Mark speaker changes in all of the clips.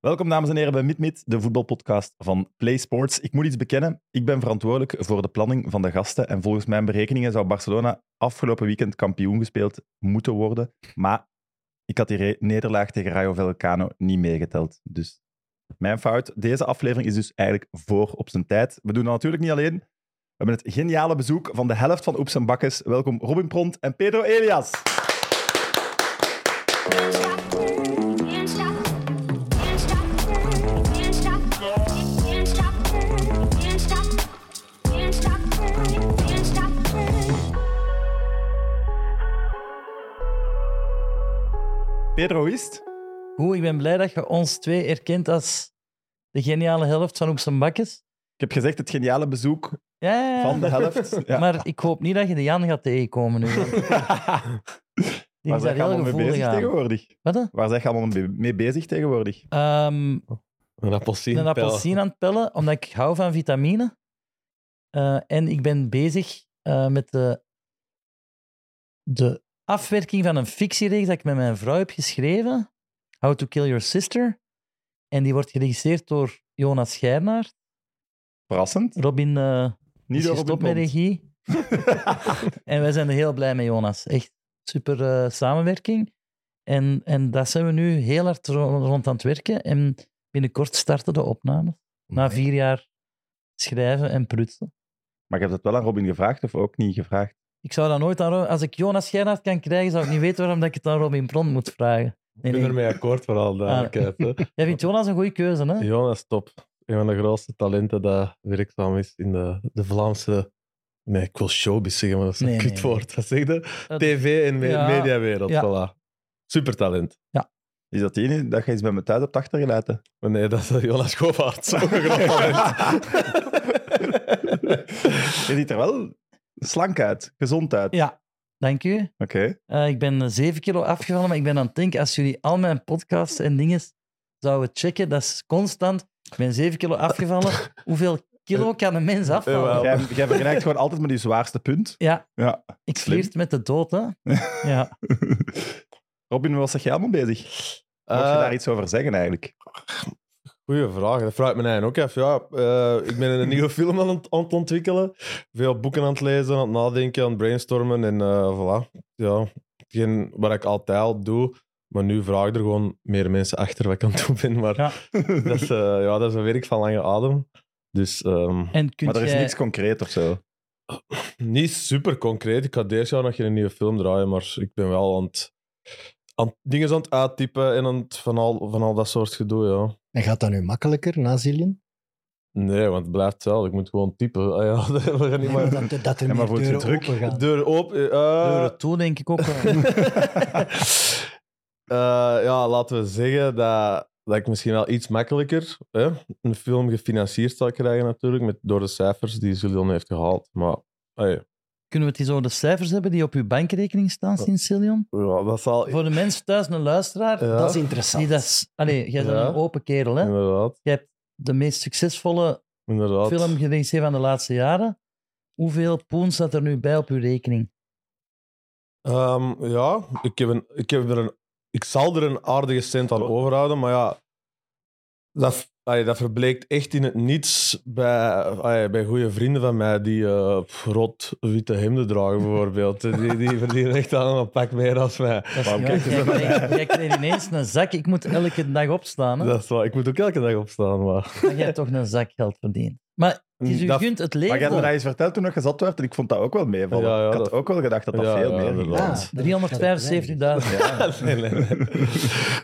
Speaker 1: Welkom, dames en heren, bij MidMid, de voetbalpodcast van Play Sports. Ik moet iets bekennen. Ik ben verantwoordelijk voor de planning van de gasten. En volgens mijn berekeningen zou Barcelona afgelopen weekend kampioen gespeeld moeten worden. Maar ik had die re- nederlaag tegen Rayo Vallecano niet meegeteld. Dus mijn fout. Deze aflevering is dus eigenlijk voor op zijn tijd. We doen dat natuurlijk niet alleen. We hebben het geniale bezoek van de helft van Oeps en Bakkes. Welkom Robin Pront en Pedro Elias.
Speaker 2: Can't stop, can't stop, can't stop, can't stop, can't stop, can't stop, can't stop, can't stop.
Speaker 1: Pedro, hoe is het?
Speaker 3: Hoe, ik ben blij dat je ons twee erkent als de geniale helft van Oeps en Bakkes.
Speaker 1: Ik heb gezegd het geniale bezoek
Speaker 3: Ja, ja, ja.
Speaker 1: van de helft. Ja.
Speaker 3: Maar ik hoop niet dat je de Jan gaat tegenkomen nu. Die
Speaker 1: Waar
Speaker 3: is daar
Speaker 1: zijn je
Speaker 3: heel
Speaker 1: allemaal mee
Speaker 3: gevoelig
Speaker 1: bezig
Speaker 3: aan.
Speaker 1: tegenwoordig?
Speaker 3: Wat? hè?
Speaker 1: Waar zijn je allemaal mee- mee bezig tegenwoordig?
Speaker 3: Ehm,
Speaker 4: Een
Speaker 3: ik
Speaker 4: appelsien.
Speaker 3: ben een
Speaker 4: pijl.
Speaker 3: appelsien aan het pellen, omdat ik hou van vitamine. Eh, en ik ben bezig eh, met de, de afwerking van een fictiereeks dat ik met mijn vrouw heb geschreven. How to Kill Your Sister. En die wordt geregisseerd door Jonas Schijnaert.
Speaker 1: Verrassend.
Speaker 3: Robin... eh,
Speaker 1: Niet
Speaker 3: is
Speaker 1: door
Speaker 3: gestopt
Speaker 1: op
Speaker 3: met regie. en wij zijn er heel blij mee, Jonas. Echt super eh, samenwerking. En, en daar zijn we nu heel hard ro- rond aan het werken. En binnenkort starten de opnames.
Speaker 1: Oh,
Speaker 3: Na vier jaar schrijven en prutsen.
Speaker 1: Maar je hebt het wel aan Robin gevraagd of ook niet gevraagd?
Speaker 3: Ik zou dat nooit aan... Ro- Als ik Jonas Geinaert kan krijgen, zou ik niet weten waarom dat ik het aan Robin Pront moet vragen.
Speaker 4: Ik
Speaker 3: Nee,
Speaker 4: ben
Speaker 3: nee.
Speaker 4: ermee akkoord vooral. duidelijkheid, hè.
Speaker 3: Jij vindt Jonas een goede keuze, hè?
Speaker 4: Ah. Jonas, top. Een van de grootste talenten dat werkzaam is in de, de Vlaamse. Nee, ik wil showbiz zeggen, maar dat is een
Speaker 3: Nee, nee,
Speaker 4: kut woord. Dat zeg je.
Speaker 3: Dat-
Speaker 4: TV en me-
Speaker 3: Ja.
Speaker 4: mediawereld.
Speaker 3: Ja.
Speaker 4: Voilà. Supertalent.
Speaker 1: Is dat die ene dat je iets bij me thuis hebt achtergelaten?
Speaker 4: Maar nee, dat is Jonas Govaerts. Ook een groot talent.
Speaker 1: Je ziet er wel slank uit, gezond uit.
Speaker 3: Ja, dank u.
Speaker 1: Oké.
Speaker 3: Eh, ik ben eh, 7 kilo afgevallen, maar ik ben aan het denken, als jullie al mijn podcasts en dingen zouden checken, dat is constant. Ik ben 7 kilo afgevallen. Hoeveel kilo kan een mens afvallen?
Speaker 4: Jawel.
Speaker 1: Jij, jij vergelijkt gewoon altijd met je zwaarste punt.
Speaker 3: Ja,
Speaker 1: Ja.
Speaker 3: ik
Speaker 1: Slim.
Speaker 3: flirt met de dood, hè. Ja.
Speaker 1: Robin, wat zeg jij allemaal bezig? Mag je
Speaker 4: Eh,
Speaker 1: daar iets over zeggen eigenlijk?
Speaker 4: Goeie vraag. Dat vraagt mijn eigen ook even. Ja, eh, ik ben een nieuwe film aan het, aan het ontwikkelen. Veel boeken aan het lezen, aan het nadenken, aan het brainstormen. En eh, voilà. Ja, hetgeen wat ik altijd al doe. Maar nu vraag ik er gewoon meer mensen achter wat ik aan het doen ben. Maar
Speaker 3: Ja.
Speaker 4: dat, is, eh, ja, dat is een werk van lange adem. Dus ehm,
Speaker 3: En kunt
Speaker 1: Maar er is
Speaker 3: jij-
Speaker 1: niks concreet of zo.
Speaker 4: niet super concreet. Ik ga dit jaar nog geen nieuwe film draaien, maar ik ben wel aan het, aan het dingen aan het uittypen en aan het, van, al, van al dat soort gedoe. Ja.
Speaker 5: En gaat dat nu makkelijker na Zillion?
Speaker 4: Nee, want het blijft wel. Ik moet gewoon typen. Ah, ja, we gaan niet maar...
Speaker 5: dat, dat er
Speaker 1: Ja, maar
Speaker 5: meer
Speaker 1: voor het
Speaker 5: deuren
Speaker 1: druk-
Speaker 5: open gaan.
Speaker 4: Deur open. eh, eh,
Speaker 3: Deuren toe, denk ik ook wel.
Speaker 4: Eh, ja, laten we zeggen dat, dat ik misschien wel iets makkelijker hè, een film gefinancierd zal krijgen, natuurlijk, met, door de cijfers die Julian heeft gehaald. Maar hey,
Speaker 3: Kunnen we het eens over de cijfers hebben die op uw bankrekening staan, sinds Cillion?
Speaker 4: ja, dat zal.
Speaker 3: Voor de mensen thuis, een luisteraar,
Speaker 4: Ja,
Speaker 5: Dat is interessant.
Speaker 3: die dat... is- Allee, jij bent
Speaker 4: Ja.
Speaker 3: een open kerel, hè.
Speaker 4: inderdaad.
Speaker 3: Jij hebt de meest succesvolle
Speaker 4: inderdaad.
Speaker 3: film geregisseerd van de laatste jaren. Hoeveel poen staat er nu bij op uw rekening?
Speaker 4: Ehm, ja, ik, heb een, ik, heb er een, ik zal er een aardige cent aan overhouden, maar ja, dat, v- allee, dat verbleekt echt in het niets bij, allee, bij goede vrienden van mij die eh pff, rot witte hemden dragen, bijvoorbeeld. Die, die verdienen echt al een pak meer als mij.
Speaker 3: Dat is
Speaker 1: Waarom
Speaker 3: niet
Speaker 1: kijk
Speaker 3: waar.
Speaker 1: je
Speaker 3: Jij
Speaker 1: zo naar
Speaker 3: kreeg- jij kreeg ineens een zak. Ik moet elke dag opstaan. Hè?
Speaker 4: Dat is waar. Ik moet ook elke dag opstaan, maar...
Speaker 3: Maar jij hebt toch een zak geld verdient. Maar het is u
Speaker 4: Dat-
Speaker 3: gunt het
Speaker 1: Maar jij hebt me dat
Speaker 3: leven.
Speaker 1: eens verteld toen ik gezat werd en ik vond dat ook wel meevallen.
Speaker 4: Ja, ja,
Speaker 1: ik had
Speaker 4: dat-
Speaker 1: ook wel gedacht dat dat
Speaker 4: Ja,
Speaker 1: veel
Speaker 4: ja,
Speaker 1: meer ging.
Speaker 4: inderdaad.
Speaker 1: Ah.
Speaker 4: dat-
Speaker 3: 375.000.
Speaker 4: nee, nee, nee.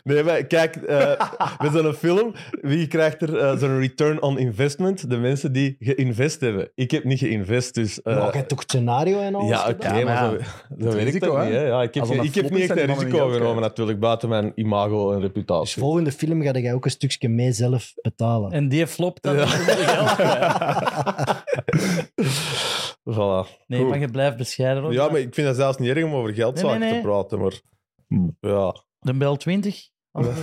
Speaker 4: Nee, maar kijk, eh met zo'n film, wie krijgt er eh, zo'n return on investment? De mensen die geïnvest hebben. Ik heb niet geïnvest, dus... eh,
Speaker 5: Maar je hebt toch het scenario en alles
Speaker 4: Ja, oké,
Speaker 5: gedaan?
Speaker 1: Ja, maar
Speaker 4: maar
Speaker 1: ja,
Speaker 4: zo, zo werkt
Speaker 1: risico,
Speaker 4: dat
Speaker 1: hè?
Speaker 4: niet. Hè? Ja, ik heb,
Speaker 1: Als
Speaker 4: geen-
Speaker 1: dat
Speaker 4: ik heb
Speaker 1: flop
Speaker 4: niet
Speaker 1: is,
Speaker 4: echt
Speaker 1: zijn
Speaker 4: een
Speaker 1: die mannen
Speaker 4: risico
Speaker 1: niet
Speaker 4: genomen,
Speaker 1: uitkijken.
Speaker 4: natuurlijk, buiten mijn imago en
Speaker 5: Dus
Speaker 4: reputatie.
Speaker 5: volgende film ga jij ook een stukje mee zelf betalen.
Speaker 3: En die flopt dan.
Speaker 4: voilà.
Speaker 3: Nee,
Speaker 4: Goed.
Speaker 3: maar je blijft bescheiden. Ook.
Speaker 4: Ja, maar ik vind dat zelfs niet erg om over
Speaker 3: Nee,
Speaker 4: geldzaken
Speaker 3: nee, nee.
Speaker 4: te praten, maar...
Speaker 1: Hmm.
Speaker 4: Ja,
Speaker 3: De bel 20.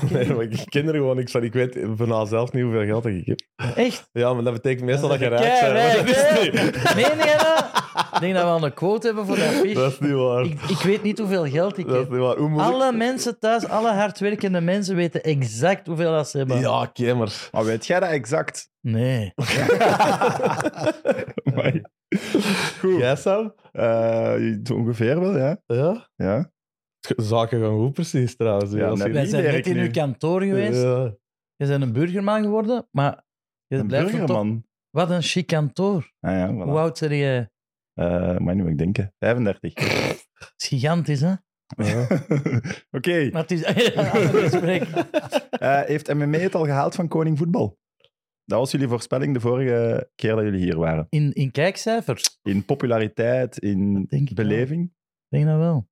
Speaker 4: nee, maar ik ken er gewoon niks van. Ik weet bijna zelf niet hoeveel geld ik heb.
Speaker 3: Echt?
Speaker 4: Ja, maar dat betekent meestal dat, je
Speaker 3: Kei
Speaker 4: rijk bent. maar
Speaker 3: rijk,
Speaker 4: dat is
Speaker 3: hè?
Speaker 4: niet.
Speaker 3: Meen je dat? Ik denk dat we al een quote hebben voor dat
Speaker 4: Dat is
Speaker 3: fiche.
Speaker 4: niet waar.
Speaker 3: Ik, ik weet niet hoeveel geld ik
Speaker 4: Dat is
Speaker 3: heb.
Speaker 4: niet waar. Hoe moet ik-
Speaker 3: Alle mensen thuis, alle hardwerkende mensen weten exact hoeveel dat ze hebben.
Speaker 4: Ja, oké, maar...
Speaker 1: Maar weet jij dat exact?
Speaker 3: Nee.
Speaker 1: Amai.
Speaker 3: Eh,
Speaker 1: Goed.
Speaker 4: Jij, Sam?
Speaker 1: Eh, ongeveer wel, ja.
Speaker 4: Ja?
Speaker 1: ja.
Speaker 4: Zaken gaan goed precies, trouwens.
Speaker 1: Ja,
Speaker 4: als je-
Speaker 1: net.
Speaker 3: Wij
Speaker 1: Die
Speaker 3: zijn
Speaker 1: werk
Speaker 3: net in
Speaker 1: nu.
Speaker 3: uw kantoor geweest.
Speaker 4: Ja.
Speaker 3: Je bent een burgerman geworden, maar je
Speaker 1: Een
Speaker 3: blijft een top...
Speaker 1: burgerman.
Speaker 3: Wat een chic kantoor.
Speaker 1: Ah ja, voilà.
Speaker 3: Hoe oud ben je?
Speaker 1: Eh, maar nu moet ik denken. 35.
Speaker 3: Dat is gigantisch, hè?
Speaker 1: Oké.
Speaker 3: Maar het is... Ander gesprek.
Speaker 1: Eh, heeft MME het al gehaald van Koning Voetbal? Dat was jullie voorspelling de vorige keer dat jullie hier waren.
Speaker 3: In, in kijkcijfers,
Speaker 1: In populariteit, in
Speaker 3: Dat denk ik wel.
Speaker 1: beleving.
Speaker 3: denk dat wel.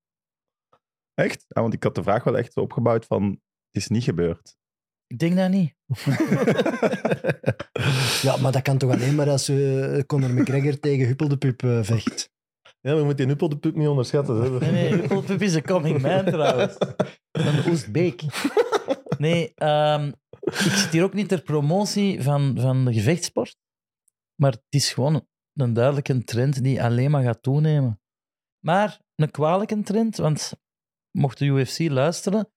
Speaker 1: Echt? Ah, want ik had de vraag wel echt zo opgebouwd van... Het is niet gebeurd.
Speaker 3: Ik denk dat niet.
Speaker 5: Ja, maar dat kan toch alleen maar als eh, Conor McGregor tegen Huppel de Pup eh, vecht.
Speaker 4: ja, maar je moet die nuppel de pup niet onderschatten. Hè.
Speaker 3: Nee, nee, Huppelpup is een coming man trouwens. Een Oestbeek. Nee, ehm, ik zit hier ook niet ter promotie van, van de gevechtsport. Maar het is gewoon een duidelijke trend die alleen maar gaat toenemen. Maar een kwalijke trend, want mocht de UFC luisteren.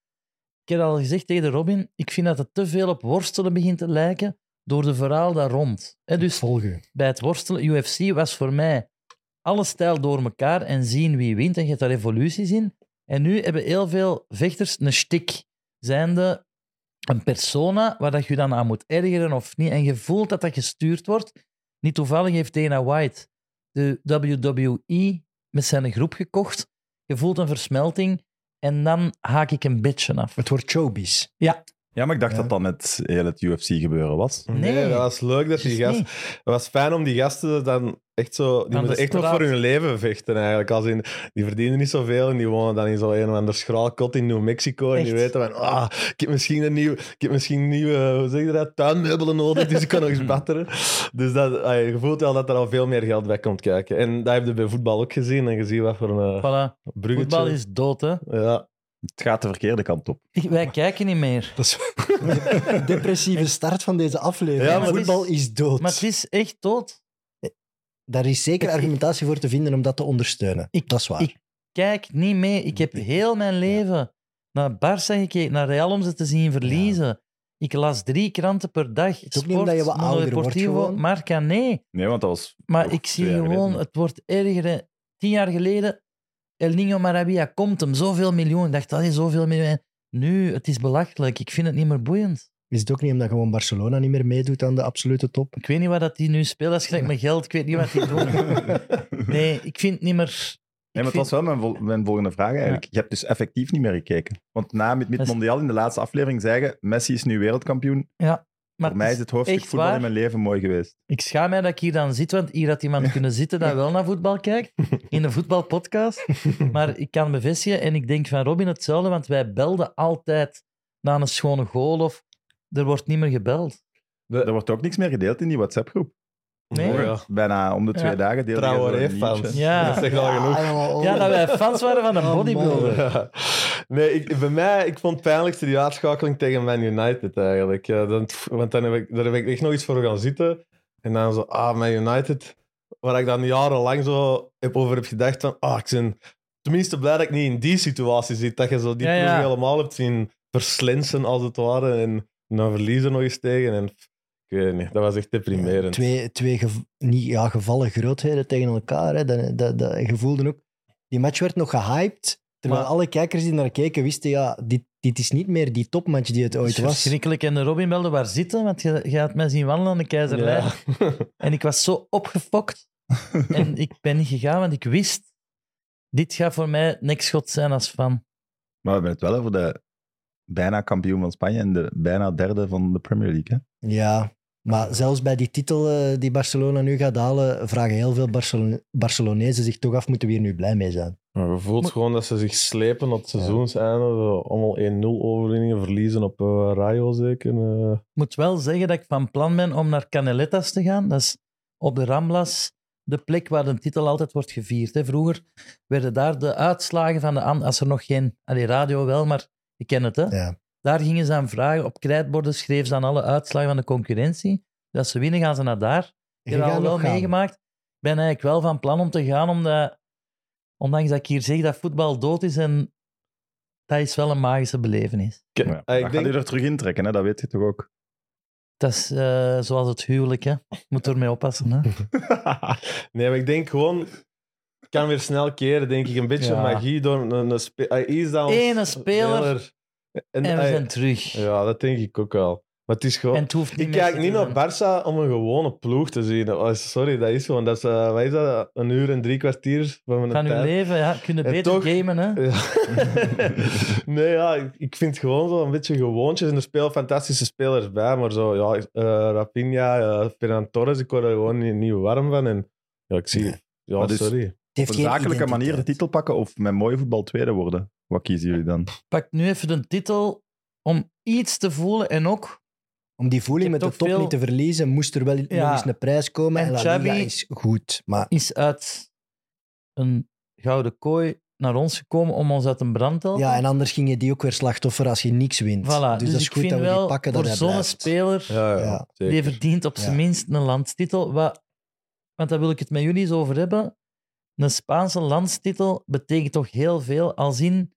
Speaker 3: Ik heb al gezegd tegen de Robin, ik vind dat het te veel op worstelen begint te lijken door de verhaal daar rond. Hè, dus
Speaker 5: Volgen.
Speaker 3: bij het worstelen, UFC was voor mij alle stijl door elkaar en zien wie wint en je hebt daar evoluties in. En nu hebben heel veel vechters een shtick, zijnde een persona waar dat je dan aan moet ergeren of niet. En je voelt dat dat gestuurd wordt. Niet toevallig heeft Dana White de WWE met zijn groep gekocht. Je voelt een versmelting en dan haak ik een beetje af.
Speaker 5: Het wordt showbiz.
Speaker 1: Ja, maar ik dacht
Speaker 4: Ja.
Speaker 1: dat dat net heel het UFC-gebeuren was.
Speaker 4: Nee,
Speaker 3: Nee.
Speaker 4: dat was leuk dat die
Speaker 3: Dus
Speaker 4: gast...
Speaker 3: niet.
Speaker 4: Het was fijn om die gasten dan echt zo... Die
Speaker 3: de
Speaker 4: moeten echt nog
Speaker 3: straat.
Speaker 4: voor hun leven vechten eigenlijk. Als in, die verdienen niet zoveel en die wonen dan in zo'n een of ander schraal kot in New Mexico. En die
Speaker 3: Echt.
Speaker 4: weten van, ah, ik heb misschien een nieuw... Ik heb misschien nieuwe, hoe zeg je dat, tuinmeubelen nodig, dus ik kan nog eens batteren. Dus dat, ah, je voelt wel dat er al veel meer geld bij komt kijken. En dat heb je bij voetbal ook gezien. En gezien wat voor een eh,
Speaker 3: Voilà.
Speaker 4: bruggetje.
Speaker 3: Voetbal is dood, hè.
Speaker 4: Ja.
Speaker 1: Het gaat de verkeerde kant op.
Speaker 3: Ik- Wij kijken niet meer.
Speaker 5: Dat is een depressieve start van deze aflevering.
Speaker 4: Ja,
Speaker 5: Ja,
Speaker 4: maar het
Speaker 3: is-
Speaker 5: voetbal is dood.
Speaker 3: Maar het is echt dood.
Speaker 5: Daar is zeker argumentatie voor te vinden om dat te ondersteunen.
Speaker 3: Ik-
Speaker 5: dat is waar.
Speaker 3: ik- kijk niet mee. Ik heb heel mijn leven naar Barça gekeken, naar Real om ze te zien verliezen. Ik las drie kranten per dag.
Speaker 5: is ook niet omdat je wat
Speaker 3: Mundo
Speaker 5: ouder wordt
Speaker 3: Deportivo,
Speaker 5: gewoon.
Speaker 3: Marca, nee.
Speaker 1: Nee, want dat was...
Speaker 3: Maar
Speaker 1: Ook
Speaker 3: ik zie
Speaker 1: twee jaar
Speaker 3: gewoon,
Speaker 1: geleden.
Speaker 3: het wordt erger. hè. Tien jaar geleden, El Niño Maravilla komt hem, zoveel miljoen. Ik dacht, dat is zoveel miljoen. Nu, het is belachelijk. Ik vind het niet meer boeiend.
Speaker 5: Is het ook niet omdat gewoon Barcelona niet meer meedoet aan de absolute top?
Speaker 3: Ik weet niet wat dat die nu speelt. Dat is gelijk met geld. Ik weet niet wat die doen. Nee, ik vind het niet meer...
Speaker 1: Nee, maar
Speaker 3: ik
Speaker 1: het was wel mijn, vol- mijn volgende vraag eigenlijk. Je hebt dus effectief niet meer gekeken. Want na met, met
Speaker 3: Dat is-
Speaker 1: Mondial in de laatste aflevering zeggen Messi is nu wereldkampioen.
Speaker 3: maar
Speaker 1: Voor mij is het hoofdstuk
Speaker 3: echt
Speaker 1: voetbal
Speaker 3: waar.
Speaker 1: in mijn leven mooi geweest.
Speaker 3: Ik schaam mij dat ik hier dan zit, want hier had iemand kunnen zitten dat wel naar voetbal kijkt, in een voetbalpodcast. Maar ik kan bevestigen, en ik denk van Robin hetzelfde, want wij belden altijd na een schone goal of er wordt niet meer gebeld.
Speaker 1: Er wordt ook niks meer gedeeld in die WhatsApp-groep.
Speaker 3: Nee.
Speaker 4: Oh, ja.
Speaker 1: Bijna om de twee
Speaker 3: Ja.
Speaker 1: dagen deel
Speaker 4: Traoré fans.
Speaker 3: Ja.
Speaker 4: Dat zegt al genoeg.
Speaker 5: Ah,
Speaker 3: Ja, dat wij fans waren van een
Speaker 5: Oh,
Speaker 3: bodybuilder.
Speaker 5: man.
Speaker 4: Ja. Nee, ik, bij mij, ik vond het pijnlijkste die uitschakeling tegen Man United eigenlijk. Ja, dan, want dan heb ik, daar heb ik echt nog iets voor gaan zitten. En dan zo, ah, Man United. Waar ik dan jarenlang zo heb over heb gedacht van, ah, ik ben tenminste blij dat ik niet in die situatie zit. Dat je zo die
Speaker 3: Ja,
Speaker 4: ploeg
Speaker 3: ja.
Speaker 4: helemaal hebt zien verslensen als het ware. En dan verliezen nog eens tegen. En pff, ik weet niet, dat was echt deprimerend.
Speaker 5: Twee, twee gev- niet, ja, gevallen grootheden tegen elkaar. Hè. Dat, dat, dat, je voelde ook... Die match werd nog gehyped, terwijl
Speaker 4: Maar-
Speaker 5: alle kijkers die naar keken wisten, ja, dit, dit is niet meer die topmatch die het
Speaker 3: Het
Speaker 5: ooit
Speaker 3: is
Speaker 5: was.
Speaker 3: verschrikkelijk. En de Robin belde waar zitten, want je, je had mij zien wandelen aan de Keizerlijn.
Speaker 4: Ja.
Speaker 3: En ik was zo opgefokt. en ik ben niet gegaan, want ik wist, dit gaat voor mij niks god zijn als fan.
Speaker 1: Maar we hebben het wel over de bijna kampioen van Spanje en de bijna derde van de Premier League. Hè?
Speaker 5: Ja, maar zelfs bij die titel eh, die Barcelona nu gaat halen, vragen heel veel Barcelon Barcelonezen zich toch af, moeten we hier nu blij mee zijn?
Speaker 4: Maar je voelt
Speaker 3: Maar-
Speaker 4: gewoon dat ze zich slepen op het seizoenseinde. Zo Allemaal 1-0 overwinningen verliezen op eh Rayo zeker. eh.
Speaker 3: Ik moet wel zeggen dat ik van plan ben om naar Caneletas te gaan. Dat is op de Ramblas de plek waar de titel altijd wordt gevierd. Hè. Vroeger werden daar de uitslagen van de... an- Als er nog geen... Allee, radio wel, maar je kent het, hè?
Speaker 5: Ja.
Speaker 3: Daar gingen ze aan vragen. Op krijtborden schreven ze dan alle uitslagen van de concurrentie. Dus als ze winnen, gaan ze naar daar. Ik
Speaker 5: Je
Speaker 3: heb dat
Speaker 5: gaat
Speaker 3: al
Speaker 5: nog
Speaker 3: wel
Speaker 5: gaan.
Speaker 3: meegemaakt. Ik ben eigenlijk wel van plan om te gaan, omdat, ondanks dat ik hier zeg dat voetbal dood is, en dat is wel een magische belevenis.
Speaker 1: Maar ja,
Speaker 4: Ah,
Speaker 1: dat
Speaker 4: ik
Speaker 1: gaat
Speaker 4: denk-
Speaker 1: u er terug intrekken, hè? dat weet je toch ook?
Speaker 3: Dat is eh, zoals het huwelijk, hè. Moet ermee oppassen, hè.
Speaker 4: Nee, maar ik denk gewoon... Ik kan weer snel keren, denk ik. Een beetje
Speaker 3: Ja.
Speaker 4: magie door een, een spe- ah, Hij is dan...
Speaker 3: Ene speler
Speaker 4: En,
Speaker 3: en we
Speaker 4: hij-
Speaker 3: zijn terug.
Speaker 4: Ja, dat denk ik ook wel. Maar het is gewoon...
Speaker 3: En het hoeft niet
Speaker 4: ik
Speaker 3: meer
Speaker 4: kijk
Speaker 3: te
Speaker 4: niet
Speaker 3: doen.
Speaker 4: naar Barça om een gewone ploeg te zien. Oh, sorry, dat is gewoon... Dat is, eh, wat is dat? Een uur en drie kwartier van mijn
Speaker 3: Van
Speaker 4: tijd.
Speaker 3: uw leven, ja. Kunnen
Speaker 4: En
Speaker 3: beter
Speaker 4: toch- eh,
Speaker 3: gamen, hè.
Speaker 4: Ja. nee, ja, ik- ik vind gewoon zo een beetje gewoontjes. En er spelen fantastische spelers bij, maar zo, ja, eh Rapinha, eh Ferran Torres, ik word er gewoon niet, niet warm van. En ja, ik zie,
Speaker 5: Nee.
Speaker 4: ja,
Speaker 1: Maar dus-
Speaker 4: sorry.
Speaker 1: Op
Speaker 5: heeft
Speaker 1: een
Speaker 5: geen
Speaker 1: zakelijke
Speaker 5: identiteit.
Speaker 1: manier de titel pakken of met mooi voetbal tweede worden? Wat kiezen jullie dan?
Speaker 3: Pak nu even de titel om iets te voelen en ook...
Speaker 5: Om die voeling
Speaker 3: Ik
Speaker 5: met
Speaker 3: heb
Speaker 5: de
Speaker 3: toch
Speaker 5: top
Speaker 3: veel-
Speaker 5: niet te verliezen, moest er wel
Speaker 3: Ja.
Speaker 5: nog eens een prijs komen.
Speaker 3: En
Speaker 5: En, La Liga
Speaker 3: Xabi-
Speaker 5: is goed. Maar
Speaker 3: is uit een gouden kooi naar ons gekomen om ons uit een brand te helpen.
Speaker 5: ja, en anders ging je die ook weer slachtoffer als je niks wint.
Speaker 3: Voilà,
Speaker 5: Dus, dat is
Speaker 3: ik
Speaker 5: goed
Speaker 3: vind
Speaker 5: dat we die
Speaker 3: wel,
Speaker 5: pakken, dat
Speaker 3: voor
Speaker 5: hij
Speaker 3: zo'n
Speaker 5: blijft.
Speaker 3: speler,
Speaker 4: Ja, ja,
Speaker 5: Ja.
Speaker 4: zeker.
Speaker 3: die verdient op
Speaker 5: Ja.
Speaker 3: zijn minst een landstitel. Wat, want daar wil ik het met jullie eens over hebben. Een Spaanse landstitel betekent toch heel veel, al zien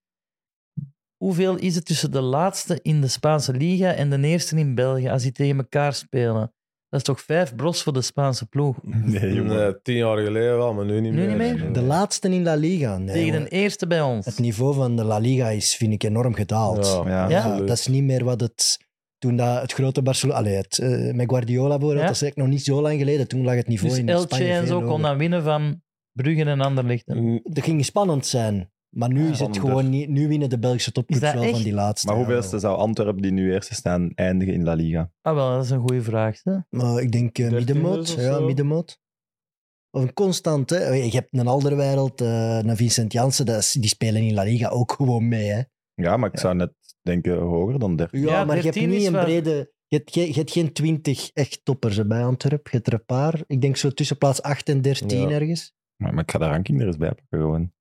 Speaker 3: hoeveel is het tussen de laatste in de Spaanse Liga en de eerste in België, als die tegen elkaar spelen. Dat is toch vijf bros voor de Spaanse ploeg.
Speaker 1: Nee, jongen.
Speaker 4: Nee, eh, tien jaar geleden wel, maar nu niet
Speaker 3: Nu
Speaker 4: meer.
Speaker 3: niet meer?
Speaker 5: De laatste in La Liga. Nee,
Speaker 3: tegen
Speaker 5: jongen.
Speaker 3: een eerste bij ons.
Speaker 5: Het niveau van de La Liga is, vind ik, enorm gedaald.
Speaker 1: Ja.
Speaker 5: Ja,
Speaker 4: absoluut.
Speaker 5: dat is niet meer wat het... Toen dat het grote Barcelona... Allee, het, eh, met Guardiola voor
Speaker 3: Ja.
Speaker 5: dat is eigenlijk nog niet zo lang geleden. Toen lag het niveau
Speaker 3: Dus
Speaker 5: in
Speaker 3: Elche
Speaker 5: Spanje
Speaker 3: en
Speaker 5: veel
Speaker 3: zo kon
Speaker 5: hoger.
Speaker 3: dan winnen van Brugge en Anderlecht. hè.
Speaker 4: Mm,
Speaker 5: Dat ging spannend zijn. Maar nu is het
Speaker 1: Spannender.
Speaker 5: gewoon niet... Nu winnen de Belgische
Speaker 3: Is
Speaker 5: topclubs
Speaker 3: dat
Speaker 5: wel
Speaker 3: echt?
Speaker 5: van die laatste.
Speaker 1: Maar
Speaker 5: ja,
Speaker 1: hoeveelste zou Antwerpen, die nu eerste staan, eindigen in La Liga?
Speaker 3: Ah wel, dat is een goede vraag. Hè?
Speaker 5: wel. Maar ik denk eh,
Speaker 4: Dertiende
Speaker 5: middenmoot.
Speaker 3: dus
Speaker 4: of
Speaker 5: Ja,
Speaker 4: zo.
Speaker 5: middenmoot. Of een constant, hè. Je hebt een Alderwereld, eh een Vincent Janssen. dat is- Die spelen in La Liga ook gewoon mee, hè.
Speaker 1: Ja, maar ik zou net denken hoger dan 13.
Speaker 5: Ja,
Speaker 3: Ja,
Speaker 5: maar je hebt
Speaker 3: 13
Speaker 5: niet
Speaker 3: is
Speaker 5: een
Speaker 3: wel-
Speaker 5: brede... Je hebt, geen- je hebt geen twintig echt toppers hè, bij Antwerpen. Je hebt er een paar. Ik denk zo tussen plaats 8 en 13
Speaker 4: Ja.
Speaker 5: ergens.
Speaker 1: Maar, maar ik ga de ranking er eens bij pakken gewoon.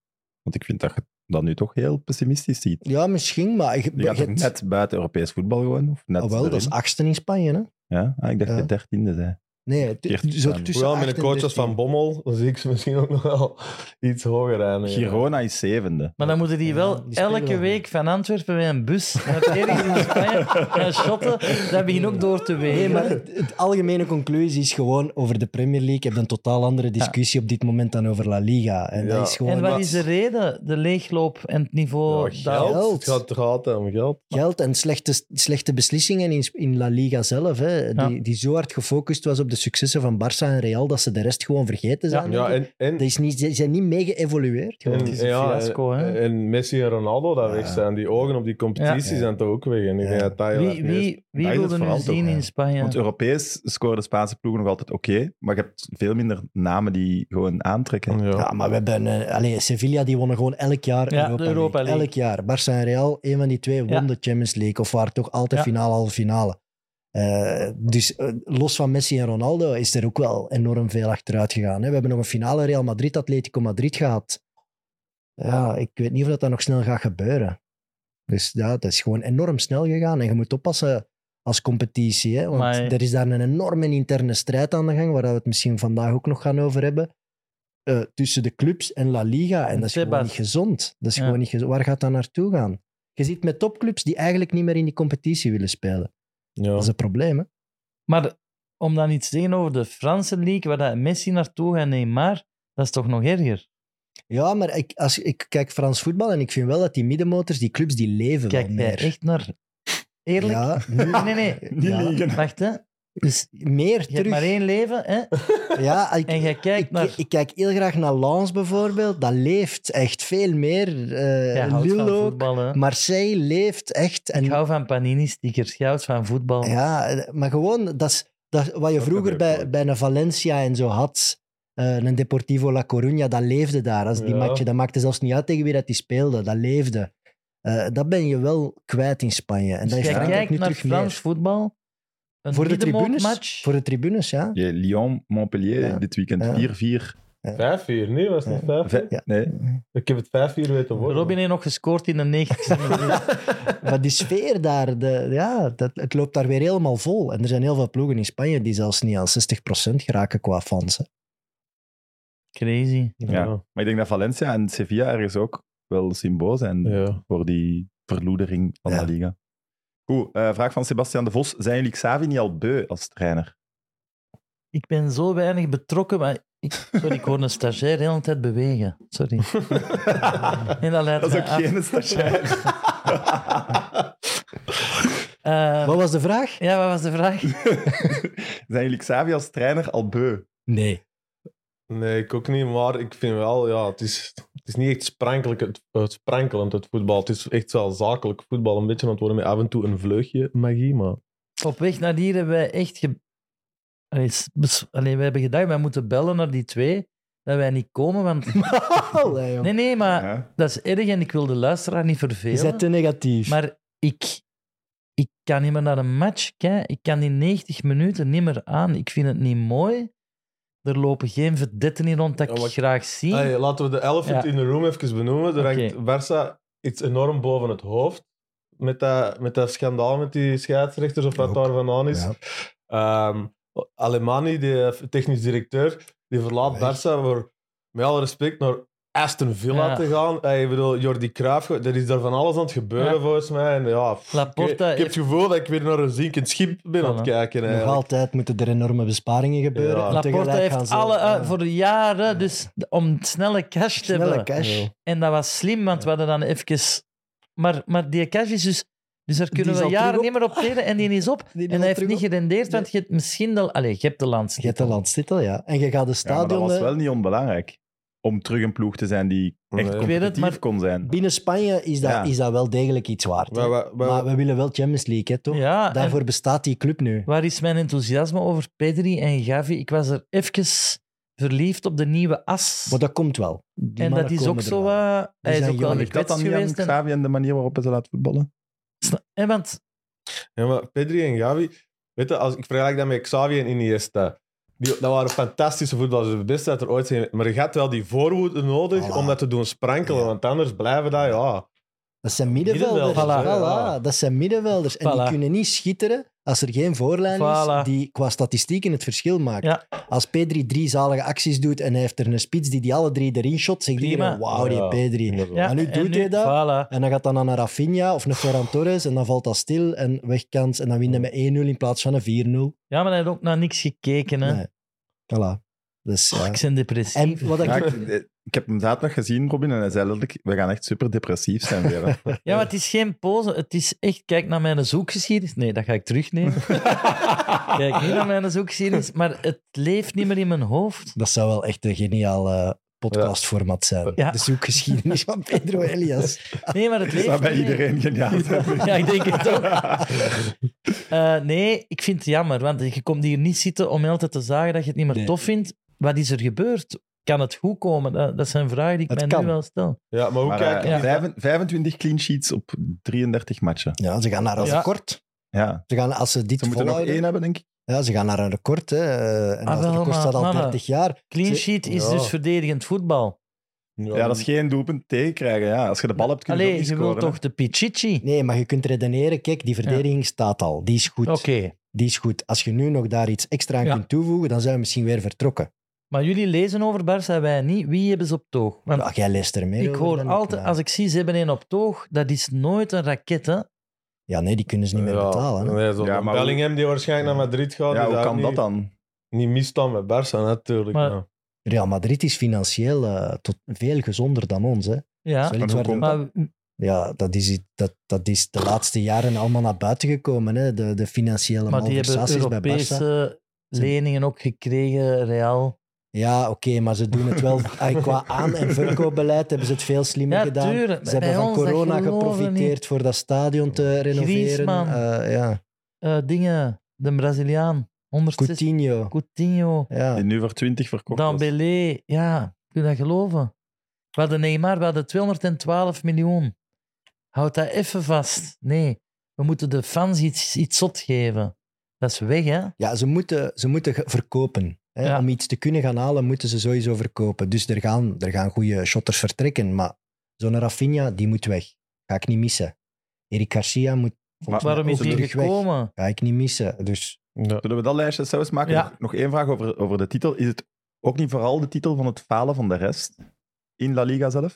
Speaker 1: Want ik vind dat je dat nu toch heel pessimistisch ziet.
Speaker 5: Ja, misschien, maar... Je,
Speaker 1: Je gaat
Speaker 5: je
Speaker 1: toch
Speaker 5: hebt-
Speaker 1: net buiten Europees voetbal gewoon? Of net
Speaker 5: Ah, wel, dat
Speaker 1: erin?
Speaker 5: is achtste in Spanje, hè?
Speaker 1: Ja? Ah, ik dacht
Speaker 5: Ja.
Speaker 1: dat je dertiende zei.
Speaker 5: Nee, t-
Speaker 1: Keert
Speaker 5: zo
Speaker 1: aan.
Speaker 5: tussen
Speaker 4: Hoewel,
Speaker 5: acht
Speaker 4: met de
Speaker 5: en
Speaker 4: coaches van
Speaker 5: 13.
Speaker 4: Bommel dan zie ik ze misschien ook nog wel iets hoger aan.
Speaker 1: Girona is zevende.
Speaker 3: Maar dan moeten die
Speaker 5: Ja,
Speaker 3: wel
Speaker 5: die spelen
Speaker 3: elke
Speaker 5: wel.
Speaker 3: week van Antwerpen met een bus naar ergens in Spanje gaan shotten. Dat begint ook door te wegen.
Speaker 5: Nee, maar het, het algemene conclusie is gewoon over de Premier League. Je hebt een totaal andere discussie op dit moment dan over La Liga. En
Speaker 4: Ja.
Speaker 5: dat is gewoon
Speaker 3: en wat
Speaker 4: wat-
Speaker 3: is de reden? De leegloop en het niveau
Speaker 4: Ja,
Speaker 3: daalt.
Speaker 4: geld. Het gaat toch altijd om geld.
Speaker 5: geld en slechte, slechte beslissingen in, in La Liga zelf. Hè,
Speaker 3: Ja.
Speaker 5: die, die zo hard gefocust was op de successen van Barça en Real dat ze de rest gewoon vergeten zijn.
Speaker 4: Ja, en, en,
Speaker 5: Dat is niet, ze zijn niet mee geëvolueerd. gewoon.
Speaker 4: En,
Speaker 3: het is een fiasco,
Speaker 4: en,
Speaker 3: hè?
Speaker 4: en Messi en Ronaldo dat
Speaker 1: Ja.
Speaker 4: weg zijn. Die ogen op die competitie
Speaker 5: Ja.
Speaker 4: zijn toch ook weg. En ik
Speaker 5: Ja.
Speaker 4: denk dat dat heel erg
Speaker 3: Wie,
Speaker 4: mis-
Speaker 3: wie, wie
Speaker 1: Daar is
Speaker 3: wil
Speaker 1: het
Speaker 3: er nu
Speaker 1: vooral toch,
Speaker 3: zien
Speaker 1: ja.
Speaker 3: in Spanje?
Speaker 1: Want Europees scoren de Spaanse ploegen nog altijd oké, maar je hebt veel minder namen die gewoon aantrekken.
Speaker 4: Ja.
Speaker 5: Ja, maar we hebben... eh, allee, Sevilla, die wonnen gewoon elk jaar
Speaker 3: Ja,
Speaker 5: Europa,
Speaker 3: de Europa
Speaker 5: League. Elk jaar. Barça en Real, een van die twee won
Speaker 3: Ja.
Speaker 5: de Champions League. Of waren toch altijd
Speaker 3: Ja.
Speaker 5: finale, halve finale. Eh, dus eh, los van Messi en Ronaldo is er ook wel enorm veel achteruit gegaan. Hè. We hebben nog een finale Real Madrid-Atletico Madrid gehad. Ja, ik weet niet of dat, dat nog snel gaat gebeuren. Dus ja, dat is gewoon enorm snel gegaan. En je moet oppassen als competitie. Hè? Want
Speaker 3: Maar-
Speaker 5: er is daar een enorme interne strijd aan de gang, waar we het misschien vandaag ook nog gaan over hebben. eh, tussen de clubs en La Liga. En dat is gewoon
Speaker 3: Tebas.
Speaker 5: niet gezond. Dat is
Speaker 3: Ja.
Speaker 5: gewoon niet gezond. Waar gaat dat naartoe gaan? Je ziet met topclubs die eigenlijk niet meer in die competitie willen spelen.
Speaker 4: Ja.
Speaker 5: Dat is een probleem, hè?
Speaker 3: Maar om dan iets te zeggen over de Franse league, waar dat Messi naartoe gaat, Neymar, dat is toch nog erger?
Speaker 5: Ja, maar ik, als, ik kijk Frans voetbal en ik vind wel dat die middenmotors, die clubs, die leven
Speaker 3: Kijk
Speaker 5: wel
Speaker 3: daar
Speaker 5: meer.
Speaker 3: echt naar. Eerlijk?
Speaker 5: Ja, nu-
Speaker 3: Nee, nee,
Speaker 1: Die
Speaker 5: Ja.
Speaker 1: liegen.
Speaker 3: Wacht, hè.
Speaker 5: dus meer
Speaker 3: Je hebt
Speaker 5: terug.
Speaker 3: maar één leven, hè.
Speaker 5: Ja, ik,
Speaker 3: En je kijkt
Speaker 5: ik,
Speaker 3: naar...
Speaker 5: ik kijk heel graag naar Lens bijvoorbeeld. Dat leeft echt veel meer. eh,
Speaker 3: Jij houdt
Speaker 5: Lille
Speaker 3: van
Speaker 5: ook.
Speaker 3: voetbal, hè.
Speaker 5: Marseille leeft echt.
Speaker 3: Ik
Speaker 5: En,
Speaker 3: hou van panini-stickers. Je houdt van voetbal.
Speaker 5: ja, eh, maar gewoon, dat is, dat, is wat je
Speaker 1: Dat
Speaker 5: vroeger
Speaker 1: gebeurt
Speaker 5: bij,
Speaker 1: nooit.
Speaker 5: bij een Valencia en zo had. eh, een Deportivo La Coruña, dat leefde daar. Als die
Speaker 4: Ja.
Speaker 5: matje, dat maakte zelfs niet uit tegen wie dat die speelde. Dat leefde. Eh, dat ben je wel kwijt in Spanje. En
Speaker 3: Dus
Speaker 5: dat is
Speaker 3: jij
Speaker 5: Frankrijk
Speaker 3: kijkt
Speaker 5: nu
Speaker 3: naar
Speaker 5: terug
Speaker 3: Frans
Speaker 5: meer.
Speaker 3: voetbal. Een
Speaker 5: Voor de, tribunes,
Speaker 3: middenmootmatch.
Speaker 5: voor de tribunes, ja.
Speaker 1: Je Lyon, Montpellier
Speaker 5: Ja.
Speaker 1: dit weekend
Speaker 5: Ja.
Speaker 1: 4-4.
Speaker 4: Vijf vier, nee, was het niet vijf?
Speaker 1: Ve-
Speaker 5: Ja.
Speaker 1: Nee,
Speaker 4: Ik heb het vijf vier weten worden.
Speaker 3: Robin heeft nog gescoord in de 90 minuut.
Speaker 5: Maar die sfeer daar, de, ja, dat, het loopt daar weer helemaal vol. En er zijn heel veel ploegen in Spanje die zelfs niet aan 60% geraken qua fans. hè.
Speaker 3: Crazy.
Speaker 1: Ja. Maar ik denk dat Valencia en Sevilla ergens ook wel symbool zijn
Speaker 4: Ja.
Speaker 1: voor die verloedering van
Speaker 5: Ja.
Speaker 1: de liga. Goed, eh, vraag van Sebastian de Vos. Zijn jullie Xavi niet al beu als trainer?
Speaker 3: Ik ben zo weinig betrokken, maar... Ik, sorry, ik hoor een stagiair de hele tijd bewegen. Sorry. En dat leidt
Speaker 1: Dat is
Speaker 3: mij
Speaker 1: ook
Speaker 3: af.
Speaker 1: geen stagiair.
Speaker 3: Eh,
Speaker 5: Wat was de vraag?
Speaker 3: ja, wat was de vraag?
Speaker 1: Zijn jullie Xavi als trainer al beu?
Speaker 5: Nee.
Speaker 4: Nee, ik ook niet, maar ik vind wel, ja, het is, het is niet echt sprankelijk, het, het sprankelend, het voetbal. Het is echt wel zakelijk voetbal, een beetje aan het worden met af en toe een vleugje magie, maar...
Speaker 3: Op weg naar hier hebben wij echt... Ge... Allee, s- bes- Allee, we hebben gedacht, wij moeten bellen naar die twee, dat wij niet komen, want...
Speaker 5: Allee, jong.
Speaker 3: Nee, nee, maar
Speaker 1: Hè?
Speaker 3: dat is erg en ik wil de luisteraar niet vervelen.
Speaker 5: Is dat te negatief?
Speaker 3: Maar ik, ik kan niet meer naar een match kijken. Ik kan die 90 minuten niet meer aan. Ik vind het niet mooi. Er lopen geen verdetten in rond dat
Speaker 4: Ja,
Speaker 3: ik
Speaker 4: maar-
Speaker 3: graag zie.
Speaker 4: Hey, laten we de elephant
Speaker 3: Ja.
Speaker 4: in the room even benoemen. Er hangt
Speaker 3: Oké.
Speaker 4: Barca iets enorm boven het hoofd. Met dat, met dat schandaal met die scheidsrechters of wat
Speaker 5: Ook.
Speaker 4: daar van aan is.
Speaker 5: Ja.
Speaker 4: Ehm, Alemani, die eh, technisch directeur, die verlaat
Speaker 5: Weg.
Speaker 4: Barça voor, met alle respect, naar Aston Villa
Speaker 3: Ja.
Speaker 4: te gaan. Hey, ik bedoel, Jordi Cruijff, er is daar van alles aan het gebeuren
Speaker 3: Ja.
Speaker 4: volgens mij. En ja, pff,
Speaker 3: Laporta
Speaker 4: ik, ik heb
Speaker 3: heeft-
Speaker 4: het gevoel dat ik weer naar een zinkend schip ben aan het
Speaker 3: Voilà.
Speaker 4: kijken.
Speaker 5: Nog
Speaker 4: eigenlijk.
Speaker 5: altijd moeten er enorme besparingen gebeuren.
Speaker 4: Ja.
Speaker 5: en
Speaker 3: Laporta
Speaker 5: tegelijk gaan
Speaker 3: heeft
Speaker 5: ze-
Speaker 3: alle
Speaker 5: ja.
Speaker 3: eh, voor jaren, dus om het snelle cash te
Speaker 5: snelle
Speaker 3: hebben.
Speaker 5: cash.
Speaker 4: Ja.
Speaker 3: En dat was slim, want we hadden dan even. Maar, maar die cash is dus. Dus daar kunnen
Speaker 5: is
Speaker 3: we
Speaker 5: al terug
Speaker 3: jaren
Speaker 5: op.
Speaker 3: niet meer op treden en die is op.
Speaker 5: Die is
Speaker 3: en
Speaker 5: al
Speaker 3: hij heeft
Speaker 5: terug
Speaker 3: niet
Speaker 5: op.
Speaker 3: gerendeerd, want je hebt misschien wel. Allee, je hebt de lands.
Speaker 5: Je hebt een landstitel, ja. En je gaat de
Speaker 1: Ja, maar dat
Speaker 5: stadion... eh,
Speaker 1: was wel niet onbelangrijk. Om terug een ploeg te zijn die
Speaker 4: Nee.
Speaker 1: echt
Speaker 4: Ik
Speaker 3: weet
Speaker 1: competitief
Speaker 3: het, maar-
Speaker 1: kon zijn.
Speaker 5: Binnen Spanje is dat,
Speaker 1: Ja.
Speaker 5: is dat wel degelijk iets waard. hè.
Speaker 4: Maar, we- we-
Speaker 5: maar we willen wel Champions League, hè, toch?
Speaker 3: Ja, en-
Speaker 5: Daarvoor bestaat die club nu.
Speaker 3: Waar is mijn enthousiasme over Pedri en Gavi? Ik was er even verliefd op de nieuwe as.
Speaker 5: Maar dat komt wel. Die
Speaker 3: en dat
Speaker 5: mannen
Speaker 3: is
Speaker 5: komen
Speaker 3: ook
Speaker 5: er
Speaker 3: zo.
Speaker 5: wel.
Speaker 3: eh, hij is
Speaker 5: zijn
Speaker 3: ook
Speaker 5: jong.
Speaker 3: wel
Speaker 5: Ligt
Speaker 1: Ligt dat
Speaker 3: gekwetst
Speaker 1: dan niet aan
Speaker 3: geweest. En,
Speaker 1: Xavi en de manier waarop hij ze laat voetballen?
Speaker 3: en want
Speaker 4: Ja, maar Pedri en Gavi, weet je, als, ik vergelijk dat met Xavi en Iniesta. Die, dat waren fantastische voetballers, de beste dat er ooit zijn. Maar je hebt wel die voorwoede nodig
Speaker 5: Voilà.
Speaker 4: om dat te doen sprankelen,
Speaker 5: Ja.
Speaker 4: want anders blijven dat, ja.
Speaker 5: Dat zijn middenvelders.
Speaker 4: Middenvelders,
Speaker 5: Voilà,
Speaker 4: ja.
Speaker 5: Dat zijn middenvelders. En die
Speaker 3: Voilà.
Speaker 5: kunnen niet schitteren als er geen voorlijn
Speaker 3: Voilà.
Speaker 5: is die qua statistieken het verschil maakt.
Speaker 3: Ja.
Speaker 5: Als Pedri drie zalige acties doet en hij heeft er een spits die die alle drie erin shot, zegt
Speaker 3: Prima.
Speaker 5: iedereen, wauw, die
Speaker 4: Ja.
Speaker 5: Pedri.
Speaker 3: ja,
Speaker 5: Maar nu
Speaker 3: en
Speaker 5: doet hij dat.
Speaker 3: Voilà.
Speaker 5: En dan gaat dat dan naar Rafinha of naar Ferran Torres en dan valt dat stil en wegkans en dan winnen met 1-0 in plaats van een 4-0.
Speaker 3: Ja, maar hij heeft ook naar niks gekeken. Hè.
Speaker 5: Nee. Voilà. Dus,
Speaker 3: Oh,
Speaker 5: ja.
Speaker 3: ik ben depressief.
Speaker 5: En wat
Speaker 1: Ja,
Speaker 5: ik...
Speaker 1: ik, eh, ik heb hem zaterdag gezien, Robin, en hij zei letterlijk, we gaan echt super depressief zijn weer. hè.
Speaker 3: Ja, maar het is geen pose. Het is echt, kijk naar mijn zoekgeschiedenis. Nee, dat ga ik terugnemen. kijk niet naar mijn zoekgeschiedenis, maar het leeft niet meer in mijn hoofd.
Speaker 5: Dat zou wel echt een geniaal eh, podcastformat zijn.
Speaker 3: Ja.
Speaker 5: De zoekgeschiedenis van Pedro Elias.
Speaker 3: Nee, maar het
Speaker 1: Dat
Speaker 3: leeft
Speaker 1: zou bij
Speaker 3: niet meer.
Speaker 1: iedereen geniaal zijn.
Speaker 3: Ja, ik denk het ook. Eh, nee, ik vind het jammer, want je komt hier niet zitten om altijd te zagen dat je het niet meer
Speaker 5: Nee.
Speaker 3: tof vindt. Wat is er gebeurd? Kan het goed komen? Dat, dat zijn vragen die ik
Speaker 5: Het
Speaker 3: mij
Speaker 5: kan.
Speaker 3: nu wel stel.
Speaker 4: Ja, maar hoe
Speaker 1: Maar,
Speaker 4: kijk
Speaker 1: eh,
Speaker 4: je
Speaker 3: Ja.
Speaker 1: vijf- 25 clean sheets op 33 matchen.
Speaker 5: Ja, ze gaan naar een
Speaker 3: Ja.
Speaker 5: record.
Speaker 1: Ja,
Speaker 5: Ze gaan, als ze dit
Speaker 1: ze moeten nog
Speaker 5: volhouden...
Speaker 1: één hebben, denk ik.
Speaker 5: Ja, ze gaan naar een record. Hè. Eh, En
Speaker 3: Ah,
Speaker 5: dat
Speaker 3: wel,
Speaker 5: record staat al
Speaker 3: mannen.
Speaker 5: 30 jaar.
Speaker 3: Clean
Speaker 5: Ze-
Speaker 3: sheet is
Speaker 4: Ja.
Speaker 3: dus verdedigend voetbal.
Speaker 1: Ja, dat is geen doelpunt tegenkrijgen. Ja. Als je de bal hebt, kun je
Speaker 3: Allee,
Speaker 1: ook
Speaker 3: je
Speaker 1: niet
Speaker 3: wilt
Speaker 1: scoren, hè.
Speaker 3: toch de Pichichi?
Speaker 5: Nee, maar je kunt redeneren. Kijk, die verdediging staat al. Die is goed.
Speaker 3: Oké,
Speaker 5: Die is goed. Als je nu nog daar iets extra aan
Speaker 3: Ja.
Speaker 5: kunt toevoegen, dan zijn we misschien weer vertrokken.
Speaker 3: maar jullie lezen over Barça, wij niet. Wie hebben ze op toog? Want
Speaker 5: Ach, jij leest er meer
Speaker 3: ik
Speaker 5: over
Speaker 3: hoor
Speaker 5: dan
Speaker 3: altijd,
Speaker 5: maar-
Speaker 3: als ik zie ze hebben één op toog, dat is nooit een raket, hè?
Speaker 5: Ja, nee, die kunnen ze niet meer betalen. hè.
Speaker 4: Nee, zo
Speaker 1: Ja, maar
Speaker 4: Bellingham die waarschijnlijk naar Madrid gaat.
Speaker 1: Ja,
Speaker 4: die
Speaker 1: hoe
Speaker 4: daar
Speaker 1: kan
Speaker 4: niet,
Speaker 1: dat dan?
Speaker 4: Niet mist dan met Barça, natuurlijk.
Speaker 3: Maar-
Speaker 4: ja.
Speaker 5: Real Madrid is financieel eh, tot veel gezonder dan ons. Hè.
Speaker 3: Ja,
Speaker 5: Dat is
Speaker 1: Maar
Speaker 5: wel iets
Speaker 1: hoe
Speaker 5: waar de-
Speaker 1: komt
Speaker 3: maar
Speaker 5: Ja, dat is, iets- dat, dat is de laatste jaren allemaal naar buiten gekomen. Hè. De, de financiële
Speaker 3: Maar die hebben
Speaker 5: malversaties bij Barça.
Speaker 3: Europese leningen ook gekregen, Real.
Speaker 5: Ja, oké, maar ze doen het wel. Ah, Qua aan- en verkoopbeleid hebben ze het veel slimmer
Speaker 3: Ja,
Speaker 5: gedaan.
Speaker 3: tuurlijk.
Speaker 5: Ze hebben
Speaker 3: Bij
Speaker 5: van
Speaker 3: ons, dat
Speaker 5: corona
Speaker 3: geloven we
Speaker 5: geprofiteerd voor dat stadion te renoveren.
Speaker 3: Griezmann.
Speaker 5: Eh, ja.
Speaker 3: Eh, dingen, de Braziliaan, 160
Speaker 5: Coutinho.
Speaker 3: Coutinho,
Speaker 5: Ja.
Speaker 1: Die nu voor 20 verkocht was.
Speaker 3: Dambélé. Ja, kun je dat geloven? We hadden Neymar, we hadden 212 miljoen. Houd dat even vast. Nee, we moeten de fans iets, iets zot geven. Dat is weg, hè?
Speaker 5: ja, ze moeten, ze moeten ge- verkopen. Hè.
Speaker 3: Ja.
Speaker 5: Om iets te kunnen gaan halen, moeten ze sowieso verkopen. Dus er gaan, er gaan goede shotters vertrekken. Maar zo'n Rafinha, die moet weg. Ga ik niet missen. Erik Garcia moet... volgens mij
Speaker 3: Waarom is
Speaker 5: ook
Speaker 3: die
Speaker 5: terug weg.
Speaker 3: gekomen?
Speaker 5: Ga ik niet missen. Dus
Speaker 1: Zullen we dat lijstje zelfs maken?
Speaker 3: Ja.
Speaker 1: Nog- Nog één vraag over, over de titel. Is het Ook niet vooral de titel van het falen van de rest. In La Liga zelf.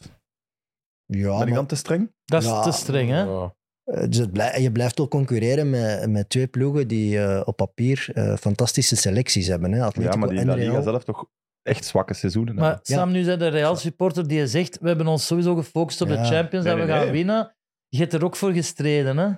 Speaker 5: Ja,
Speaker 1: ben ik
Speaker 5: maar-
Speaker 1: dan te streng?
Speaker 3: Dat is
Speaker 5: Ja.
Speaker 3: te streng,
Speaker 1: oh,
Speaker 3: hè?
Speaker 4: Ja.
Speaker 5: Eh, Dus het blij- je blijft wel concurreren met, met twee ploegen die eh, op papier eh, fantastische selecties hebben. Hè? Atletico
Speaker 1: ja, maar die in
Speaker 5: en
Speaker 1: La
Speaker 5: Real.
Speaker 1: Liga zelf toch echt zwakke seizoenen.
Speaker 3: Maar
Speaker 1: hebben.
Speaker 3: Sam, nu zijn de Real supporter die zegt: We hebben ons sowieso gefocust op de
Speaker 5: Ja.
Speaker 3: Champions
Speaker 1: Nee,
Speaker 3: en we
Speaker 1: nee,
Speaker 3: gaan
Speaker 1: nee.
Speaker 3: winnen. Je hebt er ook voor gestreden, hè?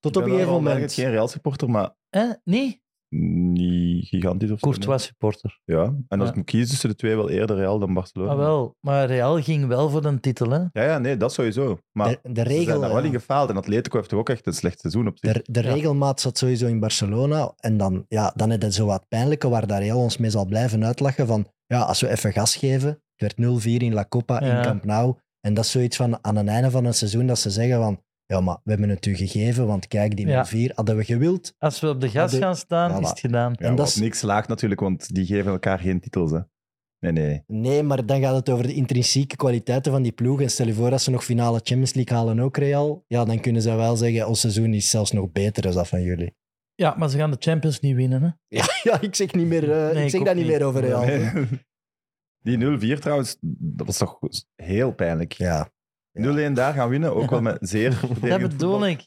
Speaker 5: Tot op
Speaker 1: Ik
Speaker 5: een
Speaker 1: ben
Speaker 5: gegeven
Speaker 1: wel
Speaker 5: moment.
Speaker 1: eigenlijk geen Real supporter, maar
Speaker 3: hè? Niet?
Speaker 1: niet gigantisch of zo.
Speaker 3: Courtois supporter.
Speaker 1: Ja, en als
Speaker 3: Ja.
Speaker 1: ik moet kiezen tussen de twee, wel eerder Real dan Barcelona.
Speaker 3: Ah, wel. Maar Real ging wel voor een titel, hè?
Speaker 1: Ja, ja, nee, dat sowieso. Maar
Speaker 5: De, de,
Speaker 1: ze zijn
Speaker 5: regel,
Speaker 1: daar wel in
Speaker 5: ja.
Speaker 1: gefaald. En Atletico heeft toch ook echt een slecht seizoen op zich.
Speaker 5: de, de
Speaker 3: Ja.
Speaker 5: regelmaat zat sowieso in Barcelona. En dan, ja, dan is het zo wat pijnlijke waar daar Real ons mee zal blijven uitlachen. Van ja, als we even gas geven. Het werd 0-4 in La Copa
Speaker 3: Ja.
Speaker 5: in Camp Nou. En dat is zoiets van aan het einde van een seizoen dat ze zeggen van. Ja, maar we hebben het u gegeven, want kijk, die
Speaker 3: Ja.
Speaker 5: 0-4 hadden we gewild.
Speaker 3: Als we op de gas
Speaker 5: de-
Speaker 3: gaan staan,
Speaker 5: Voilà.
Speaker 3: is het gedaan.
Speaker 1: Ja,
Speaker 5: en
Speaker 1: wat
Speaker 5: dat is-
Speaker 1: niks slaagt natuurlijk, want die geven elkaar geen titels. Hè. Nee, nee.
Speaker 5: Nee, maar dan gaat het over de intrinsieke kwaliteiten van die ploeg. En stel je voor dat ze nog finale Champions League halen, ook Real. Ja, dan kunnen ze wel zeggen, ons seizoen is zelfs nog beter dan dat van jullie.
Speaker 3: Ja, maar ze gaan de Champions niet winnen, hè?
Speaker 5: Ja, ik zeg, niet meer, eh,
Speaker 3: Nee,
Speaker 5: ik
Speaker 3: ik
Speaker 5: zeg
Speaker 3: ook
Speaker 5: dat niet
Speaker 3: niet.
Speaker 5: meer over Real.
Speaker 1: Nee. Die 0-4 trouwens, dat was toch heel pijnlijk.
Speaker 5: Ja.
Speaker 1: 0-1 daar gaan winnen, ook wel met zeer
Speaker 3: Dat
Speaker 1: verdedigend voetbal.
Speaker 3: bedoel ik.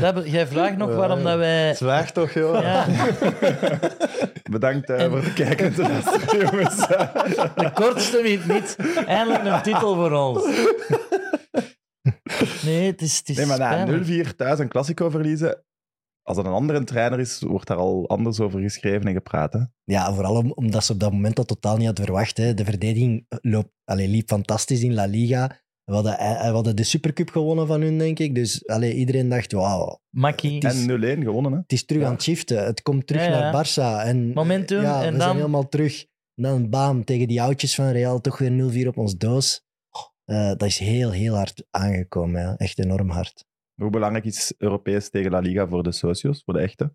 Speaker 3: Dat be- Jij vraagt
Speaker 5: Eh,
Speaker 3: nog waarom dat wij.
Speaker 4: Zwijg toch, joh.
Speaker 3: Ja,
Speaker 1: Bedankt eh,
Speaker 3: En-
Speaker 1: voor het kijken en te luisteren, jongens.
Speaker 3: de kortste wint niet. Eindelijk een titel voor ons. Nee, het is. Het is
Speaker 1: Nee, maar
Speaker 3: pijnlijk.
Speaker 1: na 0-4 thuis een Classico verliezen, als er een andere trainer is, wordt daar al anders over geschreven en gepraat. Hè?
Speaker 5: ja, vooral om- omdat ze op dat moment dat totaal niet had verwacht. Hè. De verdediging eh, loopt, allee, liep fantastisch in La Liga. We hadden, eh, we hadden de Supercup gewonnen van hun, denk ik. Dus allee, iedereen dacht, wauw,
Speaker 3: Makkie.
Speaker 5: is-
Speaker 1: En 0-1 gewonnen, hè?
Speaker 5: het is terug
Speaker 1: Ja.
Speaker 5: aan het shiften. Het komt terug
Speaker 3: Ja, ja.
Speaker 5: naar Barça. En
Speaker 3: Momentum.
Speaker 5: Ja, we
Speaker 3: en
Speaker 5: zijn
Speaker 3: dan.
Speaker 5: helemaal terug. En dan bam, tegen die oudjes van Real, toch weer 0-4 op ons doos. Eh, dat is heel, heel hard aangekomen. Ja. Echt enorm hard.
Speaker 1: Hoe belangrijk is Europees tegen La Liga voor de socios, voor de echte?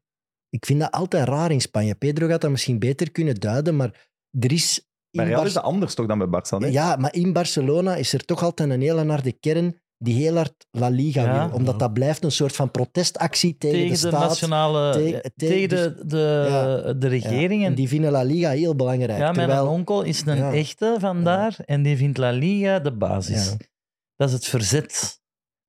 Speaker 5: Ik vind dat altijd raar in Spanje. Pedro gaat dat misschien beter kunnen duiden, maar er is... in
Speaker 1: Maar Real is
Speaker 5: Barce-
Speaker 1: dat anders toch dan bij Barca, nee?
Speaker 5: Ja, maar in Barcelona is er toch altijd een hele harde kern die heel hard La Liga
Speaker 3: Ja.
Speaker 5: wil. Omdat dat blijft een soort van protestactie tegen,
Speaker 3: tegen
Speaker 5: de
Speaker 3: de,
Speaker 5: staat.
Speaker 3: nationale.
Speaker 5: te- te-
Speaker 3: tegen de, de,
Speaker 5: Ja.
Speaker 3: de
Speaker 5: Ja,
Speaker 3: regering.
Speaker 5: en
Speaker 3: en
Speaker 5: die vinden La Liga heel belangrijk.
Speaker 3: ja, mijn
Speaker 5: terwijl...
Speaker 3: onkel is een
Speaker 5: Ja.
Speaker 3: echte vandaar. En die vindt La Liga de basis.
Speaker 5: Ja.
Speaker 3: Dat is het verzet.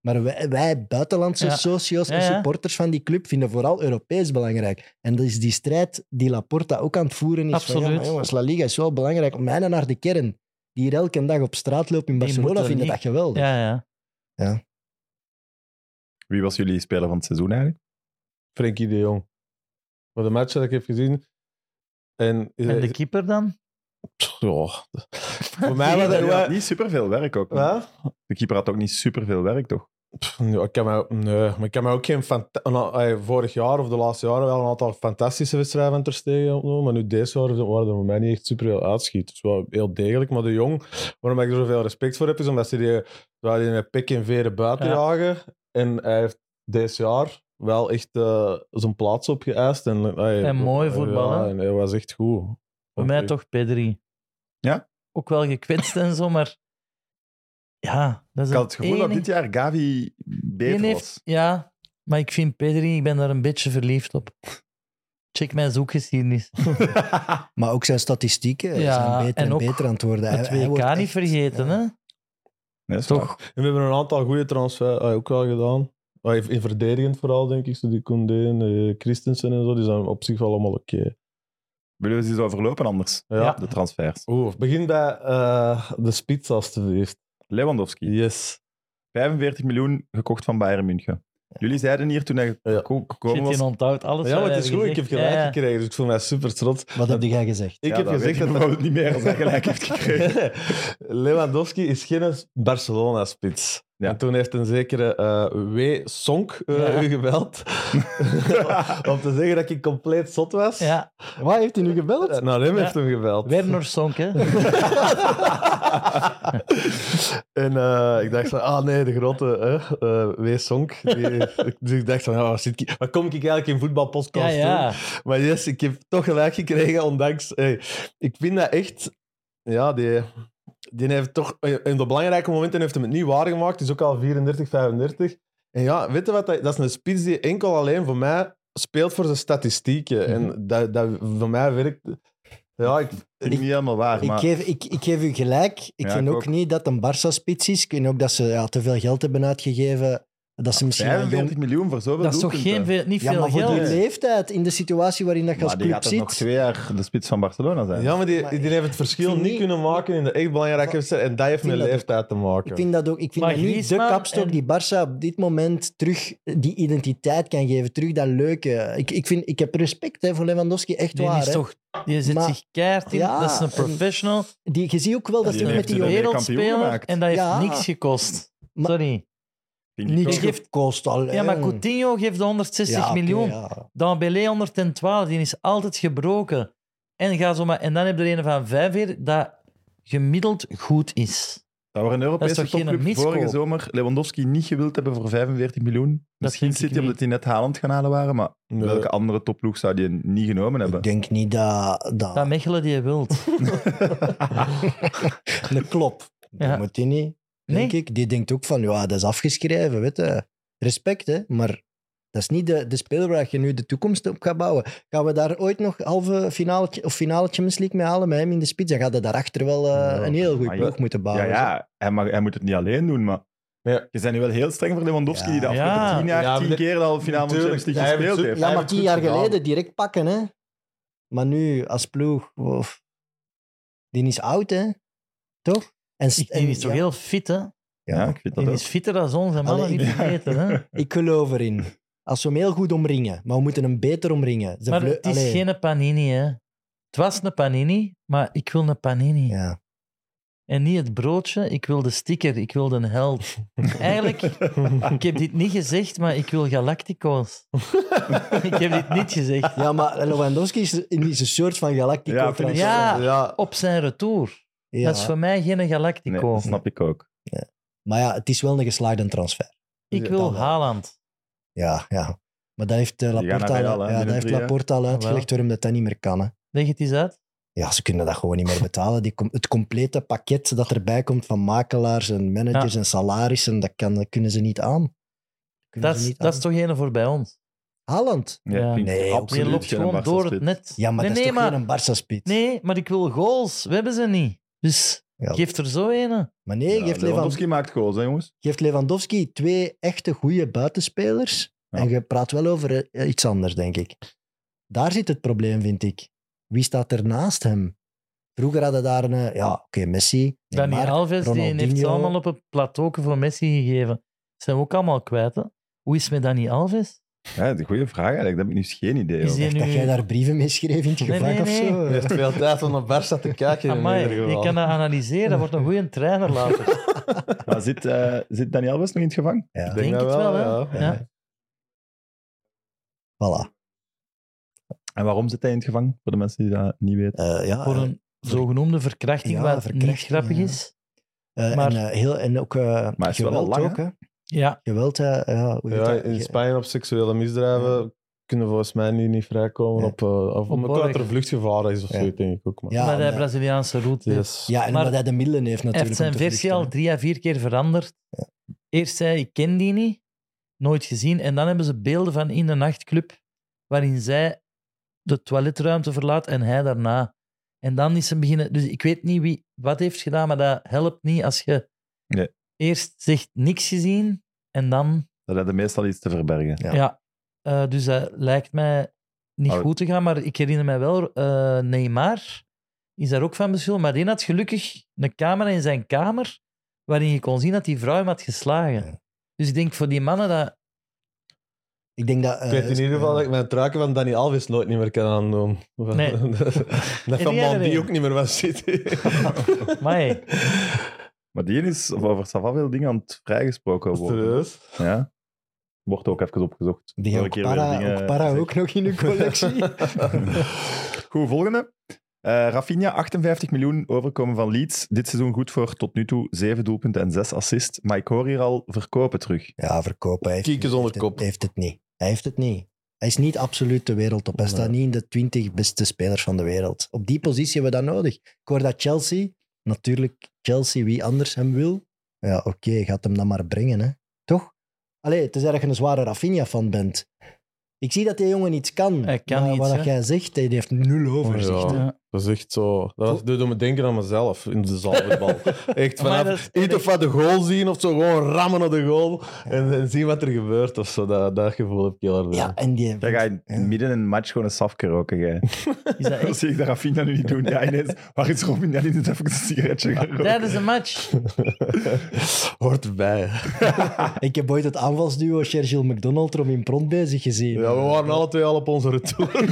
Speaker 5: Maar wij, wij buitenlandse
Speaker 3: Ja.
Speaker 5: socio's
Speaker 3: Ja,
Speaker 5: en
Speaker 3: ja.
Speaker 5: supporters van die club vinden vooral Europees belangrijk. En dat is die strijd die Laporta ook aan het voeren is. Van, ja,
Speaker 3: Absoluut.
Speaker 5: maar jongens, La Liga is wel belangrijk. Om mij naar de kern, die hier elke dag op straat loopt in Barcelona,
Speaker 3: moeten
Speaker 5: vinden
Speaker 3: niet-
Speaker 5: dat geweldig.
Speaker 3: Ja, ja.
Speaker 1: Wie was jullie speler van het seizoen eigenlijk?
Speaker 4: Frenkie de Jong. Voor de match dat ik heb gezien. En,
Speaker 3: En de keeper dan?
Speaker 4: Ja. Voor mij was
Speaker 1: Die had
Speaker 4: dat...
Speaker 1: niet superveel werk ook. man.
Speaker 4: Wat?
Speaker 1: De keeper had ook niet superveel werk, toch?
Speaker 4: Pff, ja, ik kan mij, ook- nee, maar ik kan mij ook geen... fanta- een a- ey, vorig jaar of de laatste jaren wel een aantal fantastische wedstrijden van Ter Stegen opnoemen, maar nu deze jaar waren er voor mij niet echt super heel uitschieters. Wel heel degelijk, maar de Jong, waarom ik er zoveel respect voor heb, is omdat ze die, terwijl die met pik en veren buiten
Speaker 3: Ja.
Speaker 4: jagen. En hij heeft deze jaar wel echt eh, zijn plaats opgeëist. En, ey,
Speaker 3: En mooi
Speaker 4: ja,
Speaker 3: voetbal, hè?
Speaker 4: en hij was echt goed.
Speaker 3: Voor mij toch P3.
Speaker 1: Ja?
Speaker 3: Ook wel gekwetst en zo, maar... Ja, dat is
Speaker 1: Ik had het gevoel dat
Speaker 3: enige-
Speaker 1: dit jaar Gavi beter
Speaker 3: Die
Speaker 1: was.
Speaker 3: heeft- Ja, maar ik vind P3, ik ben daar een beetje verliefd op. Check mijn zoekgeschiedenis.
Speaker 5: Maar ook zijn statistieken
Speaker 3: Ja,
Speaker 5: zijn beter en,
Speaker 3: en ook
Speaker 5: beter aan het worden.
Speaker 3: Het
Speaker 5: Hij- hij wordt
Speaker 3: WK niet
Speaker 5: echt-
Speaker 3: vergeten,
Speaker 5: ja.
Speaker 3: hè?
Speaker 1: Nee, dat is
Speaker 3: Toch?
Speaker 1: waar.
Speaker 4: En we hebben een aantal goede transfers eh, ook wel gedaan. Maar in- In verdedigend vooral, denk ik. Zo die Koundé en eh, Christensen en zo, die zijn op zich wel allemaal oké.
Speaker 1: Willen we ze zo verlopen anders?
Speaker 4: Ja.
Speaker 1: De transfers.
Speaker 4: Oeh, begin bij eh, de spits alstublieft.
Speaker 1: Lewandowski.
Speaker 4: Yes.
Speaker 1: 45 miljoen gekocht van Bayern München. Jullie zeiden hier toen hij
Speaker 4: Ja.
Speaker 1: geko- gekomen
Speaker 3: Shit,
Speaker 1: was...
Speaker 3: je onthoudt alles.
Speaker 4: Ja,
Speaker 3: wat
Speaker 4: maar het is
Speaker 3: we
Speaker 4: goed. Ik heb
Speaker 3: gezegd.
Speaker 4: gelijk
Speaker 3: Ja, ja.
Speaker 4: gekregen, dus ik voel mij super trots.
Speaker 5: Wat heb jij gezegd?
Speaker 4: Ik
Speaker 1: Ja,
Speaker 4: heb
Speaker 1: dat
Speaker 4: gezegd
Speaker 1: weet
Speaker 4: dat...
Speaker 1: ik nog niet meer als hij gelijk heeft gekregen.
Speaker 4: Lewandowski is geen Barcelona-spits.
Speaker 1: Ja.
Speaker 4: En toen heeft een zekere eh W. Sonk eh,
Speaker 3: Ja.
Speaker 4: u gebeld. om te zeggen dat ik compleet zot was.
Speaker 3: Ja,
Speaker 5: Wat heeft hij nu gebeld?
Speaker 4: Eh, Nou, hem
Speaker 3: Ja.
Speaker 4: heeft hem gebeld.
Speaker 3: Werner Sonk, hè?
Speaker 4: en eh, ik dacht van, ah nee, de grote eh, eh, W. Sonk. Die, dus ik dacht van, ja, wat, zit ik, wat kom ik eigenlijk in
Speaker 3: Ja,
Speaker 4: voetbalpodcast
Speaker 3: ja.
Speaker 4: doen? Maar yes, ik heb toch gelijk gekregen, ondanks... eh, ik vind dat echt... Ja, die, die heeft toch... eh, In de belangrijke momenten heeft hem het niet waargemaakt. Hij is ook al 34, 35. En ja, weet je wat? Dat, dat is een spits die
Speaker 3: Mhm.
Speaker 4: enkel alleen voor mij speelt voor zijn statistieken. En dat, dat voor mij werkt... Ja, ik,
Speaker 1: vind ik niet helemaal waar.
Speaker 5: Ik
Speaker 1: maar
Speaker 5: geef, ik, ik geef u gelijk. Ik
Speaker 1: Ja,
Speaker 5: vind
Speaker 1: ik
Speaker 5: ook,
Speaker 1: ook.
Speaker 5: niet dat een Barça-spits is. Ik vind ook dat ze ja, te veel geld hebben uitgegeven. Dat ze misschien... wel
Speaker 1: 45 miljoen voor zoveel
Speaker 3: Dat is toch
Speaker 1: doelpunten.
Speaker 3: geen, veel- niet
Speaker 5: Ja,
Speaker 3: veel
Speaker 5: maar voor die
Speaker 3: geld?
Speaker 5: leeftijd, in de situatie waarin dat je als
Speaker 1: Maar die
Speaker 5: club
Speaker 1: gaat toch nog
Speaker 5: zit...
Speaker 1: twee jaar de spits van Barcelona zijn.
Speaker 4: ja, maar die,
Speaker 5: Maar
Speaker 4: die
Speaker 5: ik-
Speaker 4: heeft het verschil
Speaker 5: ik
Speaker 4: niet,
Speaker 5: vind niet-
Speaker 4: kunnen maken in de echt belangrijke
Speaker 5: Wa-
Speaker 4: wedstrijden. En dat heeft
Speaker 5: vind
Speaker 4: met
Speaker 5: dat ook-
Speaker 4: leeftijd te maken.
Speaker 5: Ik vind dat ook. Ik vind
Speaker 3: Maar
Speaker 5: dat nu de
Speaker 3: Griezmann
Speaker 5: kapstok
Speaker 3: en-
Speaker 5: die Barça op dit moment terug die identiteit kan geven. Terug dat leuke. Ik, ik, vind, ik heb respect hè, voor Lewandowski, echt
Speaker 3: Die,
Speaker 5: waar.
Speaker 3: is
Speaker 5: hè.
Speaker 3: toch, die zit
Speaker 5: Maar-
Speaker 3: zich keihard in.
Speaker 5: Ja,
Speaker 3: dat is een
Speaker 5: en-
Speaker 3: professional.
Speaker 5: Die, je ziet ook wel dat
Speaker 1: Die
Speaker 5: hij met
Speaker 1: heeft
Speaker 5: die
Speaker 1: het
Speaker 5: jongen...
Speaker 1: ook. kampioen
Speaker 3: wereldspeler.
Speaker 1: gemaakt.
Speaker 3: En dat heeft
Speaker 5: Ja.
Speaker 3: niks gekost.
Speaker 5: Maar-
Speaker 3: Sorry.
Speaker 1: Vind ik
Speaker 3: Niks
Speaker 1: ook.
Speaker 3: Die geeft-
Speaker 5: gekost al.
Speaker 3: Ja, maar
Speaker 5: hè.
Speaker 3: Coutinho geeft de 160
Speaker 5: Ja, oké,
Speaker 3: miljoen.
Speaker 5: ja.
Speaker 3: Dambélé 112, die is altijd gebroken. En, ga zo maar, en dan heb je er een van 45 dat gemiddeld goed is.
Speaker 1: Dat we een Europese
Speaker 3: Dat is toch geen
Speaker 1: topclub
Speaker 3: miskoop?
Speaker 1: vorige zomer Lewandowski niet gewild hebben voor 45 miljoen. Misschien
Speaker 3: denk ik
Speaker 1: City
Speaker 3: niet.
Speaker 1: omdat die net Haaland gaan halen waren, maar
Speaker 4: Nee.
Speaker 1: welke andere topploeg zou die niet genomen hebben?
Speaker 5: Ik denk niet dat... dat...
Speaker 3: Dat Mechelen die je wilt.
Speaker 5: Een klop.
Speaker 3: Ja.
Speaker 5: Dat moet die niet, denk
Speaker 3: Nee.
Speaker 5: ik. Die denkt ook van, ja, dat is afgeschreven, weet je. Respect, hè. Maar dat is niet de, de speler waar je nu de toekomst op gaat bouwen. Gaan we daar ooit nog halve finale of finale Champions League mee halen met hem in de spits? Dan gaat hij daarachter wel eh,
Speaker 1: Ja,
Speaker 5: een heel goede
Speaker 1: maar
Speaker 5: ploeg
Speaker 1: ja.
Speaker 5: moeten
Speaker 1: ja,
Speaker 5: bouwen.
Speaker 1: ja hij, mag, hij moet het niet alleen doen, maar
Speaker 4: Ja.
Speaker 1: je bent nu wel heel streng voor Lewandowski die de
Speaker 3: Ja.
Speaker 1: afgelopen 10 jaar
Speaker 4: Ja,
Speaker 1: 10
Speaker 4: maar-
Speaker 1: keer de halve finale van de
Speaker 4: Tuurlijk,
Speaker 1: Champions League
Speaker 4: hij heeft
Speaker 1: gespeeld
Speaker 4: het-
Speaker 1: heeft.
Speaker 5: Ja,
Speaker 4: Hij
Speaker 5: maar
Speaker 4: heeft
Speaker 5: tien
Speaker 4: het
Speaker 5: jaar
Speaker 4: goed gedaan.
Speaker 5: geleden direct pakken, hè. Maar nu, als ploeg... of- Die is oud, hè. Toch? En, s-
Speaker 3: Ik-
Speaker 5: en-
Speaker 3: Die is toch
Speaker 5: ja.
Speaker 3: heel fit, hè?
Speaker 1: Ja, ik vind dat
Speaker 3: Die
Speaker 1: ook.
Speaker 3: is fitter dan ons, hè? Mannen,
Speaker 5: Allee,
Speaker 3: niet
Speaker 1: ja.
Speaker 3: vergeten, hè?
Speaker 5: Ik geloof erin. Als we hem heel goed omringen, maar we moeten hem beter omringen. Ze
Speaker 3: Maar
Speaker 5: vleu-
Speaker 3: het is
Speaker 5: Allee.
Speaker 3: geen panini, hè? Het was een panini, maar ik wil een panini.
Speaker 5: Ja.
Speaker 3: En niet het broodje, ik wil de sticker, ik wil de held. Eigenlijk, ik heb dit niet gezegd, maar ik wil Galactico's. ik heb dit niet gezegd.
Speaker 5: ja, maar Lewandowski is, is een soort van galactico
Speaker 1: Ja, vind ik
Speaker 5: transfer.
Speaker 3: Ja,
Speaker 4: ja,
Speaker 3: Op zijn retour.
Speaker 5: Ja.
Speaker 3: Dat is voor mij geen
Speaker 1: Nee,
Speaker 3: Galactico.
Speaker 1: dat snap ik ook.
Speaker 5: Maar ja, het is wel een geslaagde transfer.
Speaker 3: ik
Speaker 5: Ja,
Speaker 3: wil
Speaker 5: dan wel.
Speaker 3: Haaland.
Speaker 5: Ja, ja. Maar dat heeft eh,
Speaker 1: gaan naar
Speaker 5: Laporta
Speaker 1: Real, hè,
Speaker 5: al, ja, dat
Speaker 1: binnen
Speaker 5: heeft
Speaker 1: drie jaar.
Speaker 5: Laporta
Speaker 3: Ah,
Speaker 5: al uitgelegd
Speaker 3: Jawel.
Speaker 5: waarom dat, dat niet meer kan. Hè.
Speaker 3: Leg het eens uit.
Speaker 5: Ja, ze kunnen dat gewoon niet meer betalen. Die, com- het complete pakket dat erbij komt van makelaars en managers en salarissen, dat, kan, dat kunnen ze niet aan. Kunnen
Speaker 3: Dat
Speaker 5: ze
Speaker 3: is,
Speaker 5: niet
Speaker 3: dat
Speaker 5: aan.
Speaker 3: is toch een voor bij ons?
Speaker 5: Haaland.
Speaker 1: Ja,
Speaker 3: Ja.
Speaker 1: ik vind
Speaker 5: Nee,
Speaker 1: het
Speaker 5: op-
Speaker 3: Die
Speaker 1: absoluut
Speaker 3: loopt
Speaker 1: geen
Speaker 3: gewoon
Speaker 1: Barca
Speaker 3: door
Speaker 1: split.
Speaker 3: het net.
Speaker 5: Ja, maar
Speaker 3: nee,
Speaker 5: dat is
Speaker 3: nee,
Speaker 5: toch
Speaker 3: maar,
Speaker 5: geen een Barca-spits?
Speaker 3: nee, maar ik wil goals. We hebben ze niet. Dus
Speaker 5: Ja.
Speaker 3: geef er zo een.
Speaker 5: Maar
Speaker 1: Ja,
Speaker 5: nee, geeft Lewandowski...
Speaker 1: Lewandowski maakt goals, hè, jongens.
Speaker 5: geeft Lewandowski twee echte goede buitenspelers.
Speaker 1: Ja.
Speaker 5: En je praat wel over eh, iets anders, denk ik. Daar zit het probleem, vind ik. Wie staat er naast hem? Vroeger hadden daar een... eh, Ja, oké, Messi.
Speaker 3: Dani
Speaker 5: Neymar.
Speaker 3: Alves die heeft ze
Speaker 5: Ronaldinho.
Speaker 3: allemaal op het plateau voor Messi gegeven. Zijn we ook allemaal kwijt, hè? Hoe is het met Dani Alves?
Speaker 1: Ja, de goede vraag eigenlijk. Daar heb ik nu geen idee
Speaker 3: Is
Speaker 1: over.
Speaker 3: die
Speaker 5: Dat
Speaker 3: nu...
Speaker 5: jij daar brieven mee schreef in het
Speaker 3: Nee,
Speaker 5: gevangen
Speaker 3: nee, nee.
Speaker 5: of
Speaker 4: hij
Speaker 5: zo.
Speaker 4: heeft veel tijd om naar Barca te kijken. in
Speaker 3: Amai,
Speaker 4: ieder
Speaker 3: die
Speaker 4: geval.
Speaker 3: kan dat analyseren. Dat wordt een goede trainer later. Ik
Speaker 1: Maar zit, eh zit Daniel Alves nog in het gevangen?
Speaker 5: Ja,
Speaker 3: denk
Speaker 4: dat
Speaker 3: het
Speaker 4: wel,
Speaker 3: wel, hè?
Speaker 4: ja.
Speaker 3: Ja.
Speaker 5: voilà.
Speaker 1: En waarom zit hij in het gevangen? Voor de mensen die dat niet weten.
Speaker 5: Eh, ja,
Speaker 3: Voor een zogenoemde verkrachting,
Speaker 5: Ja,
Speaker 3: wat niet
Speaker 5: verkrachting,
Speaker 3: grappig
Speaker 5: ja.
Speaker 3: is.
Speaker 5: eh,
Speaker 3: maar-
Speaker 5: en, eh, heel, en ook eh,
Speaker 1: het is wel al
Speaker 5: geweld
Speaker 1: lang,
Speaker 5: ook, hè.
Speaker 3: Ja,
Speaker 5: Geweld, hè, ja, hoe heet
Speaker 4: Ja,
Speaker 5: dat?
Speaker 4: in
Speaker 5: Ge-
Speaker 4: Spanje op seksuele misdrijven kunnen volgens mij niet, niet vrijkomen.
Speaker 5: Ja.
Speaker 4: Op, eh, of,
Speaker 3: Op
Speaker 4: omdat dat er
Speaker 3: oorlog.
Speaker 4: vluchtgevaar is of
Speaker 5: Ja.
Speaker 4: zo, denk ik ook. Maar. Dus
Speaker 5: Ja,
Speaker 3: omdat
Speaker 5: en,
Speaker 3: hij
Speaker 5: eh,
Speaker 3: Braziliaanse route heeft.
Speaker 4: Yes.
Speaker 5: Ja, en
Speaker 3: Maar-
Speaker 5: omdat hij de middelen heeft
Speaker 3: Hij
Speaker 5: natuurlijk.
Speaker 3: heeft zijn
Speaker 5: om te
Speaker 3: versie al
Speaker 5: vluchten,
Speaker 3: drie à vier keer veranderd. Eerst zei ik ken die niet, nooit gezien. En dan hebben ze beelden van in de nachtclub, waarin zij de toiletruimte verlaat en hij daarna. En dan is ze beginnen... Dus ik weet niet wie wat heeft gedaan, maar dat helpt niet als je
Speaker 1: Nee.
Speaker 3: eerst zegt niks gezien en dan...
Speaker 1: Dat hadden meestal iets te verbergen.
Speaker 5: Ja.
Speaker 3: Ja. Eh, dus dat lijkt mij niet
Speaker 1: Maar-
Speaker 3: goed te gaan. Maar ik herinner mij wel, eh, Neymar is daar ook van beschuldigd. Maar die had gelukkig een camera in zijn kamer waarin je kon zien dat die vrouw hem had geslagen.
Speaker 5: Ja.
Speaker 3: Dus ik denk voor die mannen dat...
Speaker 5: hè. Ik denk dat...
Speaker 4: Ik
Speaker 5: eh,
Speaker 4: weet in ieder geval dat ik mijn truiken van Danny Alves nooit niet meer kan aandoen.
Speaker 3: Nee.
Speaker 4: dat van
Speaker 3: jij er
Speaker 4: Mandy
Speaker 3: een?
Speaker 4: ook niet meer van City.
Speaker 3: Amai.
Speaker 1: Maar die is over Savat veel dingen aan het vrijgesproken worden.
Speaker 4: Serieus?
Speaker 1: Ja. Wordt ook even opgezocht.
Speaker 5: Die
Speaker 1: Elke
Speaker 5: ook
Speaker 1: keer
Speaker 5: para,
Speaker 1: weer dingen
Speaker 5: ook, para
Speaker 1: gezegd.
Speaker 5: ook nog in uw collectie.
Speaker 1: Goed, volgende. Eh Rafinha, 58 miljoen overkomen van Leeds. Dit seizoen goed voor tot nu toe 7 doelpunten en 6 assist. Maar ik hoor hier al verkopen terug.
Speaker 5: ja, verkopen. Hij heeft,
Speaker 4: Kiekers onder
Speaker 5: heeft het-
Speaker 4: kop.
Speaker 5: heeft het niet. Hij heeft het niet. Hij is niet absoluut de wereldtop. Hij staat niet in de 20 beste spelers van de wereld. Op die positie hebben we dat nodig. Ik hoor dat Chelsea, natuurlijk Chelsea, wie anders hem wil. Ja, oké, gaat hem dan maar brengen, hè. Toch? Allee, het is erg een zware Rafinha-fan bent. Ik zie dat die jongen iets kan.
Speaker 3: Hij kan
Speaker 5: maar
Speaker 3: iets,
Speaker 5: wat
Speaker 3: hè.
Speaker 5: jij zegt, hij heeft nul overzicht.
Speaker 4: Oh, Ja.
Speaker 5: hè.
Speaker 3: Ja.
Speaker 4: Dat is echt zo. Dat, dat doet me denken aan mezelf in de zaalvoetbal. Echt
Speaker 3: Maar
Speaker 4: vanaf
Speaker 3: dat is-
Speaker 4: iets of wat de goal zien of zo, gewoon rammen op de goal en, en zien wat er gebeurt of zo. Dat, dat gevoel heb ik heel erg.
Speaker 5: Ja, en die...
Speaker 1: Dan ga je midden in een match gewoon een safke roken. jij.
Speaker 3: Is dat
Speaker 1: Dat
Speaker 3: echt?
Speaker 1: zie ik dat Rafinha nu niet doen. Ja, ineens, waar is Robin? Ja, die is even een sigaretje gaan roken.
Speaker 3: Tijdens een match.
Speaker 4: Hoort erbij.
Speaker 5: Ik heb ooit het aanvalsduo Sergio McDonald er om in pront bezig gezien.
Speaker 4: Ja, we waren alle twee al op onze retour.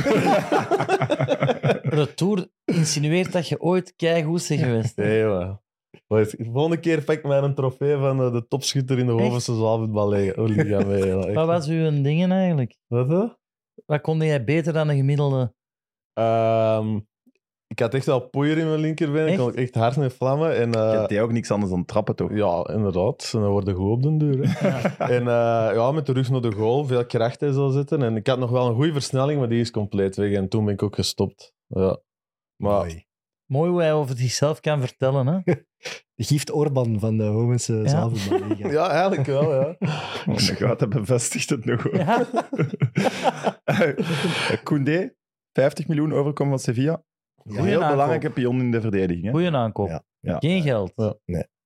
Speaker 3: Retour insinueert dat je ooit keigoed bent geweest.
Speaker 4: Nee, man. Wat, de volgende keer pak ik mijn trofee van eh, de topschutter in de Hovense zaalvoetballiga Oh, mee. man. Echt.
Speaker 3: Wat was uw dingen eigenlijk?
Speaker 4: Wat, hè?
Speaker 3: Wat kon jij beter dan een gemiddelde?
Speaker 4: Ehm, ik had echt wel poeier in mijn linkerbeen. Ik kon
Speaker 3: Echt?
Speaker 4: echt hard met vlammen. En, eh,
Speaker 1: Je hebt die ook niks anders dan trappen, toch?
Speaker 4: Ja, inderdaad. En dan worden goed op den duur. hè. En eh, ja, met de rug naar de goal, veel kracht en zo zitten. En ik had nog wel een goede versnelling, maar die is compleet weg. En toen ben ik ook gestopt. Ja. Maar
Speaker 5: Mooi.
Speaker 3: Mooi hoe hij over zichzelf kan vertellen. Hè?
Speaker 5: De Gift Orban van de Homense ja.
Speaker 4: ja. eigenlijk wel, ja.
Speaker 1: Oh my god, dat bevestigt het nog. hoor.
Speaker 3: Ja.
Speaker 1: Eh, Koundé, 50 miljoen overkomen van Sevilla. Een heel
Speaker 3: aankoop.
Speaker 1: belangrijke pion in de verdediging. Hè?
Speaker 3: Goeie aankoop.
Speaker 5: Ja.
Speaker 1: Ja.
Speaker 3: Geen geld.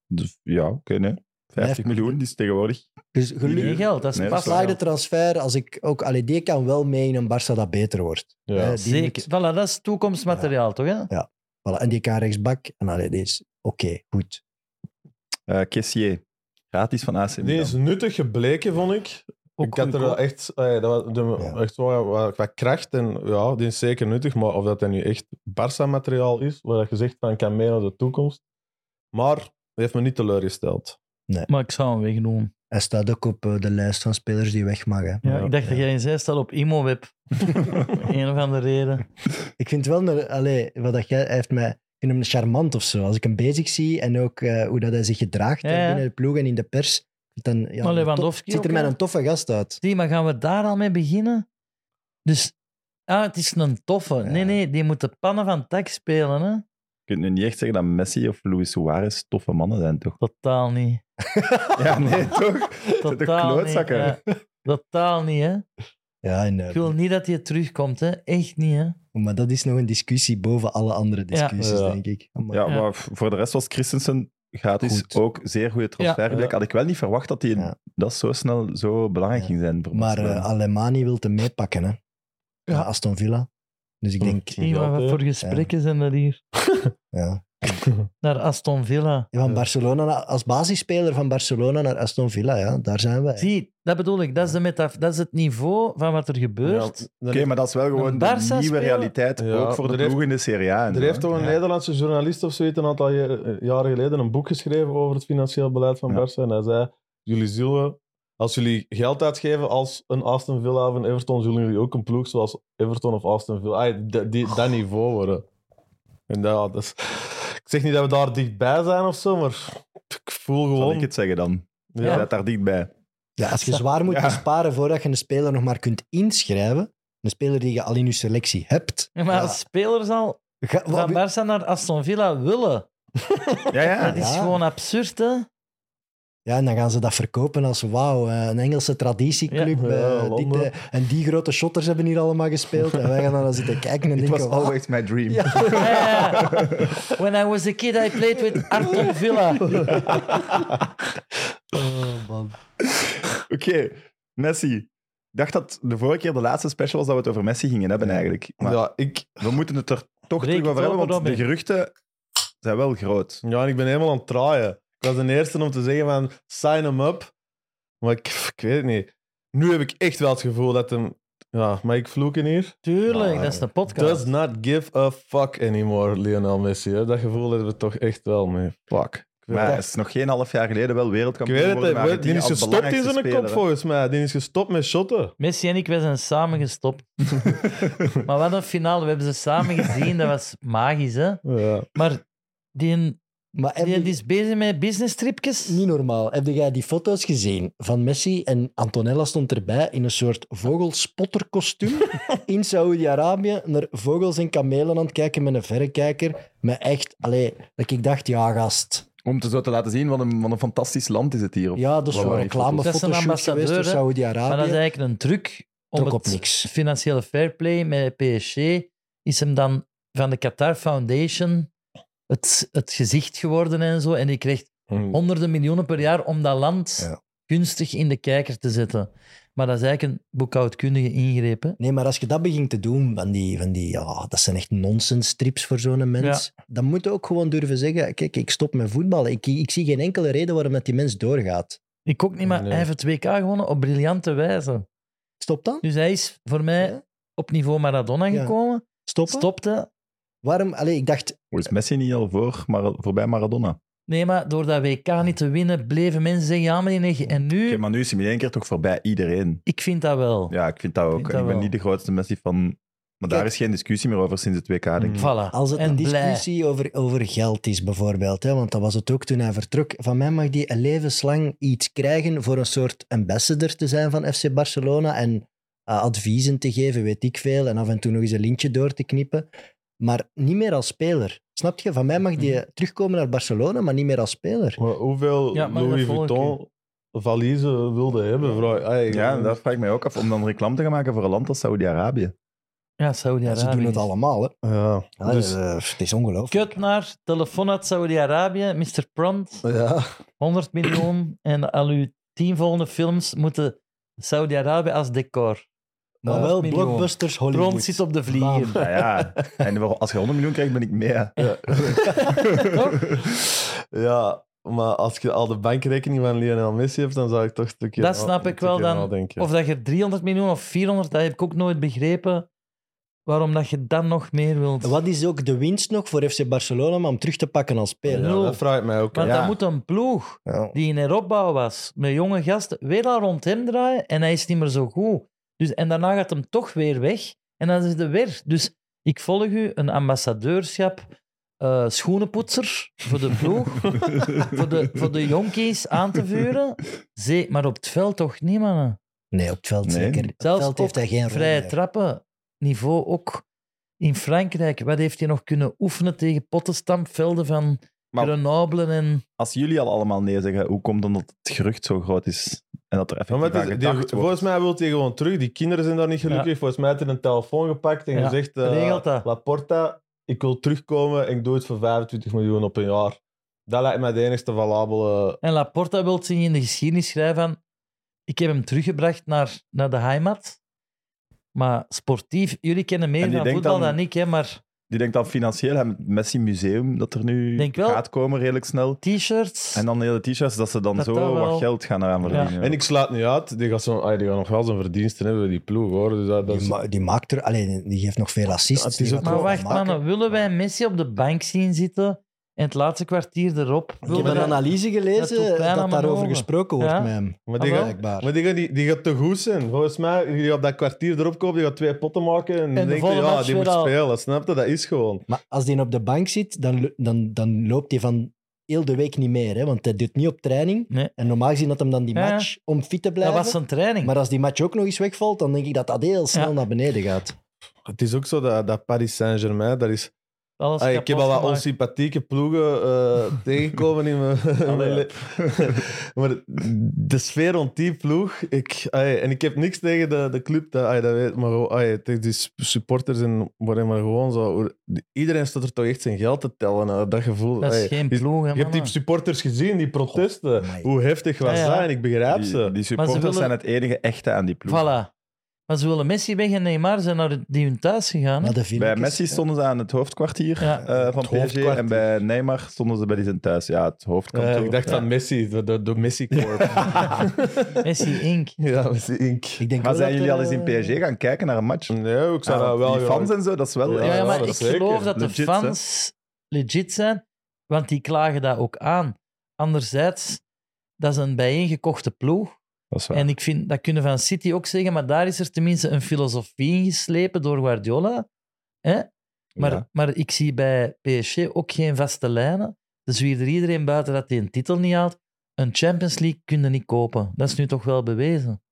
Speaker 1: Dus, ja, oké, nee. 50 miljoen, die is tegenwoordig.
Speaker 5: Dus
Speaker 3: Geen
Speaker 5: gelukkig.
Speaker 3: geld, dat is
Speaker 1: Nee, dat
Speaker 3: pas
Speaker 1: is waar.
Speaker 5: Geslaagde transfer, als ik ook... Allee, die kan wel mee in een Barça dat beter wordt.
Speaker 4: ja.
Speaker 5: Eh, die
Speaker 3: Zeker. Voilà, dat is toekomstmateriaal, toch? Hè?
Speaker 5: moet- voilà, en die kan rechtsbak. En allee, die is oké, goed.
Speaker 1: Eh Kessier, gratis van AC Milan.
Speaker 4: Die is nuttig gebleken, vond ik.
Speaker 3: Ook
Speaker 4: ik had er
Speaker 3: goedkoop.
Speaker 4: wel echt, eh, dat was, de-
Speaker 5: Ja.
Speaker 4: echt wel wat, wat kracht. En ja, die is zeker nuttig. Maar of dat hij nu echt Barça-materiaal is, waar je zegt van kan mee naar de toekomst. Maar die heeft me niet teleurgesteld.
Speaker 3: Maar ik zou hem wegdoen.
Speaker 5: Hij staat ook op eh, de lijst van spelers die weg mag. Hè.
Speaker 3: Ja,
Speaker 4: Ja.
Speaker 3: ik dacht dat jij in zij staat op Imoweb. een of andere reden.
Speaker 5: Ik vind wel, een- allee, wat dat jij, hij heeft mij, ik vind hem charmant of zo. Als ik hem bezig zie en ook eh, hoe dat hij zich gedraagt
Speaker 3: Ja,
Speaker 5: hè,
Speaker 3: ja.
Speaker 5: binnen de ploeg en in de pers, dan ja,
Speaker 3: Maar
Speaker 5: een
Speaker 3: Lewandowski
Speaker 5: tof- ziet er
Speaker 3: ook,
Speaker 5: mij
Speaker 3: hè?
Speaker 5: een toffe gast uit.
Speaker 3: Zie, maar gaan we daar al mee beginnen? Dus, ah, het is een toffe. Nee, nee, die moet de pannen van tak spelen, hè?
Speaker 1: Je kunt nu niet echt zeggen dat Messi of Luis Suarez toffe mannen zijn, toch?
Speaker 3: Totaal niet.
Speaker 1: Ja, nee, toch?
Speaker 3: Totaal
Speaker 1: De
Speaker 3: niet.
Speaker 1: klootzakken.
Speaker 3: ja. Totaal niet, hè?
Speaker 5: Ja, en, eh,
Speaker 3: Ik wil niet dat hij terugkomt, hè? Echt niet, hè?
Speaker 5: maar dat is nog een discussie boven alle andere discussies,
Speaker 4: Ja.
Speaker 5: denk ik. Amai.
Speaker 1: Ja,
Speaker 3: Ja.
Speaker 1: maar v- voor de rest was Christensen gratis
Speaker 5: Goed.
Speaker 1: ook zeer goede transfer.
Speaker 4: Ja.
Speaker 1: Had ik wel niet verwacht dat hij
Speaker 5: Ja.
Speaker 1: dat zo snel zo belangrijk
Speaker 5: Ja.
Speaker 1: ging zijn. voor
Speaker 5: Maar
Speaker 1: Barcelona.
Speaker 5: eh Alemani wil hem meepakken, hè. Ja. Aston Villa. Dus
Speaker 1: Hm.
Speaker 5: ik denk,
Speaker 3: Zie, maar wat voor gesprekken zijn dat hier?
Speaker 5: ja.
Speaker 3: Naar Aston Villa.
Speaker 5: Ja, Van
Speaker 4: Ja.
Speaker 5: Barcelona, naar- als basisspeler van Barcelona naar Aston Villa, ja, daar zijn wij.
Speaker 3: Zie, dat bedoel ik. Dat is, de metaf dat is het niveau van wat er gebeurt.
Speaker 4: Ja,
Speaker 1: Oké, maar dat is wel gewoon
Speaker 3: Een
Speaker 1: de
Speaker 3: Barça
Speaker 1: nieuwe
Speaker 3: spelen-
Speaker 1: realiteit,
Speaker 4: Ja,
Speaker 1: ook voor de
Speaker 4: er heeft-
Speaker 1: ploeg in de Serie A. en
Speaker 4: Er
Speaker 1: zo,
Speaker 4: heeft
Speaker 1: hè.
Speaker 4: toch een
Speaker 5: Ja.
Speaker 4: Nederlandse journalist of zoiets een aantal jaar- jaren geleden een boek geschreven over het financieel beleid van
Speaker 1: Ja.
Speaker 4: Barça. En hij zei, jullie zullen, als jullie geld uitgeven als een Aston Villa of een Everton, zullen jullie ook een ploeg zoals Everton of Aston Villa, ay, dat- die, dat niveau worden. En dat, dat is- ik zeg niet dat we daar dichtbij zijn of zo, maar ik voel
Speaker 1: Zal
Speaker 4: gewoon...
Speaker 1: ik het zeggen dan? Je
Speaker 4: ja.
Speaker 1: zit daar dichtbij.
Speaker 5: Ja, als je zwaar moet
Speaker 1: Ja.
Speaker 5: besparen voordat je een speler nog maar kunt inschrijven, een speler die je al in je selectie hebt.
Speaker 3: Ja, maar als spelers al
Speaker 5: Ga- wa-
Speaker 3: van Barça naar Aston Villa willen,
Speaker 1: Ja, ja.
Speaker 3: dat is
Speaker 5: Ja.
Speaker 3: gewoon absurd, hè?
Speaker 5: ja, en dan gaan ze dat verkopen als wauw, eh, een Engelse traditieclub.
Speaker 4: Ja.
Speaker 5: eh,
Speaker 4: Ja,
Speaker 5: dit,
Speaker 4: Londen.
Speaker 5: eh, en die grote shotters hebben hier allemaal gespeeld. En wij gaan dan zitten kijken en
Speaker 1: It was
Speaker 5: denken, wauw.
Speaker 1: always my dream.
Speaker 3: Ja, ja, ja. When I was a kid, I played with Aston Villa.
Speaker 5: Oh, man.
Speaker 1: Oké, Messi. Ik dacht dat de vorige keer de laatste special was dat we het over Messi gingen hebben eigenlijk. Maar
Speaker 4: Ja, ik,
Speaker 1: we moeten het er toch
Speaker 3: Breek
Speaker 1: terug over
Speaker 3: het
Speaker 1: hebben,
Speaker 3: open,
Speaker 1: want de
Speaker 3: Robin.
Speaker 1: geruchten zijn wel groot.
Speaker 4: ja, en ik ben helemaal aan het draaien. Ik was de eerste om te zeggen van, sign him up. Maar ik, ik weet het niet. Nu heb ik echt wel het gevoel dat hem... Ja, maar ik vloeken hier.
Speaker 3: Tuurlijk,
Speaker 5: Maar-
Speaker 3: Ah, dat is een podcast.
Speaker 4: Does not give a fuck anymore, Lionel Messi. Hè? Dat gevoel hebben we toch echt wel mee. Fuck. Ik
Speaker 1: Maar
Speaker 4: weet
Speaker 1: het
Speaker 4: het,
Speaker 1: is nog geen half jaar geleden wel
Speaker 4: ik
Speaker 1: wereldkampioen
Speaker 4: weet het,
Speaker 1: geworden,
Speaker 4: hè.
Speaker 1: maar
Speaker 4: die is
Speaker 1: als
Speaker 4: gestopt in
Speaker 1: belangrijkste
Speaker 4: zijn
Speaker 1: speler,
Speaker 4: kop
Speaker 1: hè.
Speaker 4: volgens mij. Die is gestopt met shotten.
Speaker 3: Messi en ik, wij zijn samen gestopt. maar wat een finale. We hebben ze samen gezien. Dat was magisch, hè?
Speaker 4: Ja.
Speaker 3: Maar die,
Speaker 5: Maar heb
Speaker 3: die,
Speaker 5: je-
Speaker 3: die is bezig met business tripjes.
Speaker 5: niet normaal. Heb jij die foto's gezien van Messi en Antonella stond erbij in een soort vogelspotterkostuum in Saoedi-Arabië naar vogels en kamelen aan het kijken met een verrekijker. Maar echt, allee, dat ik dacht, ja gast.
Speaker 1: Om te zo te laten zien, wat een, wat een fantastisch land is het hier.
Speaker 5: Ja, dat is
Speaker 1: Wat
Speaker 5: voor
Speaker 1: waren
Speaker 5: een
Speaker 1: die foto's?
Speaker 3: Dat is een
Speaker 5: reclamefotoshoot
Speaker 3: ambassadeur,
Speaker 5: geweest door
Speaker 3: hè? Maar dat is
Speaker 5: Saoedi-Arabië.
Speaker 3: eigenlijk een truc om
Speaker 5: Trok op
Speaker 3: het
Speaker 5: niks.
Speaker 3: financiële fair play met PSG is hem dan van de Qatar Foundation het, het gezicht geworden en zo. En die kreeg
Speaker 1: Hm.
Speaker 4: Mm.
Speaker 3: honderden miljoenen per jaar om dat land
Speaker 1: Ja.
Speaker 3: gunstig in de kijker te zetten. Maar dat is eigenlijk een boekhoudkundige ingreep. hè.
Speaker 5: Nee, maar als je dat begint te doen, van die, van die ja, dat zijn echt nonsensstrips voor zo'n mens, dan moet je ook gewoon durven zeggen, kijk, ik stop met voetballen. Ik, ik zie geen enkele reden waarom dat die mens doorgaat.
Speaker 3: Ik ook niet, maar
Speaker 4: Nee.
Speaker 3: hij heeft het WK gewonnen op briljante wijze.
Speaker 5: Stop dan.
Speaker 3: Dus hij is voor mij
Speaker 5: Ja.
Speaker 3: op niveau Maradona
Speaker 5: Ja.
Speaker 3: gekomen.
Speaker 5: Stoppen.
Speaker 3: Stopte.
Speaker 5: Waarom? Allee, ik dacht,
Speaker 1: Hoe is Messi niet al voor, maar voorbij Maradona? Oké,
Speaker 3: Nee, maar door dat WK niet te winnen, bleven mensen zeggen, ja, maar die negen. En nu,
Speaker 1: maar nu is hij in één keer toch voorbij iedereen.
Speaker 3: ik vind dat wel.
Speaker 1: Ja, ik vind dat ook.
Speaker 3: vind dat
Speaker 1: ik ben
Speaker 3: wel.
Speaker 1: niet de grootste Messi van... Maar daar is geen discussie meer over sinds het WK, denk ik.
Speaker 4: Mm.
Speaker 3: Voilà.
Speaker 5: als het
Speaker 3: en
Speaker 5: een
Speaker 3: blij.
Speaker 5: discussie over, over geld is bijvoorbeeld, hè, want dat was het ook toen hij vertrok, van mij mag die een levenslang iets krijgen voor een soort ambassador te zijn van FC Barcelona en eh, adviezen te geven, weet ik veel, en af en toe nog eens een lintje door te knippen, maar niet meer als speler. Snap je? Van mij mag die
Speaker 3: Mhm.
Speaker 5: terugkomen naar Barcelona, maar niet meer als speler.
Speaker 4: Maar hoeveel
Speaker 3: Ja, maar
Speaker 4: Louis
Speaker 3: dat volg ik,
Speaker 4: Vuitton valiezen wilde hebben? Vrouw? Ai, eh,
Speaker 1: Ja, en dat vraag ik mij ook af. Om dan reclame te gaan maken voor een land als Saudi-Arabië.
Speaker 3: Ja, Saudi-Arabië.
Speaker 5: Ze doen het allemaal, hè.
Speaker 1: Ah,
Speaker 4: ja.
Speaker 5: Ja,
Speaker 4: Dus,
Speaker 5: eh, pff, het is ongelooflijk.
Speaker 3: Kut naar telefoon uit Saudi-Arabië, Mr. Prompt,
Speaker 4: ja.
Speaker 3: 100 miljoen. En al uw tien volgende films moeten Saudi-Arabië als decor.
Speaker 5: Maar wel
Speaker 3: 100 miljoen.
Speaker 5: blockbusters Hollywood.
Speaker 3: Prompt zit op de
Speaker 5: Bam.
Speaker 3: vlieger.
Speaker 1: Ja, Ah, ja. En voor- als je 100 miljoen krijgt, ben ik mee. hè.
Speaker 4: ja, maar als je al de bankrekening van Lionel Messi hebt, dan zou ik toch een stukje...
Speaker 3: Dat snap ik wel dan.
Speaker 4: Nadenken.
Speaker 3: Of dat je 300 miljoen of 400, dat heb ik ook nooit begrepen. Waarom dat je dan nog meer wilt.
Speaker 5: Wat is ook de winst nog voor FC Barcelona om hem terug te pakken als
Speaker 4: Ja,
Speaker 5: speler?
Speaker 4: dat vraag ik mij ook.
Speaker 3: Want
Speaker 4: ja.
Speaker 3: dat moet een ploeg
Speaker 5: Ja.
Speaker 3: die in heropbouw was, met jonge gasten, weer al rond hem draaien en hij is niet meer zo goed. Dus, en daarna gaat hem toch weer weg en dan is het weer. Dus ik volg u, een ambassadeurschap, eh, schoenenpoetser voor de ploeg, voor, de, voor de jonkies aan te vuren. Zee, maar op het veld toch niet, mannen.
Speaker 5: Nee, op het veld
Speaker 1: Nee.
Speaker 5: zeker. Op het
Speaker 3: Zelfs
Speaker 5: veld heeft
Speaker 3: ook
Speaker 5: hij geen rol
Speaker 3: Vrije
Speaker 5: meer.
Speaker 3: trappen, niveau ook. In Frankrijk, wat heeft hij nog kunnen oefenen tegen pottenstampvelden van
Speaker 1: Maar-
Speaker 3: Grenoble en...
Speaker 1: Als jullie al allemaal nee zeggen, hoe komt dan dat het gerucht zo groot is? En dat er
Speaker 4: Ja,
Speaker 1: effectief
Speaker 4: maar
Speaker 1: aan
Speaker 4: het is- die-
Speaker 1: gedacht wordt?
Speaker 4: volgens mij wil hij gewoon terug. Die kinderen zijn daar niet gelukkig.
Speaker 3: Ja.
Speaker 4: Volgens mij heeft hij een telefoon gepakt en
Speaker 3: Ja,
Speaker 4: gezegd: eh,
Speaker 3: regelt dat.
Speaker 4: Laporta, ik wil terugkomen en ik doe het voor 25 miljoen op een jaar. Dat lijkt mij het enigste valabele.
Speaker 3: En Laporta wil zich in de geschiedenis schrijven van ik heb hem teruggebracht naar, naar de heimat. Maar sportief, jullie kennen
Speaker 1: En
Speaker 3: meer
Speaker 1: die
Speaker 3: van
Speaker 1: denkt
Speaker 3: voetbal dan,
Speaker 1: dan-
Speaker 3: ik, hè, maar
Speaker 1: Die denkt dan financieel, hè, met het Messi Museum, dat er nu
Speaker 3: Denk wel.
Speaker 1: gaat komen redelijk snel.
Speaker 3: t-shirts...
Speaker 1: En dan de hele t-shirts, dat ze dan
Speaker 3: Dat
Speaker 1: zo
Speaker 3: dat wel-
Speaker 1: wat geld gaan eraan verdienen.
Speaker 4: En ik sluit niet uit, die gaat, zo, ah, die gaat nog wel zijn verdiensten hebben, die ploeg hoor. Dus dat, dat
Speaker 5: Die,
Speaker 4: is,
Speaker 5: ma- die maakt er, alleen die geeft nog veel assists.
Speaker 4: Dat is
Speaker 5: Die
Speaker 4: ook
Speaker 5: gaat
Speaker 3: maar
Speaker 4: wel
Speaker 5: gewoon
Speaker 3: wacht,
Speaker 5: maken.
Speaker 3: mannen, willen wij Messi op de bank zien zitten en het laatste kwartier erop?
Speaker 5: Ik heb
Speaker 3: Willen
Speaker 5: een
Speaker 3: wij-
Speaker 5: analyse
Speaker 3: dat
Speaker 5: gelezen
Speaker 3: doet
Speaker 5: dat,
Speaker 3: pijn aan mijn
Speaker 5: daarover
Speaker 3: ogen.
Speaker 5: gesproken wordt
Speaker 3: Ja?
Speaker 5: met hem.
Speaker 4: maar die,
Speaker 3: Ah, wel?
Speaker 4: gaat,
Speaker 5: Blijkbaar.
Speaker 4: maar die, gaat, die, die gaat te goed zijn. Volgens mij, die gaat dat kwartier erop komen, die gaat twee potten maken. En,
Speaker 3: de
Speaker 4: dan denk je,
Speaker 3: volgende
Speaker 4: ja,
Speaker 3: match
Speaker 4: die
Speaker 3: weer
Speaker 4: moet
Speaker 3: al.
Speaker 4: spelen. Snap je? Dat is gewoon.
Speaker 5: Maar als die op de bank zit, dan, lo- dan, dan loopt hij van heel de week niet meer. Hè? Want hij doet niet op training.
Speaker 3: Nee.
Speaker 5: En normaal gezien had hem dan die
Speaker 3: Ja, ja.
Speaker 5: match om fit te
Speaker 3: Dat
Speaker 5: blijven.
Speaker 3: was zijn training.
Speaker 5: Maar als die match ook nog eens wegvalt, dan denk ik dat dat heel snel
Speaker 3: Ja.
Speaker 5: naar beneden gaat.
Speaker 4: Het is ook zo dat, dat Paris Saint-Germain, dat is
Speaker 3: Alles
Speaker 4: Ah, ik
Speaker 3: kapot
Speaker 4: heb al wat
Speaker 3: gemaakt.
Speaker 4: onsympathieke ploegen eh, tegengekomen in mijn, in mijn
Speaker 1: ja.
Speaker 4: le- maar de sfeer rond die ploeg... Ik, ah, en ik heb niks tegen de, de club, dat, ah, dat weet, maar gewoon, ah, tegen die sup- supporters en whatever, maar gewoon zo... Iedereen staat er toch echt zijn geld te tellen, eh, dat gevoel.
Speaker 3: Dat is
Speaker 4: ah,
Speaker 3: geen
Speaker 4: je-
Speaker 3: ploeg, hè,
Speaker 4: Je hebt die
Speaker 3: mannen.
Speaker 4: supporters gezien, die protesten.
Speaker 5: amai.
Speaker 4: Hoe heftig was
Speaker 3: Ja, ja.
Speaker 4: dat? En ik begrijp
Speaker 1: Die,
Speaker 4: ze.
Speaker 1: die supporters
Speaker 3: willen-
Speaker 1: zijn het enige echte aan die ploeg.
Speaker 3: Voilà. Maar ze willen Messi weg en Neymar zijn naar die hun thuis gegaan. hè.
Speaker 5: Maar de filmpjes-
Speaker 1: Bij Messi stonden ze aan het hoofdkwartier
Speaker 3: Ja.
Speaker 1: eh, van
Speaker 4: Het
Speaker 1: PSG.
Speaker 4: hoofdkwartier.
Speaker 1: En bij Neymar stonden ze bij die zijn thuis. Ja, het hoofdkantoor.
Speaker 4: Eh, ik dacht
Speaker 1: Ja.
Speaker 4: van Messi, de, de, de Messi Corp.
Speaker 3: Messi Inc.
Speaker 4: ja, Messi Inc.
Speaker 5: Ik denk
Speaker 1: Maar
Speaker 5: wel
Speaker 1: zijn
Speaker 5: dat,
Speaker 1: jullie al eens in
Speaker 5: eh,
Speaker 1: PSG gaan kijken naar een match?
Speaker 4: Nee, ik zou
Speaker 1: Ah,
Speaker 4: dat wel...
Speaker 1: die fans en zo, dat is wel...
Speaker 4: Ja,
Speaker 3: Ja,
Speaker 4: ja,
Speaker 3: maar
Speaker 4: dat
Speaker 3: ik
Speaker 4: zeker.
Speaker 3: geloof dat de
Speaker 1: Legit, hè?
Speaker 3: fans legit zijn, want die klagen dat ook aan. Anderzijds, dat is een bijeengekochte ploeg.
Speaker 1: Dat is waar.
Speaker 3: En ik vind, dat kunnen van City ook zeggen, maar daar is er tenminste een filosofie in geslepen door Guardiola. Hè? Maar,
Speaker 1: Ja.
Speaker 3: maar ik zie bij PSG ook geen vaste lijnen. Dus wie er iedereen buiten dat hij een titel niet haalt, een Champions League kunnen niet kopen. Dat is nu toch wel bewezen.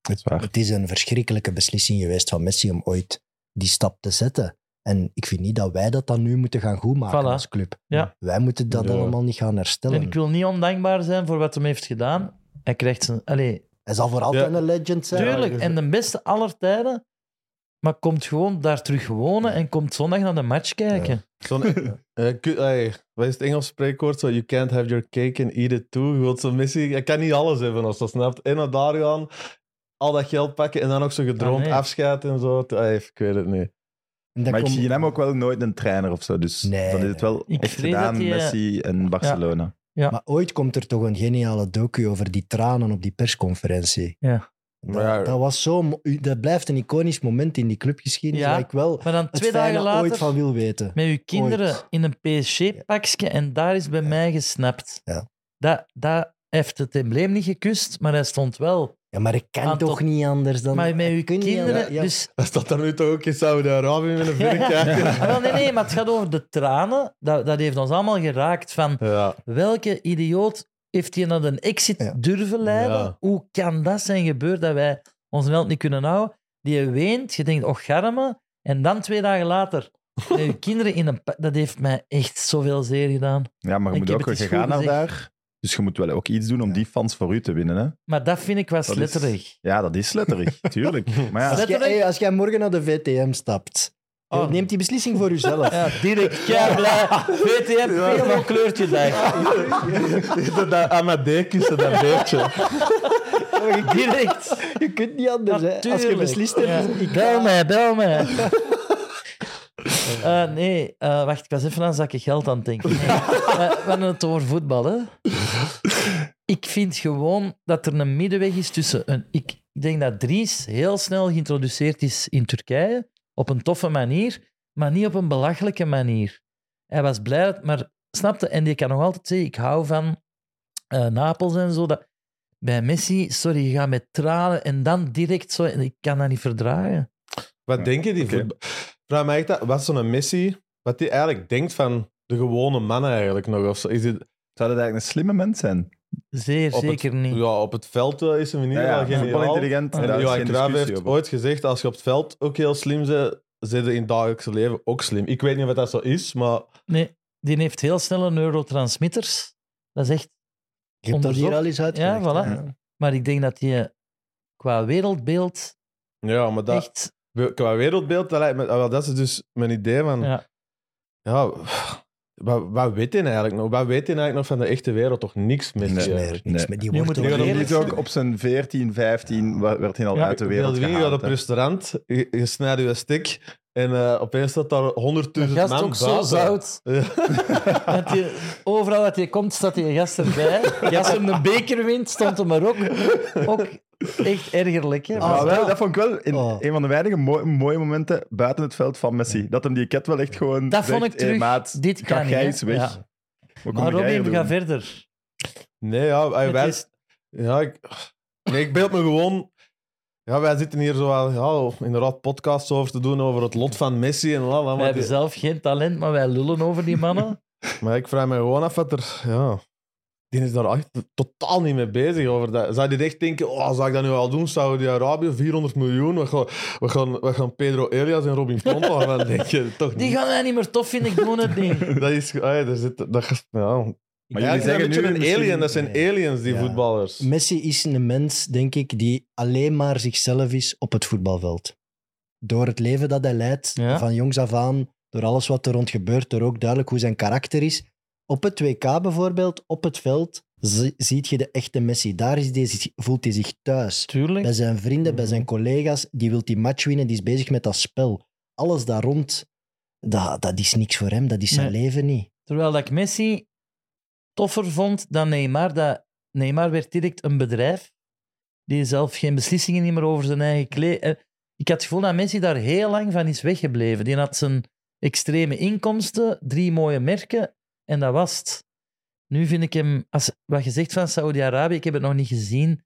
Speaker 1: Dat is waar.
Speaker 5: Het is een verschrikkelijke beslissing geweest van Messi om ooit die stap te zetten. En ik vind niet dat wij dat dan nu moeten gaan goedmaken
Speaker 3: Voilà.
Speaker 5: als club.
Speaker 3: Ja.
Speaker 5: Wij moeten dat
Speaker 4: Ja.
Speaker 5: allemaal niet gaan herstellen.
Speaker 3: En ik wil niet ondankbaar zijn voor wat hem heeft gedaan. Hij krijgt zijn... Allee,
Speaker 5: Hij zal voor altijd
Speaker 4: Ja.
Speaker 5: een legend zijn.
Speaker 4: Ja.
Speaker 3: Tuurlijk, en de beste aller tijden. maar komt gewoon daar terug wonen en komt zondag naar de match kijken.
Speaker 4: Zo'n, Eh, ku- ey, wat is het Engels spreekwoord? Zo, you can't have your cake and eat it too. Je wilt zo'n missie. Je kan niet alles hebben als dat snapt. En naar daar gaan, al dat geld pakken en dan ook zo gedroomd
Speaker 3: Ah, nee.
Speaker 4: afscheid en zo. Het- ey, ik weet het niet.
Speaker 5: En dan
Speaker 1: maar ik
Speaker 5: kom-
Speaker 1: zie in hem ook wel nooit een trainer of zo. Dus
Speaker 5: Nee,
Speaker 1: dan is het wel
Speaker 3: Ik
Speaker 1: echt
Speaker 3: vrees dat
Speaker 1: gedaan,
Speaker 3: die, eh,
Speaker 1: Messi en Barcelona.
Speaker 5: Maar ooit komt er toch een geniale docu over die tranen op die persconferentie.
Speaker 3: Ja.
Speaker 5: Dat,
Speaker 4: Maar ja.
Speaker 5: dat, was zo, mo- dat blijft een iconisch moment in die clubgeschiedenis,
Speaker 3: Ja.
Speaker 5: waar ik wel
Speaker 3: Maar dan
Speaker 5: het
Speaker 3: twee dagen
Speaker 5: fijne
Speaker 3: later
Speaker 5: ooit van wil weten.
Speaker 3: met uw kinderen
Speaker 5: Ooit.
Speaker 3: in een PSG-pakje en daar is bij mij gesnapt.
Speaker 5: Ja.
Speaker 3: Dat, dat heeft het embleem niet gekust, maar hij stond wel.
Speaker 5: Ja, maar ik kan
Speaker 3: Aan
Speaker 5: toch
Speaker 3: tot-
Speaker 5: niet anders dan...
Speaker 3: Ah, maar met uw
Speaker 5: kun je niet
Speaker 3: kinderen,
Speaker 5: aan- ja.
Speaker 3: dus...
Speaker 4: Dat staat daar nu toch ook in Saudi-Arabië met een vinnenkijker.
Speaker 3: Ah,
Speaker 4: Ja.
Speaker 3: wel, nee, nee, maar het gaat over de tranen. Dat, dat heeft ons allemaal geraakt van
Speaker 4: ja.
Speaker 3: welke idioot heeft hier naar een exit
Speaker 5: Ja.
Speaker 3: durven leiden?
Speaker 4: Ja.
Speaker 3: Hoe kan dat zijn gebeurd dat wij ons meld niet kunnen houden? Die weent, je denkt, och, garme. En dan twee dagen later, met je kinderen in een... pa- Dat heeft mij echt zoveel zeer gedaan.
Speaker 1: Ja, maar je
Speaker 3: Ik
Speaker 1: moet
Speaker 3: heb
Speaker 1: ook
Speaker 3: het eens
Speaker 1: gegaan
Speaker 3: goed
Speaker 1: naar
Speaker 3: gezegd.
Speaker 1: daar. Dus je moet wel ook iets doen om die fans voor u te winnen. Hè?
Speaker 3: Maar dat vind ik wel
Speaker 1: Dat is-
Speaker 3: sletterig.
Speaker 1: Ja, dat is letterig, tuurlijk. Maar ja,
Speaker 5: Als, jij,
Speaker 3: Letterlijk-
Speaker 5: hey, als jij morgen naar de VTM stapt,
Speaker 4: Oh.
Speaker 5: neem die beslissing voor jezelf.
Speaker 3: Ja, direct, kei blij. VTM, helemaal kleurtje daar.
Speaker 4: dat dat Amadee kussen, dat beertje.
Speaker 3: Direct.
Speaker 5: Je kunt niet anders. dus, Hè. Als je
Speaker 3: Natuurlijk.
Speaker 5: beslist hebt,
Speaker 3: Ja.
Speaker 5: is- ik
Speaker 3: Bel
Speaker 5: ga-
Speaker 3: mij, bel mij. Eh, nee, eh, wacht, ik was even aan zakken geld aan het denken. Nee. Eh, we hadden het over voetbal, hè. Ik vind gewoon dat er een middenweg is tussen... Een, ik, ik denk dat Dries heel snel geïntroduceerd is in Turkije, op een toffe manier, maar niet op een belachelijke manier. Hij was blij, dat- maar snapte, en die kan nog altijd zeggen, ik hou van eh, Napels en zo. Dat, bij Messi, sorry, je gaat met tranen en dan direct zo. en Ik kan dat niet verdragen.
Speaker 4: Wat
Speaker 1: Ja,
Speaker 4: denken die?
Speaker 1: oké.
Speaker 4: voetba- Vraag mij echt af, wat zo'n Messi, wat die eigenlijk denkt van de gewone mannen eigenlijk nog. Of zo. Is dit,
Speaker 1: zou dat eigenlijk een slimme mens zijn?
Speaker 3: Zeer
Speaker 4: Op het-
Speaker 3: zeker niet.
Speaker 4: ja, op het veld eh, is hem in
Speaker 1: Ja,
Speaker 4: ieder
Speaker 1: ja,
Speaker 4: geval
Speaker 1: ja,
Speaker 4: geen
Speaker 1: intelligent.
Speaker 3: Ja,
Speaker 1: Ja, daar is
Speaker 4: Johan
Speaker 1: geen
Speaker 4: Cruijff
Speaker 1: discussie
Speaker 4: heeft
Speaker 1: over.
Speaker 4: ooit gezegd, als je op het veld ook heel slim bent, zit je in het dagelijks leven ook slim. Ik weet niet wat dat zo is, maar
Speaker 3: Nee, die heeft heel snelle neurotransmitters. Dat is echt.
Speaker 5: Je hebt dat hier
Speaker 3: onderzocht.
Speaker 5: al eens uitgelegd.
Speaker 3: Ja, voilà.
Speaker 5: hè.
Speaker 3: Maar ik denk dat die qua wereldbeeld
Speaker 4: ja, maar dat,
Speaker 3: echt.
Speaker 4: qua wereldbeeld, dat, lijkt me, ah, wel, dat is dus mijn idee van, ja,
Speaker 3: Ja.
Speaker 4: wat, wat weet je eigenlijk nog? Wat weet je eigenlijk nog van de echte wereld? Toch niks mis.
Speaker 5: Niks
Speaker 1: Nee.
Speaker 5: meer. Niks
Speaker 1: Nee.
Speaker 5: meer. Die
Speaker 3: Nu
Speaker 5: wordt
Speaker 3: moet
Speaker 5: ook
Speaker 1: Die
Speaker 3: je wel
Speaker 1: werd ook-
Speaker 5: eerlijk
Speaker 3: eerlijk
Speaker 1: die werd ook op zijn 14, 15 wa- werd hij al
Speaker 3: Ja,
Speaker 1: uit de wereld
Speaker 4: Je gaat op
Speaker 1: gehaald. hè.
Speaker 4: restaurant, je, je snijdt je stek en eh, opeens staat daar 100.000
Speaker 3: De
Speaker 4: man
Speaker 3: gast ook zo
Speaker 4: buiten.
Speaker 3: zout.
Speaker 4: Ja.
Speaker 3: Dat die- overal dat je komt, staat die gast erbij. Als hem een beker wint, stond hem er ook. Ook echt ergerlijk. Hè?
Speaker 1: Maar
Speaker 5: Ah,
Speaker 1: wel,
Speaker 5: wel.
Speaker 1: dat vond ik wel in
Speaker 3: Ah.
Speaker 5: Oh.
Speaker 1: een van de weinige mooi- mooie momenten buiten het veld van Messi. Dat hem die ket wel echt gewoon
Speaker 3: dat
Speaker 1: zegt,
Speaker 3: vond ik
Speaker 1: "Hey,
Speaker 3: terug.
Speaker 1: maat,
Speaker 3: dit
Speaker 1: ga
Speaker 3: kan niet.
Speaker 1: jij
Speaker 3: hè.
Speaker 1: eens weg.
Speaker 3: Ja.
Speaker 1: Wat kom
Speaker 3: Maar
Speaker 1: jij hier
Speaker 3: Robin,
Speaker 1: doen?"
Speaker 3: ga verder.
Speaker 4: Nee, ja, wij,
Speaker 3: Het
Speaker 4: wij-
Speaker 3: is-
Speaker 4: ja, ik, nee, ik beeld me gewoon. Ja, wij zitten hier zo aan, ja, inderdaad podcasts over te doen over het lot van Messi en la, la,
Speaker 3: Wij
Speaker 4: maar,
Speaker 3: hebben
Speaker 4: die-
Speaker 3: zelf geen talent, maar wij lullen over die mannen.
Speaker 4: maar ik vraag me gewoon af wat er. Ja, die is daar echt totaal niet mee bezig over. Dat. Zou die echt denken: oh, zou ik dat nu al doen? Saudi-Arabië, 400 miljoen. We gaan, we, gaan, we gaan Pedro Elias en Robin Ponto gaan denken. Toch
Speaker 3: Die
Speaker 4: niet.
Speaker 3: gaan wij niet meer tof vinden, ik doe het niet.
Speaker 4: Dat is. Ay, daar zit, dat, is- ja.
Speaker 1: Maar
Speaker 4: Ja,
Speaker 1: jullie
Speaker 4: die zijn
Speaker 1: zeggen
Speaker 4: een
Speaker 1: nu
Speaker 4: beetje een alien.
Speaker 1: misschien-
Speaker 4: Dat zijn aliens, die
Speaker 5: Ja.
Speaker 4: voetballers.
Speaker 5: Messi is een mens, denk ik, die alleen maar zichzelf is op het voetbalveld. Door het leven dat hij leidt,
Speaker 3: Ja.
Speaker 5: van jongs af aan, door alles wat er rond gebeurt, door ook duidelijk hoe zijn karakter is. Op het WK bijvoorbeeld, op het veld, zie- ziet je de echte Messi. Daar is die, zich- voelt hij zich thuis. Bij
Speaker 3: Tuurlijk.
Speaker 5: zijn vrienden, bij
Speaker 3: Mhm.
Speaker 5: zijn collega's, die wil die match winnen, die is bezig met dat spel. Alles daar rond, dat, dat is niks voor hem, dat is zijn
Speaker 3: Nee.
Speaker 5: leven niet.
Speaker 3: Terwijl dat ik Messi toffer vond dan Neymar. Dat Neymar werd direct een bedrijf. Die zelf geen beslissingen niet meer over zijn eigen kleed. eh, Ik had het gevoel dat Messi daar heel lang van is weggebleven. Die had zijn extreme inkomsten, drie mooie merken en dat was het. Nu vind ik hem, als, wat je zegt van Saudi-Arabië, ik heb het nog niet gezien.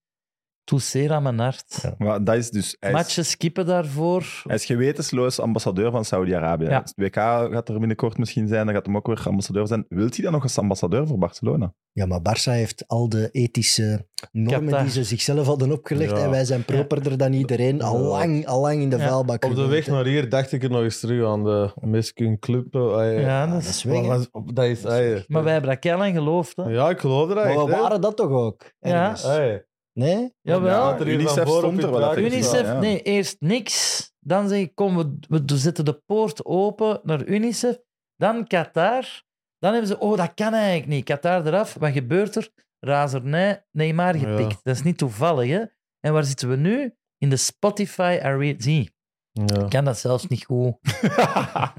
Speaker 3: Toussaint aan mijn hart.
Speaker 1: Maar dat is dus... hij is-
Speaker 3: Matchen skippen daarvoor.
Speaker 1: Hij is gewetensloos ambassadeur van Saudi-Arabië.
Speaker 3: Ja.
Speaker 1: Als Het WK gaat er binnenkort misschien zijn, dan gaat hem ook weer ambassadeur zijn. Wilt hij dan nog eens ambassadeur voor Barcelona?
Speaker 5: Ja, maar Barça heeft al de ethische normen
Speaker 3: Qatar.
Speaker 5: die ze zichzelf hadden opgelegd.
Speaker 4: Ja.
Speaker 5: En wij zijn properder dan iedereen. Al lang, al lang in de
Speaker 3: Ja.
Speaker 5: vuilbak.
Speaker 4: Op de
Speaker 5: gegooid,
Speaker 4: weg
Speaker 5: hè.
Speaker 4: naar hier dacht ik er nog eens terug aan de Miskun Club. eh, ey.
Speaker 3: Ja,
Speaker 5: Ja,
Speaker 3: dat
Speaker 5: dat
Speaker 3: is-
Speaker 5: is weg,
Speaker 4: Maar
Speaker 5: hè.
Speaker 4: was- op- dat is ey.
Speaker 3: Maar wij hebben dat keihard aan geloofd. Hè?
Speaker 4: Ja, ik geloof er
Speaker 5: Maar
Speaker 4: echt.
Speaker 5: we
Speaker 4: hè. Ah,
Speaker 5: waren dat toch ook?
Speaker 3: Ja.
Speaker 5: ergens?
Speaker 4: Ey.
Speaker 5: Nee?
Speaker 3: Jawel.
Speaker 4: Ja, er hier
Speaker 1: UNICEF
Speaker 4: van voor op
Speaker 1: stond
Speaker 4: je
Speaker 1: er wel, dat
Speaker 4: draadje.
Speaker 1: is wel,
Speaker 3: UNICEF,
Speaker 1: ja.
Speaker 3: nee, eerst niks. Dan zeg ik, kom, we, we do- zetten de poort open naar UNICEF. Dan Qatar. Dan hebben ze, oh, dat kan eigenlijk niet. Qatar eraf. Wat gebeurt er? Razernij, Neymar gepikt.
Speaker 4: Ja.
Speaker 3: Dat is niet toevallig, hè? En waar zitten we nu? In de Spotify Arena. Zie,
Speaker 4: Ja.
Speaker 3: ik kan dat zelfs niet goed.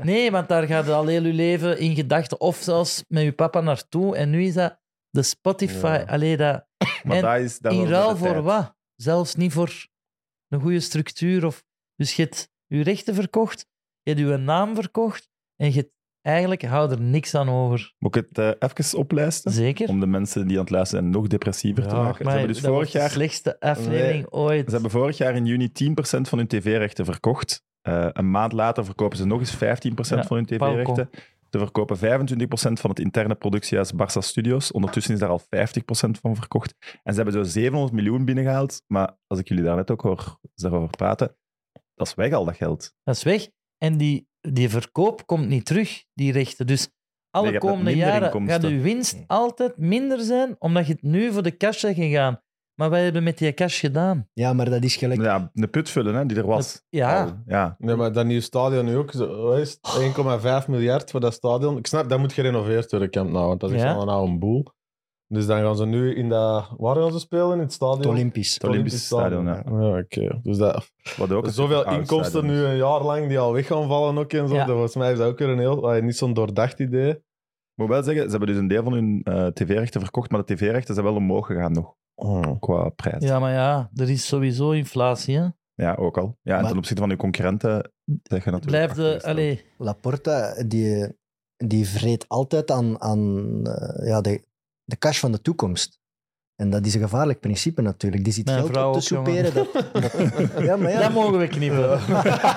Speaker 3: nee, want daar gaat al heel je leven in gedachten. Of zelfs met je papa naartoe. En nu is dat de Spotify.
Speaker 4: Ja.
Speaker 3: Allee, dat...
Speaker 1: Maar
Speaker 3: En
Speaker 1: dat is, dat
Speaker 3: In
Speaker 1: was de
Speaker 3: ruil voor
Speaker 1: tijd.
Speaker 3: wat? Zelfs niet voor een goede structuur. Of... Dus je hebt je rechten verkocht, je hebt je naam verkocht en je hebt... eigenlijk houdt er niks aan over.
Speaker 1: Moet ik het eh, even oplijsten?
Speaker 3: Zeker.
Speaker 1: Om de mensen die aan het luisteren zijn nog depressiever te
Speaker 4: Ja,
Speaker 1: maken. Ze
Speaker 3: Maar
Speaker 1: hebben dus
Speaker 3: dat
Speaker 1: vorig
Speaker 3: wordt de
Speaker 1: jaar
Speaker 3: slechtste aflevering ooit.
Speaker 1: Ze hebben vorig jaar in juni 10% van hun tv-rechten verkocht. Eh, een maand later verkopen ze nog eens 15%
Speaker 3: Ja,
Speaker 1: van hun tv-rechten. Ze verkopen 25% van het interne productiehuis Barça Studios. Ondertussen is daar al 50% van verkocht. En ze hebben zo 700 miljoen binnengehaald. Maar als ik jullie daar net ook hoor ze daarover praten, dat is weg al dat geld.
Speaker 3: Dat is weg. En die, die verkoop komt niet terug, die rechten. Dus
Speaker 1: Nee,
Speaker 3: alle
Speaker 1: je hebt net
Speaker 3: komende
Speaker 1: minder
Speaker 3: jaren
Speaker 1: inkomsten. Hmm.
Speaker 3: gaat je winst altijd minder zijn, omdat je het nu voor de cash bent gegaan. Maar wij hebben met die cash gedaan.
Speaker 5: Ja, maar dat is gelijk.
Speaker 1: Ja, de put vullen hè, die er was.
Speaker 3: Ja,
Speaker 1: Al, ja.
Speaker 4: Nee, maar dat nieuwe stadion nu ook. zo- wat is het? 1,5 miljard voor dat stadion. Ik snap, dat moet gerenoveerd worden, Camp Nou, want dat is
Speaker 3: Ja.
Speaker 4: al een oude boel. Dus dan gaan ze nu in dat... Waar gaan ze spelen? In het
Speaker 5: Het
Speaker 4: stadion?
Speaker 5: Olympisch.
Speaker 1: Het Olympisch Stadion, ja.
Speaker 4: Ja, oké. Dus dat...
Speaker 1: Wat ook een
Speaker 4: Zoveel
Speaker 1: oud
Speaker 4: inkomsten
Speaker 1: stadion is.
Speaker 4: nu een jaar lang die al weg gaan vallen ook en zo.
Speaker 3: Ja.
Speaker 4: Dat, volgens mij is dat ook weer een heel... ah, niet zo'n doordacht idee.
Speaker 1: Ik moet wel zeggen, ze hebben dus een deel van hun eh, tv-rechten verkocht, maar de tv-rechten zijn wel omhoog gegaan nog,
Speaker 4: Hmm.
Speaker 1: qua prijs.
Speaker 3: ja maar ja, er is sowieso inflatie. Hè?
Speaker 1: Ja, ook al. Ja, en
Speaker 5: Maar-
Speaker 1: ten opzichte van uw concurrenten zeg je natuurlijk...
Speaker 3: Blijf de,
Speaker 1: achtergesteld.
Speaker 3: allee,
Speaker 5: Laporta, die, die vreet altijd aan, aan eh, ja, de, de cash van de toekomst. En dat is een gevaarlijk principe natuurlijk. Die ziet
Speaker 3: Mijn
Speaker 5: geld
Speaker 3: vrouw
Speaker 5: op te
Speaker 3: ook, jongen.
Speaker 5: soeperen. Dat, dat- ja, maar ja.
Speaker 3: Dat mogen we knippen.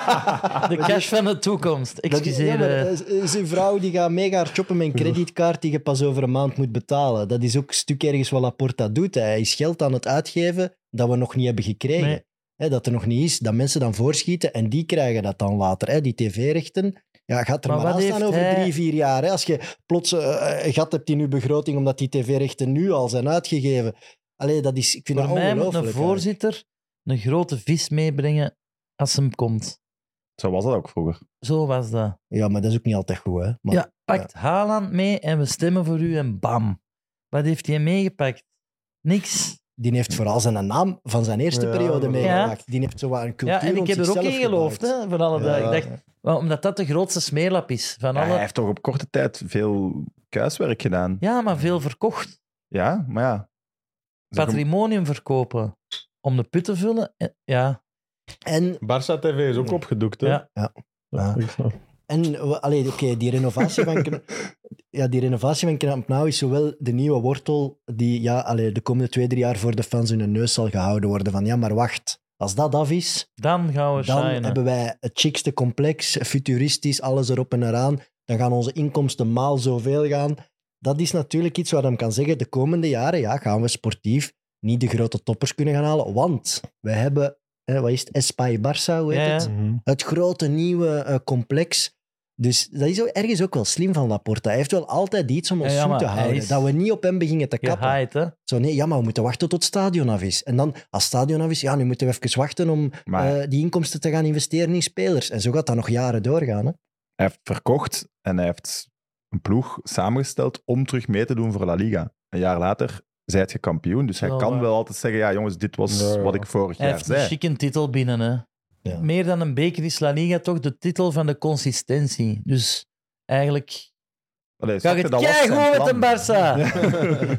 Speaker 3: De cash van de toekomst.
Speaker 5: dat is, ja,
Speaker 3: Excuseer.
Speaker 5: maar
Speaker 3: eh.
Speaker 5: dat is- is een vrouw die gaat mega hard shoppen met een kredietkaart die je pas over een maand moet betalen. Dat is ook een stuk ergens wat Laporta doet. hè. Hij is geld aan het uitgeven dat we nog niet hebben gekregen.
Speaker 3: Nee.
Speaker 5: Hè, dat er nog niet is, dat mensen dan voorschieten en die krijgen dat dan later. Hè, die tv-rechten. Ja, gaat er
Speaker 3: Maar
Speaker 5: maar,
Speaker 3: wat
Speaker 5: aan staan
Speaker 3: heeft
Speaker 5: over
Speaker 3: hij-
Speaker 5: drie, vier jaar. Hè, als je plots eh, een gat hebt in je begroting omdat die tv-rechten nu al zijn uitgegeven. Allee, dat is, ik vind
Speaker 3: Voor
Speaker 5: dat
Speaker 3: mij moet
Speaker 5: ongelooflijk.
Speaker 3: een
Speaker 5: eigenlijk.
Speaker 3: voorzitter een grote vis meebrengen als hem komt.
Speaker 1: Zo was dat ook vroeger.
Speaker 3: Zo was dat.
Speaker 5: Ja, maar dat is ook niet altijd goed. Hè. Maar,
Speaker 3: ja, pakt Haaland mee en we stemmen voor u en bam. Wat heeft hij meegepakt? Niks.
Speaker 5: Die heeft vooral zijn naam van zijn eerste
Speaker 4: Ja,
Speaker 5: periode
Speaker 4: dat-
Speaker 5: meegemaakt. Die heeft zo wat een cultuur
Speaker 3: Ja, en ik
Speaker 5: rond
Speaker 3: heb er ook
Speaker 5: zichzelf
Speaker 3: in geloofd,
Speaker 5: gebouwd.
Speaker 3: hè, voor alle
Speaker 4: Ja.
Speaker 3: duidelijk. Ik dacht, wel, omdat dat de grootste smeerlap is van
Speaker 1: Ja, hij
Speaker 3: alle.
Speaker 1: heeft toch op korte tijd veel kuiswerk gedaan. Ja,
Speaker 3: Ja, maar veel verkocht.
Speaker 1: maar ja. Zo gem-
Speaker 3: Patrimonium verkopen om de put te vullen. eh, Ja,
Speaker 5: En,
Speaker 4: Barça TV is ook opgedoekt, hè?
Speaker 3: Ja.
Speaker 5: Ja.
Speaker 4: Hmm. Ja.
Speaker 5: en we- allee, oké, die renovatie van... Kna- Ja, die renovatie van Knap Nou is zowel de nieuwe wortel die ja, allee, de komende twee, drie jaar voor de fans in hun neus zal gehouden worden. Van ja, maar wacht, als dat af is,
Speaker 3: dan gaan we
Speaker 5: dan
Speaker 3: shinen.
Speaker 5: hebben wij het chicste complex, futuristisch, alles erop en eraan. Dan gaan onze inkomsten maal zoveel gaan. Dat is natuurlijk iets waar hem kan zeggen, de komende jaren ja, gaan we sportief niet de grote toppers kunnen gaan halen, want we hebben, hè, wat is het, Espai Barça, hoe heet
Speaker 3: Ja, ja.
Speaker 5: het?
Speaker 4: Hmm.
Speaker 5: het grote nieuwe eh, complex. Dus dat is ook ergens ook wel slim van Laporta. Hij heeft wel altijd iets om ons
Speaker 3: Ja, ja,
Speaker 5: zoet
Speaker 3: maar
Speaker 5: te
Speaker 3: hij
Speaker 5: houden.
Speaker 3: is-
Speaker 5: Dat we niet op hem beginnen te kappen.
Speaker 3: Gehaaid, hè?
Speaker 5: Zo, nee, ja, maar we moeten wachten tot het stadion af is. En dan, als het stadion af is, ja, nu moeten we even wachten om
Speaker 1: Maar hij
Speaker 5: eh, die inkomsten te gaan investeren in spelers. En zo gaat dat nog jaren doorgaan. Hè?
Speaker 1: heeft verkocht en hij heeft een ploeg samengesteld om terug mee te doen voor La Liga. Een jaar later zijt je kampioen. Dus hij
Speaker 3: Wel,
Speaker 1: kan
Speaker 3: maar-
Speaker 1: wel altijd zeggen, ja jongens, dit was
Speaker 4: Ja, ja.
Speaker 1: wat ik vorig
Speaker 3: Hij
Speaker 1: jaar
Speaker 3: heeft een
Speaker 1: zei.
Speaker 3: chique titel binnen. Hè.
Speaker 5: Ja.
Speaker 3: Meer dan een beker is La Liga toch de titel van de consistentie. Dus eigenlijk
Speaker 1: Allee,
Speaker 3: ga
Speaker 1: snap
Speaker 3: je
Speaker 1: je,
Speaker 3: het
Speaker 1: dat was zijn
Speaker 3: keigoed met
Speaker 1: plan.
Speaker 3: een Barça.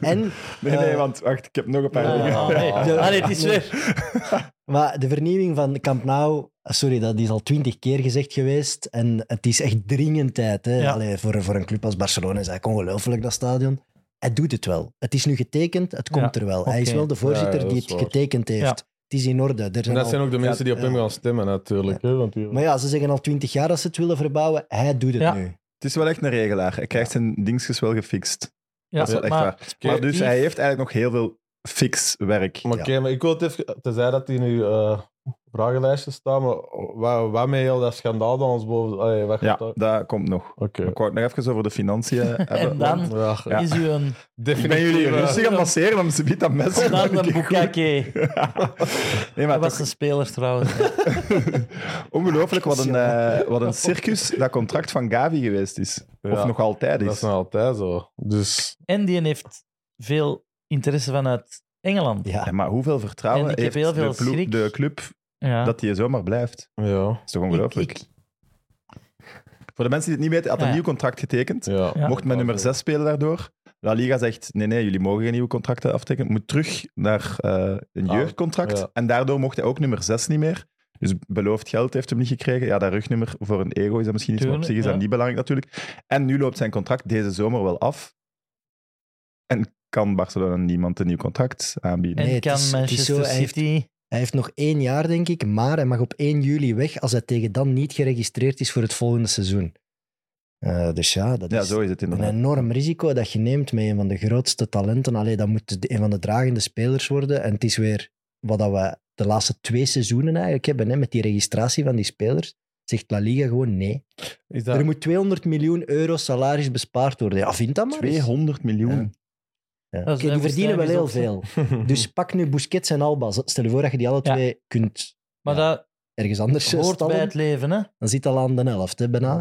Speaker 5: En,
Speaker 1: Nee, nee,
Speaker 5: Eh,
Speaker 1: want wacht, ik heb nog een paar
Speaker 5: Ja,
Speaker 1: dingen.
Speaker 5: ja,
Speaker 3: Ah, nee.
Speaker 5: ja.
Speaker 3: Allee, het is weer...
Speaker 5: maar de vernieuwing van Camp Nou, sorry, dat is al twintig keer gezegd geweest. En het is echt dringend tijd. Hè?
Speaker 3: Ja.
Speaker 5: Allee, voor, voor een club als Barcelona is eigenlijk ongelooflijk, dat stadion. Hij doet het wel. Het is nu getekend, het komt
Speaker 3: Ja,
Speaker 5: er wel. Hij is
Speaker 3: oké.
Speaker 5: wel de voorzitter
Speaker 4: Ja, ja, dat
Speaker 5: die
Speaker 4: is
Speaker 5: het
Speaker 4: waar.
Speaker 5: getekend heeft.
Speaker 3: Ja.
Speaker 5: Het is in orde. Er
Speaker 4: En
Speaker 5: zijn
Speaker 4: dat
Speaker 5: al-
Speaker 4: zijn ook de mensen die op
Speaker 5: Ja.
Speaker 4: hem gaan stemmen, natuurlijk. Hè? Want die-
Speaker 5: Maar ja, ze zeggen al twintig jaar dat ze het willen verbouwen. Hij doet het
Speaker 3: Ja.
Speaker 5: nu.
Speaker 1: Het is wel echt een regelaar. Hij krijgt zijn dingetjes wel gefixt.
Speaker 3: Ja,
Speaker 1: Dat is wel echt waar. Maar dus hij heeft eigenlijk nog heel veel fix werk.
Speaker 4: Maar oké, maar ik wil het even... Tenzij dat hij nu eh, vragenlijstje staan, maar waar, waarmee heel dat schandaal dan ons boven... Allee, wat
Speaker 1: Ja,
Speaker 4: gaat dat-
Speaker 1: dat komt nog.
Speaker 4: Oké.
Speaker 1: Maar Ik wou het nog even over de financiën hebben.
Speaker 3: En dan
Speaker 4: Ja,
Speaker 1: Ja.
Speaker 3: is u een,
Speaker 1: Ik ben jullie rustig aan het masseren om ze biedt dat mes.
Speaker 3: dan
Speaker 1: gewoon
Speaker 3: een
Speaker 1: keer goed-
Speaker 3: boekake.
Speaker 1: nee, maar
Speaker 3: Dat
Speaker 1: toch
Speaker 3: was een speler trouwens.
Speaker 1: ongelooflijk wat een, eh, wat een circus dat contract van Gavi geweest is. Of
Speaker 4: Ja,
Speaker 1: nog altijd
Speaker 4: Dat is
Speaker 1: is.
Speaker 4: nog altijd zo. Dus
Speaker 3: En die heeft veel interesse vanuit Engeland. Ja.
Speaker 1: Ja,
Speaker 5: Ja,
Speaker 1: maar hoeveel vertrouwen
Speaker 3: En ik heb
Speaker 1: heeft
Speaker 3: heel veel
Speaker 1: de, ploeg-
Speaker 3: schrik.
Speaker 1: de club dat hij zomaar blijft?
Speaker 4: ja.
Speaker 1: Dat is toch
Speaker 3: Ik-
Speaker 1: ongelooflijk?
Speaker 3: ik-
Speaker 1: Voor de mensen die het niet weten, hij had een
Speaker 3: Ja.
Speaker 1: nieuw contract getekend.
Speaker 4: ja.
Speaker 3: Ja.
Speaker 1: Mocht met nummer 6 spelen daardoor. La Liga zegt, nee, nee, jullie mogen geen nieuwe contracten aftekenen. Moet terug naar eh, een
Speaker 4: Ah,
Speaker 1: jeugdcontract.
Speaker 4: ja.
Speaker 1: En daardoor mocht hij ook nummer 6 niet meer. Dus beloofd geld heeft hem niet gekregen. Ja, dat rugnummer voor een ego is dat misschien iets, maar op zich
Speaker 3: Tuurlijk,
Speaker 1: is dat
Speaker 3: ja.
Speaker 1: niet belangrijk natuurlijk. En nu loopt zijn contract deze zomer wel af. En kan Barcelona niemand een nieuw contract aanbieden.
Speaker 3: En
Speaker 5: Nee, het
Speaker 3: kan
Speaker 5: is- het is
Speaker 3: Manchester
Speaker 5: zo, hij heeft-
Speaker 3: City...
Speaker 5: Hij heeft nog één jaar, denk ik, maar hij mag op 1 juli weg als hij tegen dan niet geregistreerd is voor het volgende seizoen. Eh, dus ja, dat
Speaker 1: ja,
Speaker 5: is
Speaker 1: zo is het
Speaker 5: een
Speaker 1: inderdaad.
Speaker 5: enorm risico dat je neemt met een van de grootste talenten. Allee, dat moet de- een van de dragende spelers worden. En het is weer wat dat we de laatste twee seizoenen eigenlijk hebben, hè, met die registratie van die spelers. Zegt La Liga gewoon nee.
Speaker 4: Is dat...
Speaker 5: Er moet 200 miljoen euro salaris bespaard worden. Ja, vind dat maar eens.
Speaker 1: 200 miljoen.
Speaker 5: Ja. Ja.
Speaker 3: Dat is
Speaker 5: Oké,
Speaker 3: een
Speaker 5: die verdienen wel heel
Speaker 3: woestijn,
Speaker 5: veel. Dus pak nu Busquets en Alba. Stel je voor dat je die alle
Speaker 3: Ja.
Speaker 5: twee kunt
Speaker 3: Maar
Speaker 5: ergens anders
Speaker 3: dat hoort
Speaker 5: stallen.
Speaker 3: bij het leven, hè?
Speaker 5: Dan zit al aan de helft, hè, bijna.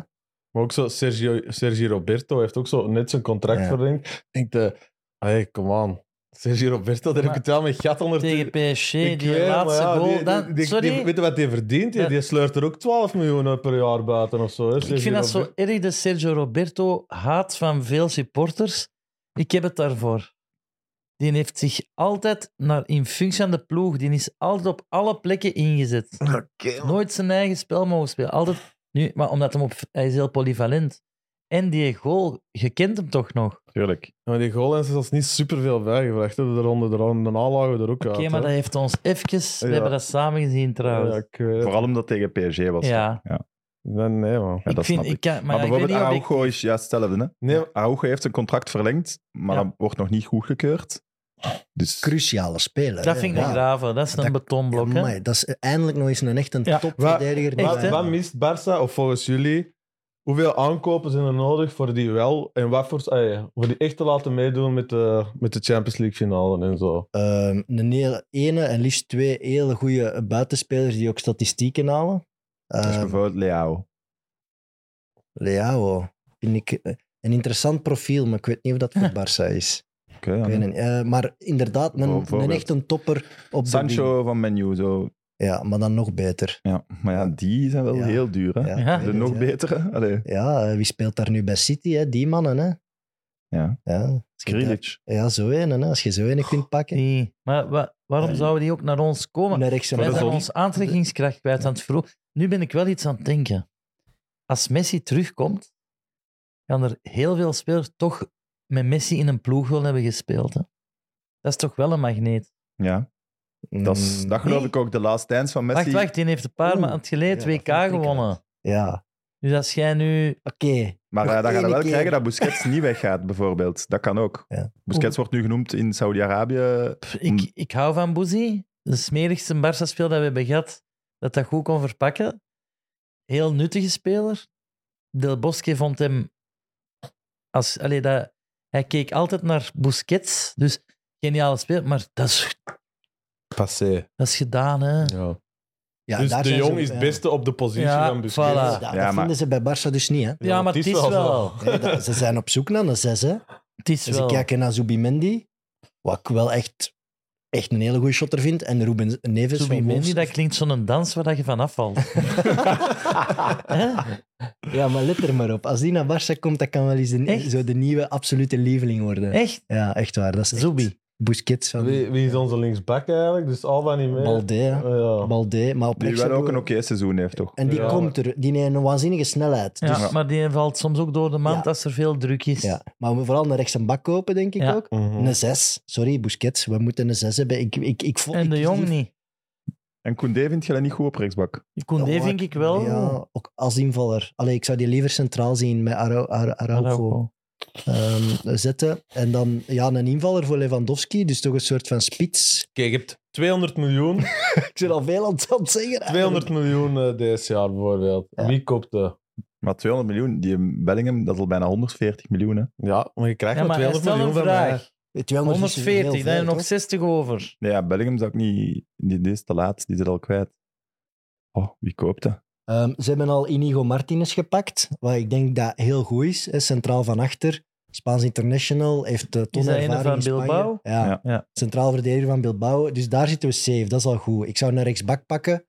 Speaker 4: Maar ook zo, Sergio, Sergio Roberto heeft ook zo net zijn contract
Speaker 5: Ja.
Speaker 4: verlengd. Ik denk, de, hey, come on. Sergio Roberto, daar heb
Speaker 3: Maar-
Speaker 4: ik het wel met gat onder.
Speaker 3: Tegen PSG,
Speaker 4: Ik
Speaker 3: die
Speaker 4: weet, maar
Speaker 3: laatste
Speaker 4: ja,
Speaker 3: goal.
Speaker 4: die-
Speaker 3: dan-
Speaker 4: die- die-
Speaker 3: sorry,
Speaker 4: die- weet je wat die verdient? Die,
Speaker 3: Ja.
Speaker 4: die sleurt er ook 12 miljoen per jaar buiten of zo. Hè,
Speaker 3: ik vind dat zo erg dat Sergio Roberto haat van veel supporters. Ik heb het daarvoor. Die heeft zich altijd naar, in functie aan de ploeg, die is altijd op alle plekken ingezet. Nooit zijn eigen spel mogen spelen. Altijd, nu, maar omdat hem op, hij is heel polyvalent. En die goal, je kent hem toch nog?
Speaker 1: Tuurlijk.
Speaker 4: Maar die Golens is als niet superveel bijgevraagd. hè. De ronde er aan, daarna lagen we er ook
Speaker 3: Oké,
Speaker 4: uit. hè.
Speaker 3: maar dat heeft ons eventjes... We
Speaker 4: Ja.
Speaker 3: hebben dat samen gezien trouwens.
Speaker 4: Ja, ik weet het.
Speaker 1: Vooral omdat het tegen PSG was.
Speaker 3: Ja.
Speaker 4: Nee, nee, man.
Speaker 1: Ja,
Speaker 3: ik
Speaker 1: dat
Speaker 3: vind,
Speaker 1: snap ik.
Speaker 3: ik kan, maar,
Speaker 1: Maar,
Speaker 3: ja, ik weet
Speaker 1: bijvoorbeeld
Speaker 3: niet of ik-
Speaker 1: Araujo is juist hetzelfde. Hè?
Speaker 4: Nee,
Speaker 1: Araujo heeft zijn contract verlengd, maar
Speaker 3: Ja.
Speaker 1: dat wordt nog niet goedgekeurd. Dus
Speaker 5: Cruciale speler.
Speaker 3: Dat
Speaker 5: hè.
Speaker 3: vind ik een
Speaker 5: Ja.
Speaker 3: grave. Dat is een
Speaker 5: Dat-
Speaker 3: betonblok. hè.
Speaker 5: Amai, dat is eindelijk nog eens een echt een
Speaker 3: Ja.
Speaker 5: topverdediger. die
Speaker 3: Echt,
Speaker 5: wij
Speaker 4: wat,
Speaker 3: hè?
Speaker 4: wat
Speaker 5: hebben.
Speaker 4: mist Barça, of volgens jullie, hoeveel aankopen zijn er nodig voor die wel en wat voor, ey, voor die echt te laten meedoen met de, met de Champions League finale en zo?
Speaker 5: Ehm, een hele ene en liefst twee hele goede buitenspelers die ook statistieken halen.
Speaker 1: dat is
Speaker 5: Ehm,
Speaker 1: bijvoorbeeld Leao.
Speaker 5: Leao vind ik eh, een interessant profiel, maar ik weet niet of dat voor Barça is.
Speaker 1: Oké, ja,
Speaker 5: Ik weet
Speaker 1: nee.
Speaker 5: het niet. Eh, maar inderdaad, een,
Speaker 1: Bijvoorbeeld.
Speaker 5: een echt een topper op de wing.
Speaker 1: Sancho van Menu, zo.
Speaker 5: Ja, maar dan nog beter.
Speaker 1: Ja, maar ja, die zijn wel
Speaker 5: Ja.
Speaker 1: heel duur. Hè?
Speaker 5: Ja,
Speaker 3: Ja.
Speaker 5: ik weet
Speaker 1: De
Speaker 5: het,
Speaker 1: nog
Speaker 5: ja.
Speaker 1: betere. Allee.
Speaker 5: Ja, eh, wie speelt daar nu bij City? Hè? Die mannen, hè?
Speaker 1: Ja.
Speaker 5: Ja,
Speaker 1: Grealish.
Speaker 5: ja zo een, hè? Als je zo een kunt pakken.
Speaker 3: Die. Maar wa- waarom
Speaker 5: Ja.
Speaker 3: zouden die ook naar ons komen?
Speaker 5: Naar rechts en
Speaker 3: Wij
Speaker 5: naar
Speaker 1: dat
Speaker 3: zijn
Speaker 1: is ook-
Speaker 3: ons aantrekkingskracht kwijt aan het vroeg. Nu ben ik wel iets aan het denken. Als Messi terugkomt, gaan er heel veel spelers toch met Messi in een ploeg willen hebben gespeeld. Hè? Dat is toch wel een magneet.
Speaker 1: Ja,
Speaker 5: Mm.
Speaker 1: dat, is, dat geloof
Speaker 3: Nee.
Speaker 1: ik ook. De last dance van Messi.
Speaker 3: Wacht, wacht, die heeft een paar
Speaker 5: Oeh.
Speaker 3: maanden geleden
Speaker 5: Ja,
Speaker 3: het
Speaker 5: dat
Speaker 3: WK
Speaker 5: vind ik
Speaker 3: gewonnen.
Speaker 5: Ja,
Speaker 3: Dus als jij nu...
Speaker 5: oké.
Speaker 1: Maar eh,
Speaker 5: Nog
Speaker 1: dan gaan we
Speaker 5: één
Speaker 1: wel
Speaker 5: keer.
Speaker 1: krijgen dat Busquets niet weggaat, bijvoorbeeld. Dat kan ook.
Speaker 5: Ja.
Speaker 1: Busquets wordt nu genoemd in Saudi-Arabië.
Speaker 3: Pff, Ik, ik hou van Boezie. De smerigste Barça-speel dat we hebben gehad, dat dat goed kon verpakken. Heel nuttige speler. Del Bosque vond hem... Als, allee, dat, hij keek altijd naar Busquets, dus geniale speler. Maar dat is,
Speaker 4: Passé.
Speaker 3: dat is gedaan, hè.
Speaker 4: Ja.
Speaker 5: Ja,
Speaker 4: dus
Speaker 5: daar
Speaker 4: de
Speaker 5: zijn
Speaker 4: Jong
Speaker 5: ze-
Speaker 4: is
Speaker 5: ja.
Speaker 4: het beste op de positie
Speaker 3: Ja,
Speaker 4: van Busquets.
Speaker 5: Ja,
Speaker 3: voilà.
Speaker 5: dat
Speaker 1: Ja, maar-
Speaker 5: vinden ze bij Barça dus niet, hè?
Speaker 3: Ja, maar het is wel.
Speaker 4: zo.
Speaker 5: Nee, dat- ze zijn op zoek naar een zes, hè?
Speaker 3: Het is
Speaker 5: Dus ik
Speaker 3: wel.
Speaker 5: kijk naar Zubimendi, wat ik wel echt, echt een hele goede shotter vind. En Ruben Neves van
Speaker 3: Zubimendi,
Speaker 5: Wolfs.
Speaker 3: dat klinkt zo'n dans waar dat je van afvalt. Hè?
Speaker 5: Ja, maar let er maar op. Als die naar Barça komt, dat kan wel eens de,
Speaker 3: Echt?
Speaker 5: zo de nieuwe absolute lieveling worden.
Speaker 3: Echt?
Speaker 5: Ja, echt waar. Dat is echt
Speaker 3: Zubi.
Speaker 5: Busquets van
Speaker 4: Wie, wie is onze linksback eigenlijk? Dus Alba niet meer. Oh,
Speaker 5: Balde. hè.
Speaker 4: Ja.
Speaker 5: Balde, maar op
Speaker 1: Die
Speaker 5: rechts
Speaker 1: wel ook
Speaker 5: hebben
Speaker 1: een
Speaker 5: we-
Speaker 1: oké seizoen heeft, toch?
Speaker 5: En die
Speaker 4: Ja.
Speaker 5: komt er. Die heeft een waanzinnige snelheid.
Speaker 3: Ja,
Speaker 5: Dus,
Speaker 3: maar die valt soms ook door de mand
Speaker 5: Ja.
Speaker 3: als er veel druk is.
Speaker 5: ja. Maar we vooral naar rechts een bak kopen, denk ik
Speaker 3: Ja.
Speaker 5: ook.
Speaker 4: Mhm.
Speaker 5: Een zes. Sorry, Busquets. We moeten een zes hebben. Ik, ik, ik, vo-
Speaker 3: En de
Speaker 5: ik-
Speaker 3: jong niet.
Speaker 1: En Koundé vind je dat niet goed op rechtsbak?
Speaker 3: Koundé vind ik wel.
Speaker 5: Ja, ook als invaller. Allee, ik zou die liever centraal zien met Arau- Ar- Araujo.
Speaker 3: Araujo.
Speaker 5: ehm, zetten. En dan ja, een invaller voor Lewandowski, dus toch een soort van spits.
Speaker 4: Kijk, je hebt 200 miljoen,
Speaker 5: Ik zit al veel aan het aan het zeggen. eigenlijk.
Speaker 4: 200 miljoen eh, deze jaar bijvoorbeeld.
Speaker 5: Ja.
Speaker 4: Wie koopt de?
Speaker 1: Maar 200 miljoen, die Bellingham, dat is al bijna 140 miljoen. Hè.
Speaker 4: Ja, maar je krijgt
Speaker 3: Ja,
Speaker 4: maar
Speaker 3: maar
Speaker 4: 200
Speaker 3: stel
Speaker 4: miljoen
Speaker 3: een
Speaker 4: van mij.
Speaker 3: vraag.
Speaker 5: 200 is heel
Speaker 3: 140,
Speaker 5: veel,
Speaker 3: daar heb je nog
Speaker 5: toch?
Speaker 3: 60 over.
Speaker 1: Nee, ja, Bellingham zou ik niet... Die, die is te laat, die zit al kwijt. Oh, wie koopt dat?
Speaker 5: Ehm, ze hebben al Inigo Martinez gepakt, wat ik denk dat heel goed is. Hè, centraal van achter, Spaans international, heeft eh, ton
Speaker 3: Is dat ene
Speaker 5: ervaring
Speaker 3: van
Speaker 5: in Spanje.
Speaker 3: Bilbao?
Speaker 5: Ja,
Speaker 1: Ja.
Speaker 3: Ja.
Speaker 5: centraal verdediger van Bilbao. Dus daar zitten we safe, dat is al goed. Ik zou naar rechtsbak pakken.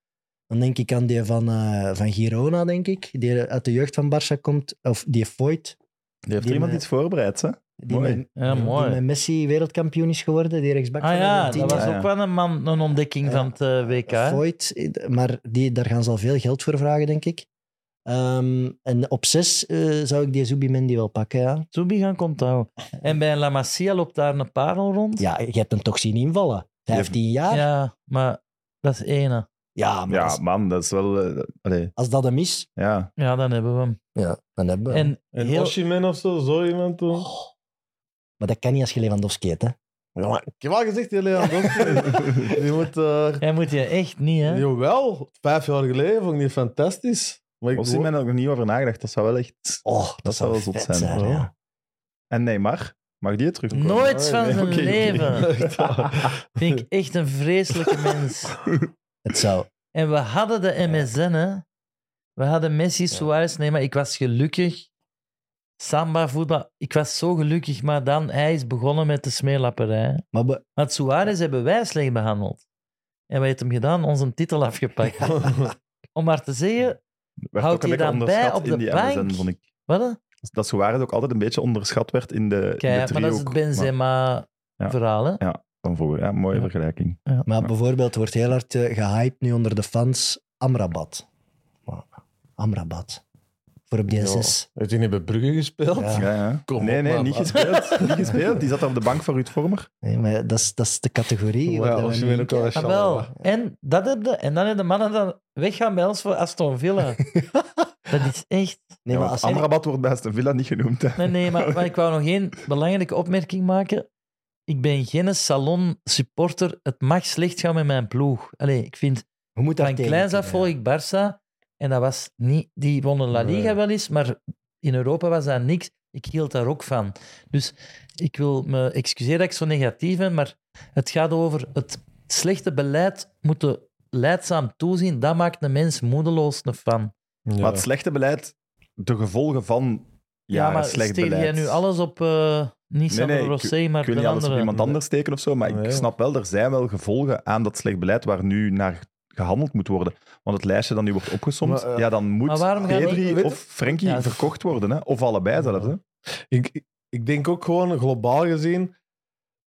Speaker 5: Dan denk ik aan die van, eh, van Girona, denk ik. Die uit de jeugd van Barça komt. Of die Foyt.
Speaker 1: Die heeft
Speaker 5: Die
Speaker 1: iemand
Speaker 5: met-
Speaker 1: iets voorbereid, hè?
Speaker 5: Die,
Speaker 1: Mooi.
Speaker 5: Met,
Speaker 3: Ja, mooi.
Speaker 5: die met Messi wereldkampioen is geworden. Die rechtsbak
Speaker 3: Ah
Speaker 5: van
Speaker 3: ja,
Speaker 5: Argentinië.
Speaker 3: dat was
Speaker 1: Ja, ja.
Speaker 3: ook wel een, man, een ontdekking
Speaker 5: Ja.
Speaker 3: van het eh, WK. hè?
Speaker 5: Voigt, maar die, daar gaan ze al veel geld voor vragen, denk ik. Ehm, en op zes eh, zou ik die Zubimendi wel pakken, ja.
Speaker 3: Zubi gaan komt houden. En bij La Masia loopt daar een parel rond.
Speaker 5: Ja, je hebt hem toch zien invallen.
Speaker 1: Ja.
Speaker 5: 15 jaar? Ja,
Speaker 3: Ja, maar dat is ene.
Speaker 5: maar
Speaker 1: Ja,
Speaker 5: Als,
Speaker 1: man, dat is wel... eh, dat- allee,
Speaker 5: als dat hem is,
Speaker 1: ja.
Speaker 3: Ja, dan hebben we hem.
Speaker 5: ja, dan hebben we hem.
Speaker 3: En,
Speaker 4: Een
Speaker 3: heel,
Speaker 4: Osimhen of zo, zo iemand toen.
Speaker 5: Oh. Maar dat kan niet als je Lewandowski heet, hè.
Speaker 4: Ja, maar ik heb al gezegd, die Lewandowski. die moet... eh,
Speaker 3: hij moet je echt niet, hè?
Speaker 4: jawel, vijf jaar geleden vond ik die fantastisch. Maar ik
Speaker 1: Osimhen had ik nog niet over nagedacht. Dat zou wel echt...
Speaker 5: Oh, dat,
Speaker 1: Dat zou
Speaker 5: zou
Speaker 1: wel
Speaker 5: vet
Speaker 1: zot zijn.
Speaker 5: zijn, ja.
Speaker 1: En Neymar? Mag die terugkomen?
Speaker 3: Nooit
Speaker 1: Nee,
Speaker 3: van
Speaker 1: nee,
Speaker 3: zijn
Speaker 1: oké, oké.
Speaker 3: leven.
Speaker 4: Echt waar.
Speaker 3: Vind ik echt een vreselijke mens.
Speaker 5: Het zou...
Speaker 3: En we hadden de MSN, hè. We hadden Messi, Suarez, nee, maar ik was gelukkig. Samba, voetbal, ik was zo gelukkig, maar dan, hij is begonnen met de smeerlapperij.
Speaker 5: Maar we-
Speaker 3: Want Suarez hebben wij slecht behandeld. En wat heeft hem gedaan? Onze titel afgepakt. Om maar te zeggen,
Speaker 1: Werd
Speaker 3: Houdt
Speaker 1: ook een
Speaker 3: hij
Speaker 1: beetje
Speaker 3: dan bij
Speaker 1: onderschat
Speaker 3: op de
Speaker 1: in die
Speaker 3: bank?
Speaker 1: MSN, vond ik.
Speaker 3: wat? hè?
Speaker 1: Dat Suarez ook altijd een beetje onderschat werd in de, de
Speaker 3: Kijk, maar dat is het
Speaker 1: driehoek, maar Ja.
Speaker 3: Benzema-verhaal, hè. Ah,
Speaker 1: van vroeger, ja, mooie
Speaker 3: Ja.
Speaker 1: vergelijking.
Speaker 5: Maar
Speaker 1: Ja.
Speaker 5: bijvoorbeeld wordt heel hard eh, gehyped nu onder de fans Amrabat. Maar, Amrabat. Voor op die
Speaker 4: Ja.
Speaker 5: zes.
Speaker 4: Heeft hij niet bij Brugge gespeeld?
Speaker 5: Ja.
Speaker 1: Ja, ja.
Speaker 4: Kom
Speaker 1: nee,
Speaker 4: op,
Speaker 1: nee,
Speaker 4: man.
Speaker 1: niet gespeeld. niet gespeeld. Die zat daar op de bank voor Ruud Vormer.
Speaker 5: Nee, maar dat is, dat is de categorie. waar dat we nu in kijken.
Speaker 3: Ah, wel. En, dat heb je- en dan hebben de mannen dan weggaan bij ons voor Aston Villa. dat is echt...
Speaker 5: Nee,
Speaker 1: Ja,
Speaker 5: maar
Speaker 1: want
Speaker 5: als
Speaker 1: Amrabat wordt bij Aston Villa niet genoemd. Hè.
Speaker 3: Nee, nee, maar, maar ik wou nog één belangrijke opmerking maken. Ik ben geen salon-supporter. Het mag slecht gaan met mijn ploeg. Allee, ik vind...
Speaker 5: Hoe moet dat
Speaker 3: Van
Speaker 5: tegen?
Speaker 3: kleins af volg ik Barça. En dat was niet... Die wonnen La Liga
Speaker 4: Nee.
Speaker 3: wel eens, maar in Europa was dat niks. Ik hield daar ook van. Dus ik wil me excuseren dat ik zo negatief ben, maar het gaat over het slechte beleid moeten leidzaam toezien. Dat maakt een mens moedeloos een fan.
Speaker 1: Maar het slechte beleid, de gevolgen van jaren slecht
Speaker 3: stel
Speaker 1: beleid.
Speaker 3: jij nu alles op eh niet
Speaker 1: Nee,
Speaker 3: Sandro
Speaker 1: nee, ik-
Speaker 3: Rosé, maar
Speaker 1: ik wil
Speaker 3: de
Speaker 1: niet alles op
Speaker 3: andere.
Speaker 1: iemand anders steken of zo, maar
Speaker 4: Nee.
Speaker 1: ik snap wel, er zijn wel gevolgen aan dat slecht beleid waar nu naar gehandeld moet worden. Want het lijstje dat nu wordt opgesomd,
Speaker 4: Maar, eh,
Speaker 1: ja, dan
Speaker 3: Maar
Speaker 1: moet
Speaker 3: waarom gaan die-
Speaker 1: Pedri
Speaker 4: weet-
Speaker 1: of Frenkie
Speaker 3: Ja,
Speaker 1: verkocht worden. Hè? Of allebei zelfs. Hè?
Speaker 4: Ik, ik- ik denk ook gewoon globaal gezien,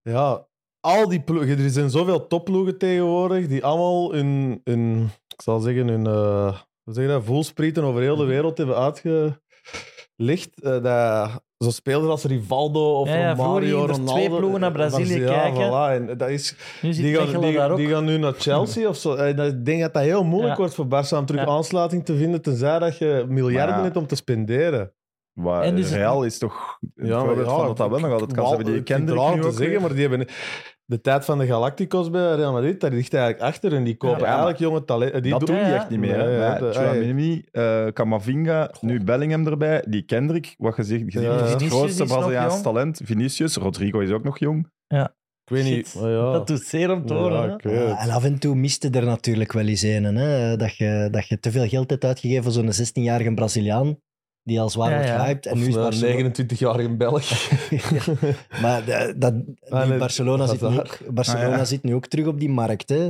Speaker 4: ja, al die ploegen, er zijn zoveel topploegen tegenwoordig die allemaal hun, hun ik zal zeggen, hun eh, hoe zeg je dat, voelsprieten over
Speaker 3: Mhm.
Speaker 4: heel de wereld hebben uitgelegd. eh dat, zo spelers als Rivaldo of
Speaker 3: Ja, ja,
Speaker 4: Romario,
Speaker 3: vroeger gingen er
Speaker 4: Ronaldo.
Speaker 3: twee ploegen naar
Speaker 4: eh,
Speaker 3: Brazilië
Speaker 4: ja,
Speaker 3: kijken.
Speaker 4: voilà, en dat is,
Speaker 3: Nu zit
Speaker 4: die, gaan,
Speaker 3: Mechelen
Speaker 4: die,
Speaker 3: daar ook.
Speaker 4: die gaan nu naar Chelsea of zo. Eh, dat- Ik denk dat dat heel moeilijk
Speaker 3: Ja.
Speaker 4: wordt voor Barca om terug
Speaker 3: Ja.
Speaker 4: aansluiting te vinden, tenzij dat je miljarden
Speaker 1: Maar ja.
Speaker 4: hebt om te spenderen.
Speaker 1: Maar
Speaker 3: En dus het-
Speaker 1: Real is toch een
Speaker 4: Ja, maar
Speaker 1: voorbeeld
Speaker 4: ja,
Speaker 1: van dat dat wel nog altijd kan hebben. Die
Speaker 4: ik vind
Speaker 1: kende
Speaker 4: het
Speaker 1: ik
Speaker 4: raar
Speaker 1: nu
Speaker 4: te
Speaker 1: ook
Speaker 4: zeggen,
Speaker 1: weer.
Speaker 4: maar die hebben de tijd van de Galacticos bij Real Madrid, daar ligt eigenlijk achter en die kopen
Speaker 1: Ja, maar
Speaker 4: eigenlijk jonge talenten. Die
Speaker 1: dat
Speaker 4: doen-
Speaker 1: doe je
Speaker 3: Ja,
Speaker 1: echt niet meer.
Speaker 4: Nee,
Speaker 1: hè.
Speaker 4: ja,
Speaker 1: Maar
Speaker 4: de-
Speaker 1: Tchouaméni, eh, Camavinga, nu Bellingham erbij, die Kendrick, wat gezegd, gezien
Speaker 4: Ja.
Speaker 1: is het
Speaker 3: Vinicius
Speaker 1: grootste
Speaker 3: is nog
Speaker 1: Braziliaans
Speaker 3: jong.
Speaker 1: talent. Vinicius, Rodrigo is ook nog jong.
Speaker 4: Ik weet niet.
Speaker 3: Shit.
Speaker 4: maar ja.
Speaker 3: Dat doet zeer om te horen.
Speaker 4: Ja,
Speaker 3: hè.
Speaker 4: ik weet het.
Speaker 5: en af en toe miste er natuurlijk wel eens een. Hè? Dat, je, dat je te veel geld hebt uitgegeven voor zo'n 16-jarige Braziliaan. Die al zwaar
Speaker 3: Ja,
Speaker 5: wordt
Speaker 3: ja.
Speaker 5: gehyped. En
Speaker 4: Of
Speaker 5: nu is
Speaker 4: een
Speaker 5: Barcelona...
Speaker 4: 29-jarige Belg.
Speaker 5: Maar de- dat,
Speaker 4: Ah,
Speaker 5: nu
Speaker 4: nee,
Speaker 5: Barcelona,
Speaker 4: dat
Speaker 5: zit
Speaker 4: is
Speaker 5: nu,
Speaker 4: waar.
Speaker 5: ook, Barcelona
Speaker 1: Ah, ja.
Speaker 5: zit nu ook terug op die markt. Hè?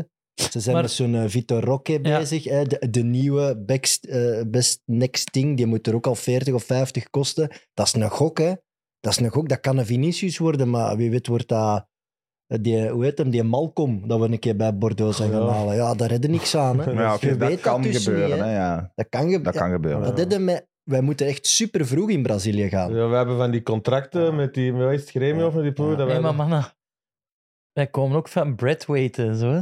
Speaker 5: Ze zijn
Speaker 3: Maar-
Speaker 5: met zo'n eh, Vitor Roque
Speaker 3: Ja.
Speaker 5: bezig. Hè? De, de nieuwe best, eh, best next thing. Die moet er ook al 40 of 50 kosten. Dat is een gok, hè. Dat is een gok. Dat kan een Vinicius worden, maar wie weet wordt dat... eh, Die, hoe heet hem? Die Malcolm, dat we een keer bij Bordeaux zijn gaan
Speaker 4: Ja.
Speaker 5: halen. Ja, daar redden niks aan. Hè.
Speaker 1: Maar ja, oké,
Speaker 5: Je
Speaker 1: dat
Speaker 5: weet
Speaker 1: kan
Speaker 5: dat dus
Speaker 1: gebeuren.
Speaker 5: niet, hè.
Speaker 1: hè, ja.
Speaker 5: Dat kan, ge-
Speaker 1: Dat kan gebeuren.
Speaker 5: Ja, dat deden met... Wij moeten echt super vroeg in Brazilië gaan.
Speaker 4: Ja, we hebben van die contracten met die, met wat is het gremio of met die ploeg?
Speaker 5: Ja.
Speaker 4: dat
Speaker 3: Nee,
Speaker 4: wij-
Speaker 3: maar mannen, wij komen ook van Bradwaite en zo. hè.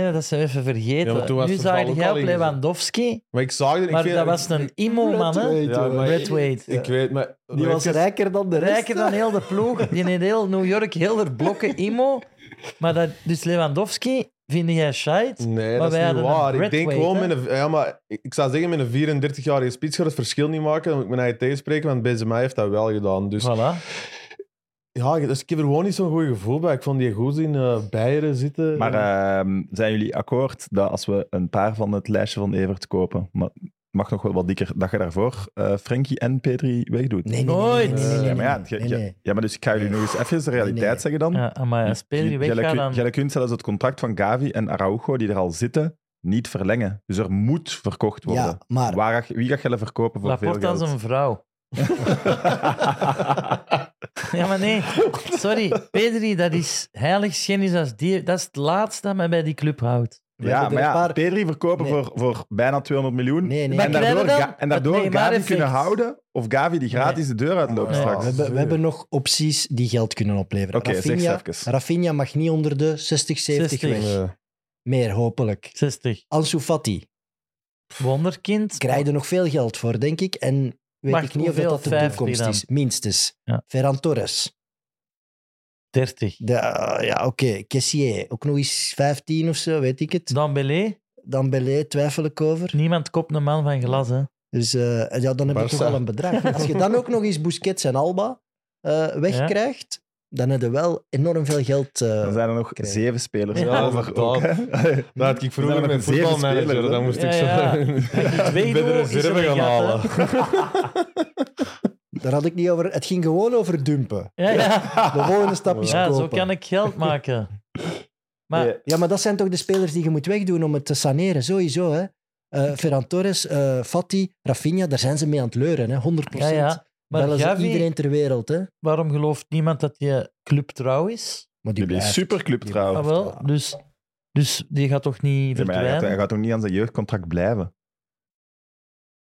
Speaker 3: Ja, dat zijn we even vergeten.
Speaker 4: Ja, maar toen was
Speaker 3: nu
Speaker 4: de
Speaker 3: zag
Speaker 4: val ook
Speaker 3: jij
Speaker 4: al
Speaker 3: op
Speaker 4: ingezet.
Speaker 3: Lewandowski,
Speaker 4: Maar ik zag het.
Speaker 3: maar
Speaker 4: ik weet,
Speaker 3: dat was een immo, man. hè.
Speaker 5: Redway,
Speaker 4: Ja,
Speaker 5: hoor.
Speaker 4: maar-
Speaker 3: Redway.
Speaker 4: Ik weet, maar...
Speaker 5: Die was
Speaker 4: Even-
Speaker 5: rijker dan de rest.
Speaker 3: Rijker dan heel de ploeg. Die in heel New York, heel de blokken immo. Maar dat, dus Lewandowski, vind jij shite?
Speaker 4: Nee,
Speaker 3: Maar
Speaker 4: dat
Speaker 3: wij
Speaker 4: is
Speaker 3: hadden een
Speaker 4: niet waar. Ik denk
Speaker 3: Breathwaite,
Speaker 4: gewoon
Speaker 3: hè?
Speaker 4: met een... Ja, maar ik, ik zou zeggen, met een 34-jarige spits gaat het verschil niet maken. Dan moet ik mijn eigen tegenspreken, want Benzema heeft dat wel gedaan. Dus
Speaker 3: Voilà.
Speaker 4: ja, dus ik heb er gewoon niet zo'n goed gevoel bij. Ik vond die goed in eh Beieren zitten.
Speaker 1: Maar ehm, zijn jullie akkoord dat als we een paar van het lijstje van Evert kopen, maar het mag nog wel wat dikker, dat je daarvoor eh Frenkie en Petri wegdoet?
Speaker 5: Nee, nee, nee,
Speaker 3: Nooit.
Speaker 5: Nee, nee, nee,
Speaker 1: Eh,
Speaker 5: nee,
Speaker 1: ja, maar ja,
Speaker 5: nee,
Speaker 1: ge-
Speaker 5: nee,
Speaker 1: ge-
Speaker 5: nee.
Speaker 1: ja, maar dus ik ga jullie nog eens even de realiteit
Speaker 5: Nee, nee.
Speaker 1: zeggen dan.
Speaker 3: Ja, maar als Pedri
Speaker 1: Jullie-
Speaker 3: weggaat,
Speaker 1: jullie-
Speaker 3: dan...
Speaker 1: jullie kunt zelfs het contract van Gavi en Araujo, die er al zitten, niet verlengen. Dus er moet verkocht worden.
Speaker 5: Ja, maar
Speaker 1: Waar, ga- wie gaat Gelle verkopen voor
Speaker 3: Laporte
Speaker 1: veel
Speaker 3: als
Speaker 1: geld?
Speaker 3: een vrouw. Ja, maar nee. Sorry, Pedri, dat is heiligschennis. Als die, dat is het laatste dat mij bij die club houdt.
Speaker 5: hebben
Speaker 1: ja,
Speaker 5: er
Speaker 1: maar ja,
Speaker 5: een paar-
Speaker 1: Pedri verkopen
Speaker 5: Nee.
Speaker 1: voor, voor bijna 200 miljoen.
Speaker 5: Nee, nee.
Speaker 3: Maar
Speaker 1: En
Speaker 5: nee.
Speaker 1: daardoor,
Speaker 3: Kleiner dan
Speaker 1: Ga- en
Speaker 3: het
Speaker 1: daardoor
Speaker 3: Neymar
Speaker 1: Gavi kunnen
Speaker 3: effect.
Speaker 1: houden, of Gavi die gratis de deur uitloopt
Speaker 4: Nee.
Speaker 5: we,
Speaker 1: straks.
Speaker 5: hebben, we hebben nog opties die geld kunnen
Speaker 1: eh,
Speaker 5: opleveren.
Speaker 1: Oké, zeg
Speaker 5: Rafinha,
Speaker 1: eens even.
Speaker 5: Rafinha mag niet onder de 60, 70
Speaker 3: 60.
Speaker 5: weg.
Speaker 4: Eh,
Speaker 5: Meer, hopelijk.
Speaker 3: 60.
Speaker 5: Ansu Fati.
Speaker 3: Wonderkind.
Speaker 5: Krijg je nog veel geld voor, denk ik. En weet
Speaker 3: Mag
Speaker 5: ik niet of
Speaker 3: hoeveel?
Speaker 5: dat de
Speaker 3: 50
Speaker 5: toekomst
Speaker 3: dan?
Speaker 5: is. Minstens.
Speaker 3: Ja.
Speaker 5: Ferran Torres.
Speaker 3: 30.
Speaker 5: De, eh, ja, oké. Kessier. Ook nog eens 15 of zo, weet ik het.
Speaker 3: Dambélé.
Speaker 5: Dan Belé twijfel ik over.
Speaker 3: Niemand kopt een man van glas, hè.
Speaker 5: Dus eh, ja, dan heb je
Speaker 4: Barca.
Speaker 5: toch al een bedrag. Als je dan ook nog eens Busquets en Alba eh, wegkrijgt, dan heb je wel enorm veel geld. eh,
Speaker 1: Dan zijn er nog
Speaker 5: Krijgen.
Speaker 1: zeven spelers
Speaker 4: Ja,
Speaker 1: over. Ook, hè?
Speaker 4: Daar had ik
Speaker 1: zijn
Speaker 4: vroeger
Speaker 1: er
Speaker 4: met
Speaker 1: nog zeven
Speaker 4: voetbalmanager,
Speaker 1: spelers,
Speaker 4: dan
Speaker 1: hè?
Speaker 4: moest
Speaker 3: Ja,
Speaker 4: ik zo
Speaker 3: ja.
Speaker 4: bij de
Speaker 3: doe, is
Speaker 4: reserve
Speaker 3: er een
Speaker 4: gaan
Speaker 3: gat, hè.
Speaker 4: halen.
Speaker 5: Daar had ik niet over. Het ging gewoon over dumpen.
Speaker 3: Ja, ja.
Speaker 5: De volgende stap is
Speaker 3: ja
Speaker 5: kopen.
Speaker 3: zo kan ik geld maken. Maar
Speaker 1: Nee.
Speaker 5: Ja, maar dat zijn toch de spelers die je moet wegdoen om het te saneren, sowieso. Hè? Eh, Ferran Torres, eh Fati, Rafinha, daar zijn ze mee aan het leuren, hè? 100%.
Speaker 3: ja, ja. Maar
Speaker 5: Bellen ze
Speaker 3: Gavi,
Speaker 5: iedereen ter wereld. Hè?
Speaker 3: waarom gelooft niemand dat je club trouw is?
Speaker 5: Maar die
Speaker 1: Jullie
Speaker 5: blijft.
Speaker 1: superclub
Speaker 5: Die
Speaker 1: trouwens.
Speaker 3: Ah, wel, dus, dus die gaat toch niet
Speaker 1: Ja, maar hij, gaat, hij
Speaker 3: verdwijnen?
Speaker 1: gaat ook niet aan zijn jeugdcontract blijven.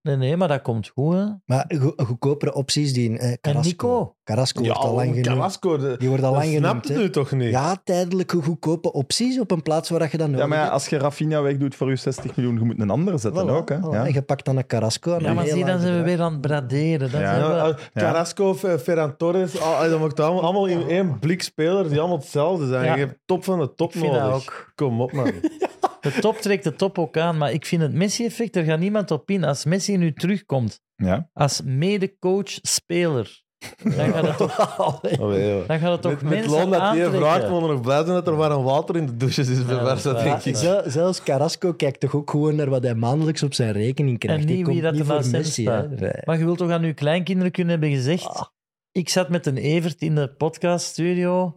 Speaker 3: Nee, nee, maar dat komt goed, hè.
Speaker 5: Maar go- goedkopere opties die in eh,
Speaker 3: En
Speaker 5: Carrasco.
Speaker 3: Nico? oh,
Speaker 5: Carrasco wordt al lang genoemd.
Speaker 4: Carrasco, dat
Speaker 5: Die wordt al
Speaker 4: dat
Speaker 5: lang genoemd.
Speaker 4: snapt
Speaker 5: hè.
Speaker 4: het nu toch niet?
Speaker 5: Ja, tijdelijke goedkope opties op een plaats waar dat je dan nodig
Speaker 1: Ja, maar ja,
Speaker 5: hebt.
Speaker 1: als je Rafinha wegdoet voor je 60 miljoen, je moet een andere zetten
Speaker 5: Voilà,
Speaker 1: ook. Hè?
Speaker 5: voilà.
Speaker 1: Ja.
Speaker 5: En je pakt dan een Carrasco. en
Speaker 3: Ja,
Speaker 5: een
Speaker 3: maar
Speaker 5: heel
Speaker 3: zie, dan
Speaker 5: laag
Speaker 3: zijn we
Speaker 5: bedrag.
Speaker 3: weer aan het braderen. Dan
Speaker 1: Ja.
Speaker 3: zijn we-
Speaker 4: Ja, eh, Carrasco, Fe- Ferran Torres, al- eh, dat maakt allemaal, allemaal in één blik spelers die allemaal hetzelfde zijn.
Speaker 3: Ja.
Speaker 4: Je hebt top van de top
Speaker 3: Ik vind dat
Speaker 4: nodig.
Speaker 3: ook.
Speaker 4: Kom op, man.
Speaker 3: De top trekt de top ook aan, maar ik vind het Messi-effect, er gaat niemand op in. Als Messi nu terugkomt,
Speaker 1: Ja.
Speaker 3: als mede-coach-speler, dan gaat het toch,
Speaker 4: Allee, joh.
Speaker 3: dan gaat het toch
Speaker 4: Met, met
Speaker 3: mensen
Speaker 4: loon dat die
Speaker 3: aantrekken.
Speaker 4: vraagt, moet er nog blij zijn dat er warm water in de douches is ververst.
Speaker 3: dat
Speaker 4: dat
Speaker 3: is
Speaker 4: denk
Speaker 3: waar.
Speaker 4: ik.
Speaker 5: Zel- zelfs Carrasco kijkt toch ook gewoon naar wat hij maandelijks op zijn rekening krijgt.
Speaker 3: En
Speaker 5: Die
Speaker 3: niet
Speaker 5: komt
Speaker 3: wie dat
Speaker 5: niet
Speaker 3: er
Speaker 5: voor
Speaker 3: naast hem
Speaker 5: Messi,
Speaker 3: staat.
Speaker 5: hè. Nee.
Speaker 3: Maar je wilt toch aan uw kleinkinderen kunnen hebben gezegd...
Speaker 5: Ah.
Speaker 3: Ik zat met een Evert in de podcaststudio.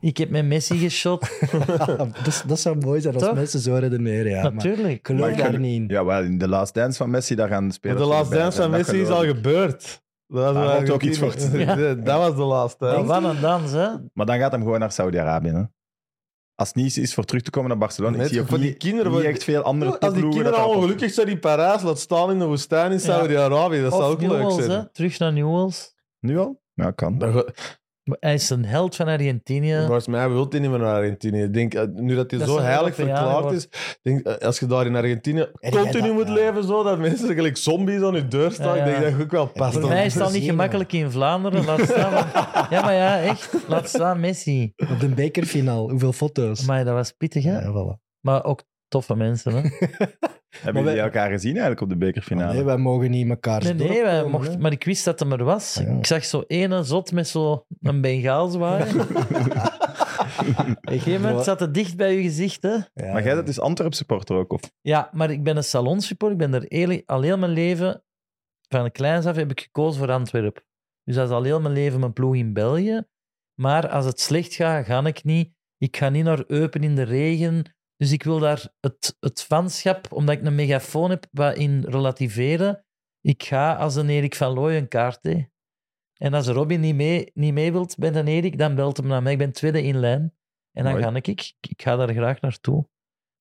Speaker 3: Ik heb met Messi geshot.
Speaker 5: dat, dat zou mooi zijn als
Speaker 3: Toch?
Speaker 5: mensen zo redeneren. Ja, maar ik
Speaker 3: Natuurlijk.
Speaker 5: geloof
Speaker 1: Maar ik
Speaker 5: daar
Speaker 1: geloof-
Speaker 5: niet in.
Speaker 1: ja, wel, in de last dance van Messi, daar gaan de
Speaker 4: Maar
Speaker 1: spelers.
Speaker 4: de laatste
Speaker 1: bij
Speaker 4: dance
Speaker 1: zijn,
Speaker 4: van
Speaker 1: dat
Speaker 4: Messi is al
Speaker 1: geloof ik.
Speaker 4: gebeurd. Dat
Speaker 1: Daar
Speaker 4: was
Speaker 1: komt ook iets voor te
Speaker 3: zeggen.
Speaker 4: Dat was de laatste. hè.
Speaker 3: Ja, Wat een dans, hè?
Speaker 1: Maar dan gaat hem gewoon naar Saudi-Arabië. hè. Als het niet is voor terug te komen naar Barcelona.
Speaker 4: Net
Speaker 1: ik zie ook
Speaker 4: van die
Speaker 1: niet-
Speaker 4: kinderen,
Speaker 1: niet
Speaker 4: want-
Speaker 1: echt veel andere
Speaker 4: Als die
Speaker 1: topploegen
Speaker 4: kinderen
Speaker 1: dat
Speaker 4: allemaal
Speaker 1: dat-
Speaker 4: gelukkig zijn in Parijs, laat staan in de woestijn in Saudi-Arabië. Dat
Speaker 3: Of
Speaker 4: zou ook leuk
Speaker 3: Newell's,
Speaker 4: zijn.
Speaker 3: hè? Terug naar Newell's.
Speaker 1: Nu al? Ja, kan.
Speaker 4: Dan ga-
Speaker 3: Maar Hij is een held van Argentinië.
Speaker 4: Volgens mij wil hij niet meer naar Argentinië. Ik denk, eh, nu dat hij
Speaker 3: Dat
Speaker 4: zo
Speaker 3: is een
Speaker 4: heilig
Speaker 3: Europeaan,
Speaker 4: verklaard is, denk, eh, als je daar in Argentinië
Speaker 5: jij
Speaker 4: continu
Speaker 5: dat-
Speaker 4: moet
Speaker 5: ja.
Speaker 4: leven, zo, dat mensen gelijk zombies aan je deur staan,
Speaker 3: Ja, ja.
Speaker 4: ik denk dat je ook wel past.
Speaker 5: Voor
Speaker 3: Voor
Speaker 4: op-
Speaker 3: mij is
Speaker 5: dat
Speaker 3: dat niet
Speaker 5: gezien,
Speaker 3: gemakkelijk in Vlaanderen. Laat staan. want- Ja, maar ja, echt. Laat staan Messi.
Speaker 5: Op de bekerfinaal, hoeveel foto's.
Speaker 3: Maar dat was pittig, hè?
Speaker 5: Ja, voilà.
Speaker 3: Maar ook toffe mensen, hè?
Speaker 1: Hebben
Speaker 5: wij-
Speaker 1: jullie elkaar gezien eigenlijk op de bekerfinale?
Speaker 5: Nee, wij mogen niet elkaar
Speaker 3: Nee, nee, wij mochten, maar ik wist dat hem er was.
Speaker 5: Ah, ja.
Speaker 3: Ik zag zo ene zot met zo'n Bengaal zwaaien. Op een gegeven moment zat het dicht bij je gezicht, hè?
Speaker 1: maar jij bent dus Antwerp supporter ook, of?
Speaker 3: Ja, maar ik ben een salonsupporter. Ik ben er eerlijk, al heel mijn leven, van kleins af, heb ik gekozen voor Antwerpen. Dus dat is al heel mijn leven mijn ploeg in België. Maar als het slecht gaat, ga ik niet. Ik ga niet naar Eupen in de regen. Dus ik wil daar het, het fanschap, omdat ik een megafoon heb, wat in relativeren. Ik ga als een Erik van Looy een kaart. Hè. En als Robin niet mee, niet mee wilt met een Erik, dan belt hem naar mij. Ik ben tweede in lijn. En dan
Speaker 1: Mooi.
Speaker 3: ga ik. Ik ik ga daar graag naartoe.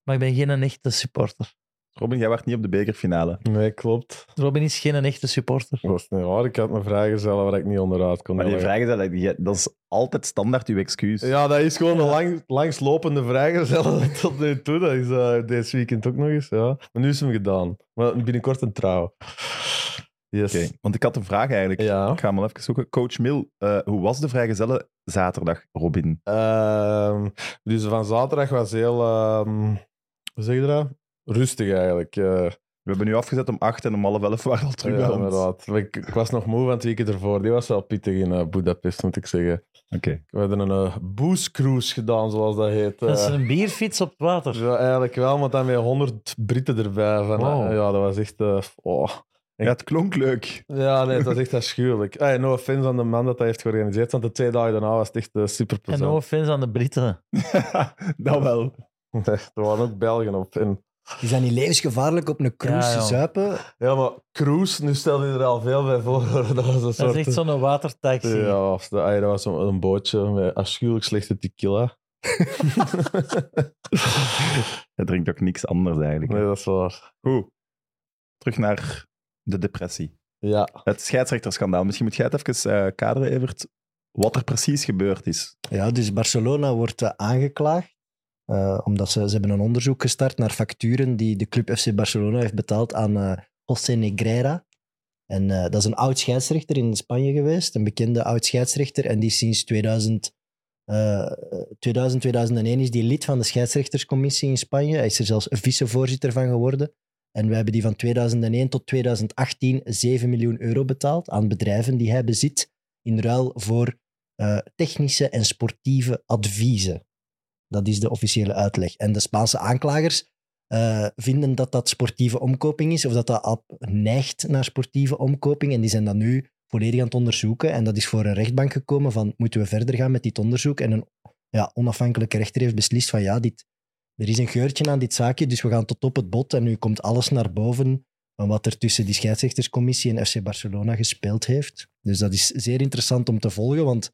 Speaker 3: Maar ik ben geen echte supporter.
Speaker 1: Robin, jij werd niet op de bekerfinale.
Speaker 4: Nee, klopt.
Speaker 3: Robin is geen een echte supporter.
Speaker 4: Dat is niet waar. Ik had me vrijgezellen waar ik niet onderuit kon.
Speaker 1: Maar die
Speaker 4: Heel erg.
Speaker 1: vrijgezel, die- dat is altijd standaard uw excuus.
Speaker 4: Ja, dat is gewoon een lang, langslopende vrijgezellen tot nu toe. Dat is eh, deze weekend ook nog eens. Ja. Maar nu is hem gedaan. Maar binnenkort een trouw. Yes.
Speaker 1: Oké, want ik had een vraag eigenlijk.
Speaker 4: Ja.
Speaker 1: Ik ga hem al even zoeken. Coach Mil, eh, hoe was de vrijgezellen zaterdag, Robin?
Speaker 4: Ehm, dus van zaterdag was heel, ehm, hoe zeg je dat? Rustig eigenlijk. eh.
Speaker 1: We hebben nu afgezet om acht en om half elf waren we al terug
Speaker 4: ja,
Speaker 1: bij ons. Oké.
Speaker 4: inderdaad. Ik, ik was nog moe van het weekend ervoor. Die was wel pittig in eh, Budapest, moet ik zeggen. We hadden een eh, booze cruise gedaan, zoals dat heet.
Speaker 3: Dat is
Speaker 4: eh.
Speaker 3: een bierfiets op het water.
Speaker 4: Ja, eigenlijk wel, maar dan weer 100 Britten erbij. Van, eh,
Speaker 1: Wow.
Speaker 4: Ja, dat was echt... eh, oh.
Speaker 1: Ja, het klonk leuk.
Speaker 4: Ja, nee, het was echt afschuwelijk. Ah, Hey, no offense aan de man dat dat heeft georganiseerd, want de twee dagen daarna was het echt eh, super
Speaker 3: En no offense aan de Britten.
Speaker 1: dat wel.
Speaker 4: Er waren ook Belgen op. En
Speaker 5: Is dat niet levensgevaarlijk op een cruise
Speaker 3: Ja,
Speaker 5: te
Speaker 3: ja.
Speaker 5: zuipen?
Speaker 4: Ja, maar cruise, nu stelde je er al veel bij voor. Dat was een soort...
Speaker 3: Dat is echt zo'n watertaxi.
Speaker 4: Ja, was de- ah, dat was een, een bootje met afschuwelijk slechte tequila.
Speaker 1: Hij drinkt ook niks anders eigenlijk.
Speaker 4: Nee, dat is waar.
Speaker 1: Goed. Terug naar de depressie.
Speaker 4: Ja.
Speaker 1: Het scheidsrechterschandaal. Misschien moet jij het even eh, kaderen, Evert, wat er precies gebeurd is.
Speaker 5: Ja, dus Barcelona wordt eh, aangeklaagd. eh, omdat ze, ze hebben een onderzoek gestart naar facturen die de club FC Barcelona heeft betaald aan eh José Negreira. En eh, dat is een oud scheidsrechter in Spanje geweest, een bekende oud scheidsrechter. En die is sinds 2000, eh, 2000, 2001 is die lid van de scheidsrechterscommissie in Spanje. Hij is er zelfs vicevoorzitter van geworden. En we hebben die van 2001 tot 2018 7 miljoen euro betaald aan bedrijven die hij bezit. In ruil voor eh, technische en sportieve adviezen. Dat is de officiële uitleg. En de Spaanse aanklagers eh, vinden dat dat sportieve omkoping is, of dat dat ab- neigt naar sportieve omkoping. En die zijn dat nu volledig aan het onderzoeken. En dat is voor een rechtbank gekomen van, moeten we verder gaan met dit onderzoek? En een ja, onafhankelijke rechter heeft beslist van, ja, dit, er is een geurtje aan dit zaakje, dus we gaan tot op het bot. En nu komt alles naar boven van wat er tussen die scheidsrechterscommissie en FC Barcelona gespeeld heeft. Dus dat is zeer interessant om te volgen, want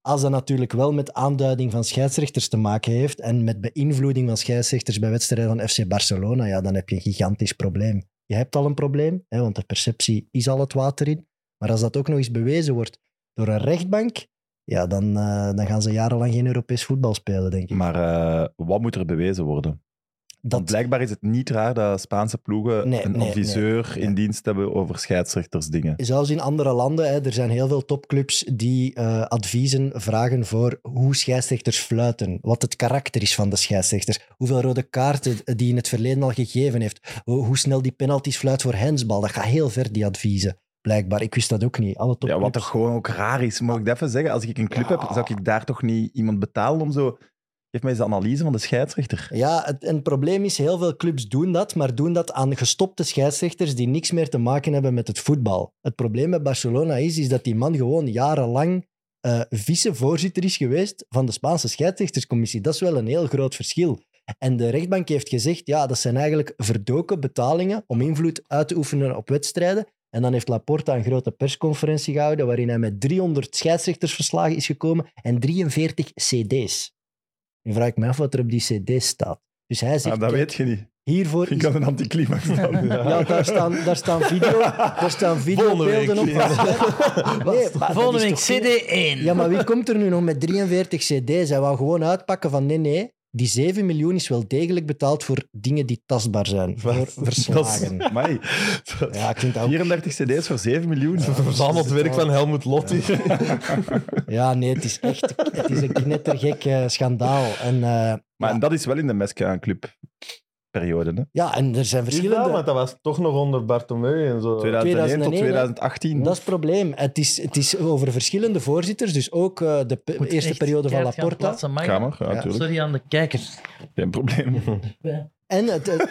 Speaker 5: als dat natuurlijk wel met aanduiding van scheidsrechters te maken heeft en met beïnvloeding van scheidsrechters bij wedstrijden van FC Barcelona, ja, dan heb je een gigantisch probleem. Je hebt al een probleem, hè, want de perceptie is al het water in. Maar als dat ook nog eens bewezen wordt door een rechtbank, ja, dan, eh, dan gaan ze jarenlang geen Europees voetbal spelen, denk ik.
Speaker 1: Maar eh, wat moet er bewezen worden? Want
Speaker 5: Dat,
Speaker 1: blijkbaar is het niet raar dat Spaanse ploegen
Speaker 5: Nee,
Speaker 1: een
Speaker 5: nee,
Speaker 1: adviseur
Speaker 5: nee.
Speaker 1: in dienst hebben over scheidsrechtersdingen.
Speaker 5: zelfs in andere landen, hè, er zijn heel veel topclubs die eh, adviezen vragen voor hoe scheidsrechters fluiten, wat het karakter is van de scheidsrechter, hoeveel rode kaarten die in het verleden al gegeven heeft, hoe, hoe snel die penalties fluit voor hensbal. Dat gaat heel ver, die adviezen, blijkbaar. Ik wist dat ook niet. Alle
Speaker 1: Ja,
Speaker 5: topclubs...
Speaker 1: wat toch gewoon ook raar is. Mag ik dat even zeggen? Als ik een club heb, zou ik daar toch niet iemand betalen om zo... Geef mij eens de analyse van de scheidsrechter.
Speaker 5: Ja, het, en het probleem is, heel veel clubs doen dat, maar doen dat aan gestopte scheidsrechters die niks meer te maken hebben met het voetbal. Het probleem met Barcelona is, is dat die man gewoon jarenlang eh vicevoorzitter is geweest van de Spaanse scheidsrechterscommissie. Dat is wel een heel groot verschil. En de rechtbank heeft gezegd, ja, dat zijn eigenlijk verdoken betalingen om invloed uit te oefenen op wedstrijden. En dan heeft Laporta een grote persconferentie gehouden waarin hij met 300 scheidsrechtersverslagen is gekomen en 43 cd's. Nu vraag ik me af wat er op die cd's staat. Dus hij zegt,
Speaker 1: Ah, dat
Speaker 5: kijk,
Speaker 1: weet je niet.
Speaker 5: hiervoor
Speaker 1: Ik
Speaker 5: is...
Speaker 1: kan een anticlimax dan.
Speaker 5: Ja, daar staan, daar staan video, daar staan videobeelden op.
Speaker 4: Volgende
Speaker 5: Nee, maar dat
Speaker 3: Volgende
Speaker 5: is
Speaker 3: week
Speaker 5: toch geen-
Speaker 3: CD1.
Speaker 5: Ja, maar wie komt er nu nog met 43 cd's? Hij wou gewoon uitpakken van nee, nee. Die 7 miljoen is wel degelijk betaald voor dingen die tastbaar zijn. Voor verslagen.
Speaker 1: Amai,
Speaker 5: Ja, ik vind dat ook-
Speaker 1: 34 cd's voor 7 miljoen.
Speaker 4: Verzameld werk van Helmut Lotti.
Speaker 5: Ja, nee, het is echt het is een knettergek eh, schandaal. En, eh,
Speaker 1: Maar
Speaker 5: Ja.
Speaker 1: en dat is wel in de Mesca club periode. Hè?
Speaker 5: ja, en er zijn
Speaker 4: Ja,
Speaker 5: verschillende...
Speaker 4: want dat was toch nog onder Bartomeu en zo.
Speaker 1: 2001 tot
Speaker 5: 2001, hè?
Speaker 1: 2018.
Speaker 5: Dat is het probleem. Het is, het is over verschillende voorzitters. Dus ook eh, de pe-
Speaker 3: Moet
Speaker 5: eerste
Speaker 3: echt
Speaker 5: periode van
Speaker 3: keihard gaan
Speaker 5: Laporta.
Speaker 3: plaatsen, mag ik?
Speaker 1: Kamer, ja,
Speaker 5: Ja,
Speaker 1: natuurlijk.
Speaker 3: Sorry aan de kijkers.
Speaker 1: Geen probleem.
Speaker 5: En het, het,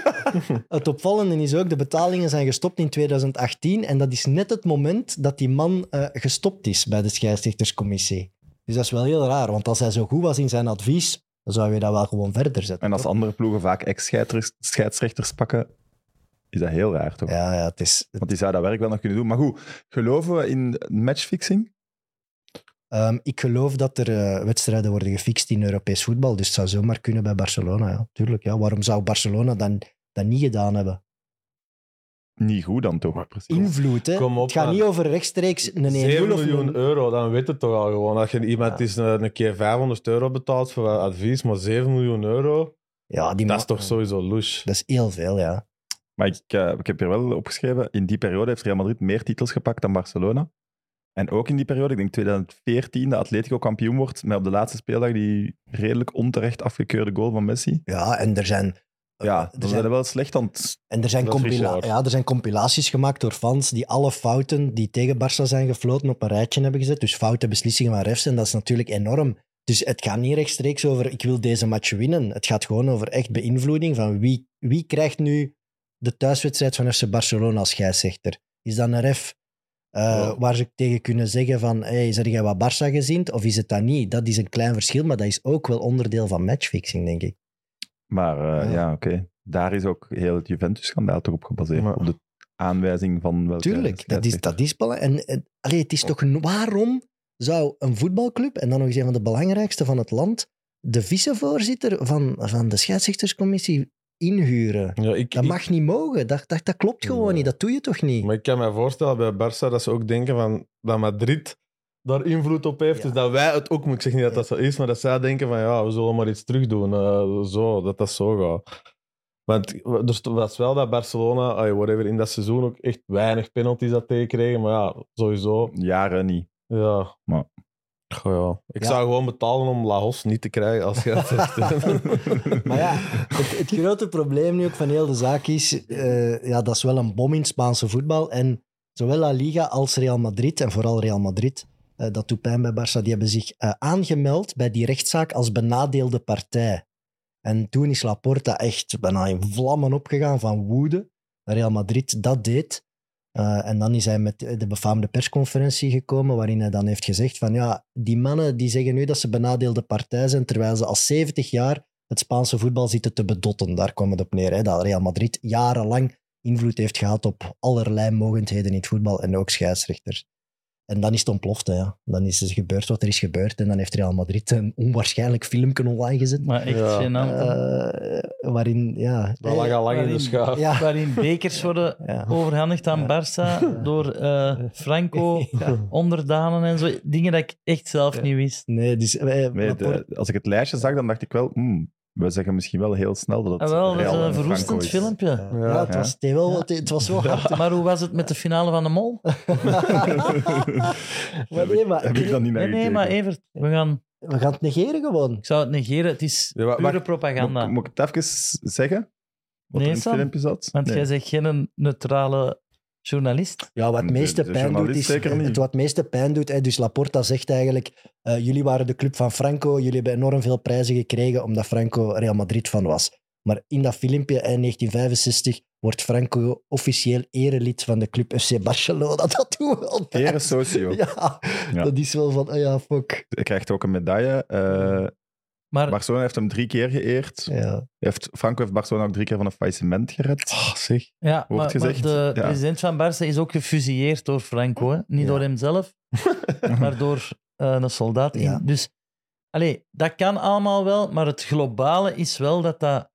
Speaker 5: het opvallende is ook, de betalingen zijn gestopt in 2018. En dat is net het moment dat die man eh, gestopt is bij de scheidsrechterscommissie. Dus dat is wel heel raar, want als hij zo goed was in zijn advies, dan zou je dat wel gewoon verder zetten.
Speaker 1: En als andere ploegen vaak ex-scheidsrechters pakken, is dat heel raar toch?
Speaker 5: toch? Ja, ja, het is...
Speaker 1: Want die zou dat werk wel nog kunnen doen. Maar goed, geloven we in matchfixing?
Speaker 5: ehm, ik geloof dat er eh, wedstrijden worden gefixt in Europees voetbal, dus het zou zomaar kunnen bij Barcelona. Ja, tuurlijk. Ja. Waarom zou Barcelona dan dat niet gedaan hebben.
Speaker 1: Niet goed dan toch? precies.
Speaker 5: Invloed, hè.
Speaker 4: Kom op,
Speaker 5: het gaat
Speaker 4: man.
Speaker 5: niet over rechtstreeks een 1-0
Speaker 4: 7
Speaker 5: of
Speaker 4: miljoen
Speaker 5: een...
Speaker 4: euro, dan weet het toch al gewoon. Dat je iemand
Speaker 5: Ja.
Speaker 4: is eh, een, een keer 500 euro betaalt voor wat advies, maar 7 miljoen euro,
Speaker 5: Ja, die
Speaker 4: dat is
Speaker 5: man-
Speaker 4: toch sowieso louche.
Speaker 5: Dat is heel veel, ja.
Speaker 1: Maar ik, eh, ik heb hier wel opgeschreven, in die periode heeft Real Madrid meer titels gepakt dan Barcelona. En ook in die periode, ik denk 2014, dat Atletico kampioen wordt, met op de laatste speeldag die redelijk onterecht afgekeurde goal van Messi.
Speaker 5: Ja, en er zijn... eh,
Speaker 1: Ja,
Speaker 5: er
Speaker 1: dan zijn
Speaker 5: zijn,
Speaker 1: we wel slecht aan het...
Speaker 5: en er zijn,
Speaker 4: Dat is
Speaker 5: compila-
Speaker 4: bizar.
Speaker 5: ja, er zijn compilaties gemaakt door fans die alle fouten die tegen Barça zijn gefloten op een rijtje hebben gezet. Dus foute beslissingen van refs, en dat is natuurlijk enorm. Dus het gaat niet rechtstreeks over ik wil deze match winnen. Het gaat gewoon over echt beïnvloeding van wie, wie krijgt nu de thuiswedstrijd van FC Barcelona als scheidsrechter. Is dat een ref eh,
Speaker 4: Ja.
Speaker 5: waar ze tegen kunnen zeggen van hey, zeg jij wat Barça gezind of is het dat niet? Dat is een klein verschil, maar dat is ook wel onderdeel van matchfixing, denk ik.
Speaker 1: Maar eh,
Speaker 5: Ja.
Speaker 1: ja, oké. Daar is ook heel het Juventus-schandaal toch op gebaseerd.
Speaker 4: Maar-
Speaker 1: Op de aanwijzing van welke...
Speaker 5: Tuurlijk, dat is, Oh. dat is belangrijk. En, en, allee, het is toch... een- Waarom zou een voetbalclub, en dan nog eens een van de belangrijkste van het land, de vicevoorzitter van, van de scheidsrechterscommissie inhuren?
Speaker 4: Ja, ik,
Speaker 5: Dat
Speaker 4: ik-
Speaker 5: mag niet mogen. Dat, dat, dat klopt gewoon
Speaker 4: Nee.
Speaker 5: niet. Dat doe je toch niet?
Speaker 4: maar ik kan me voorstellen bij Barça dat ze ook denken van, dat Madrid daar invloed op heeft.
Speaker 5: Ja.
Speaker 4: Dus dat wij het ook, maar ik zeg niet dat dat zo is, maar dat zij denken van ja, we zullen maar iets terugdoen. eh, zo, dat dat zo gaat. Want er st- was wel dat Barcelona, ay, whatever, in dat seizoen ook echt weinig penalties had tegenkregen. Maar ja, sowieso.
Speaker 1: Jaren niet.
Speaker 4: Ja.
Speaker 1: Maar-
Speaker 4: Goh, ja. Ik
Speaker 5: Ja.
Speaker 4: zou gewoon betalen om Laos niet te krijgen als je
Speaker 5: Maar ja, het, het grote probleem nu ook van heel de zaak is, eh, ja, dat is wel een bom in het Spaanse voetbal. En zowel La Liga als Real Madrid, en vooral Real Madrid, eh, dat doet pijn bij Barça, die hebben zich eh, aangemeld bij die rechtszaak als benadeelde partij. En toen is Laporta echt bijna in vlammen opgegaan van woede. Real Madrid dat deed. Eh, en dan is hij met de befaamde persconferentie gekomen, waarin hij dan heeft gezegd van ja, die mannen die zeggen nu dat ze benadeelde partij zijn, terwijl ze al 70 jaar het Spaanse voetbal zitten te bedotten. Daar kwam het op neer. Hè? Dat Real Madrid jarenlang invloed heeft gehad op allerlei mogendheden in het voetbal en ook scheidsrechters. En dan is het ontploft. Hè, ja. Dan is het gebeurd wat er is gebeurd. En dan heeft Real Madrid een onwaarschijnlijk filmpje online gezet.
Speaker 3: Maar echt
Speaker 4: Ja.
Speaker 3: gênant. hè.
Speaker 5: eh, waarin, ja...
Speaker 4: Dat lag al lang in de schaaf.
Speaker 5: Ja.
Speaker 3: Waarin bekers worden
Speaker 5: Ja.
Speaker 3: overhandigd aan Barça door eh, Franco, onderdanen en zo. Dingen dat ik echt zelf niet wist.
Speaker 5: Nee, dus... eh,
Speaker 1: Nee,
Speaker 5: Laporte-
Speaker 1: de- als ik het lijstje zag, dan dacht ik wel... hmm, we zeggen misschien wel heel snel dat het
Speaker 3: Ah, wel, dat is
Speaker 1: Real en
Speaker 3: een
Speaker 1: Franco
Speaker 3: verwoestend
Speaker 1: is.
Speaker 3: filmpje.
Speaker 5: ja, het, was, het, wel, het, het was zo hard.
Speaker 3: Maar hoe was het met de finale van de Mol?
Speaker 5: maar nee, maar
Speaker 1: Heb ik dan niet naar
Speaker 3: Nee, nee, maar
Speaker 1: gekeken.
Speaker 3: Evert, we gaan,
Speaker 5: we gaan het negeren gewoon.
Speaker 3: ik zou het negeren. Het is
Speaker 4: Ja, wa-
Speaker 3: pure
Speaker 4: wacht.
Speaker 3: propaganda.
Speaker 1: Moet, moet ik het even zeggen? Wat
Speaker 3: Nee,
Speaker 1: er in het
Speaker 3: Sam.
Speaker 1: filmpje zat?
Speaker 3: Want
Speaker 1: Nee.
Speaker 3: jij bent geen neutrale journalist.
Speaker 5: Ja, wat het
Speaker 1: De-
Speaker 5: meeste
Speaker 1: de
Speaker 5: pijn doet,
Speaker 1: journalist
Speaker 5: is,
Speaker 1: zeker niet.
Speaker 5: het wat het meeste pijn doet. Hè, dus Laporta zegt eigenlijk, eh, jullie waren de club van Franco, jullie hebben enorm veel prijzen gekregen omdat Franco Real Madrid van was. Maar in dat filmpje in 1965 wordt Franco officieel erelid van de club FC Barcelona. Dat doen we al.
Speaker 1: Tere socio.
Speaker 5: Ja,
Speaker 1: Ja.
Speaker 5: dat is wel van, ah ja, fuck.
Speaker 1: Hij krijgt ook een medaille. Eh
Speaker 3: Maar
Speaker 1: Barcelona heeft hem drie keer geëerd.
Speaker 5: Ja.
Speaker 1: Heeft, Franco heeft Barcelona ook drie keer van een faillissement gered.
Speaker 4: Ah, zeg.
Speaker 3: Ja, maar,
Speaker 1: Wordt
Speaker 3: maar
Speaker 1: gezegd,
Speaker 3: de
Speaker 1: ja.
Speaker 3: president van Barça is ook gefusilleerd door Franco. Hè? Niet
Speaker 5: Ja.
Speaker 3: door hemzelf, maar door eh, een soldaat. in-
Speaker 5: Ja.
Speaker 3: Dus allee, dat kan allemaal wel, maar het globale is wel dat, dat,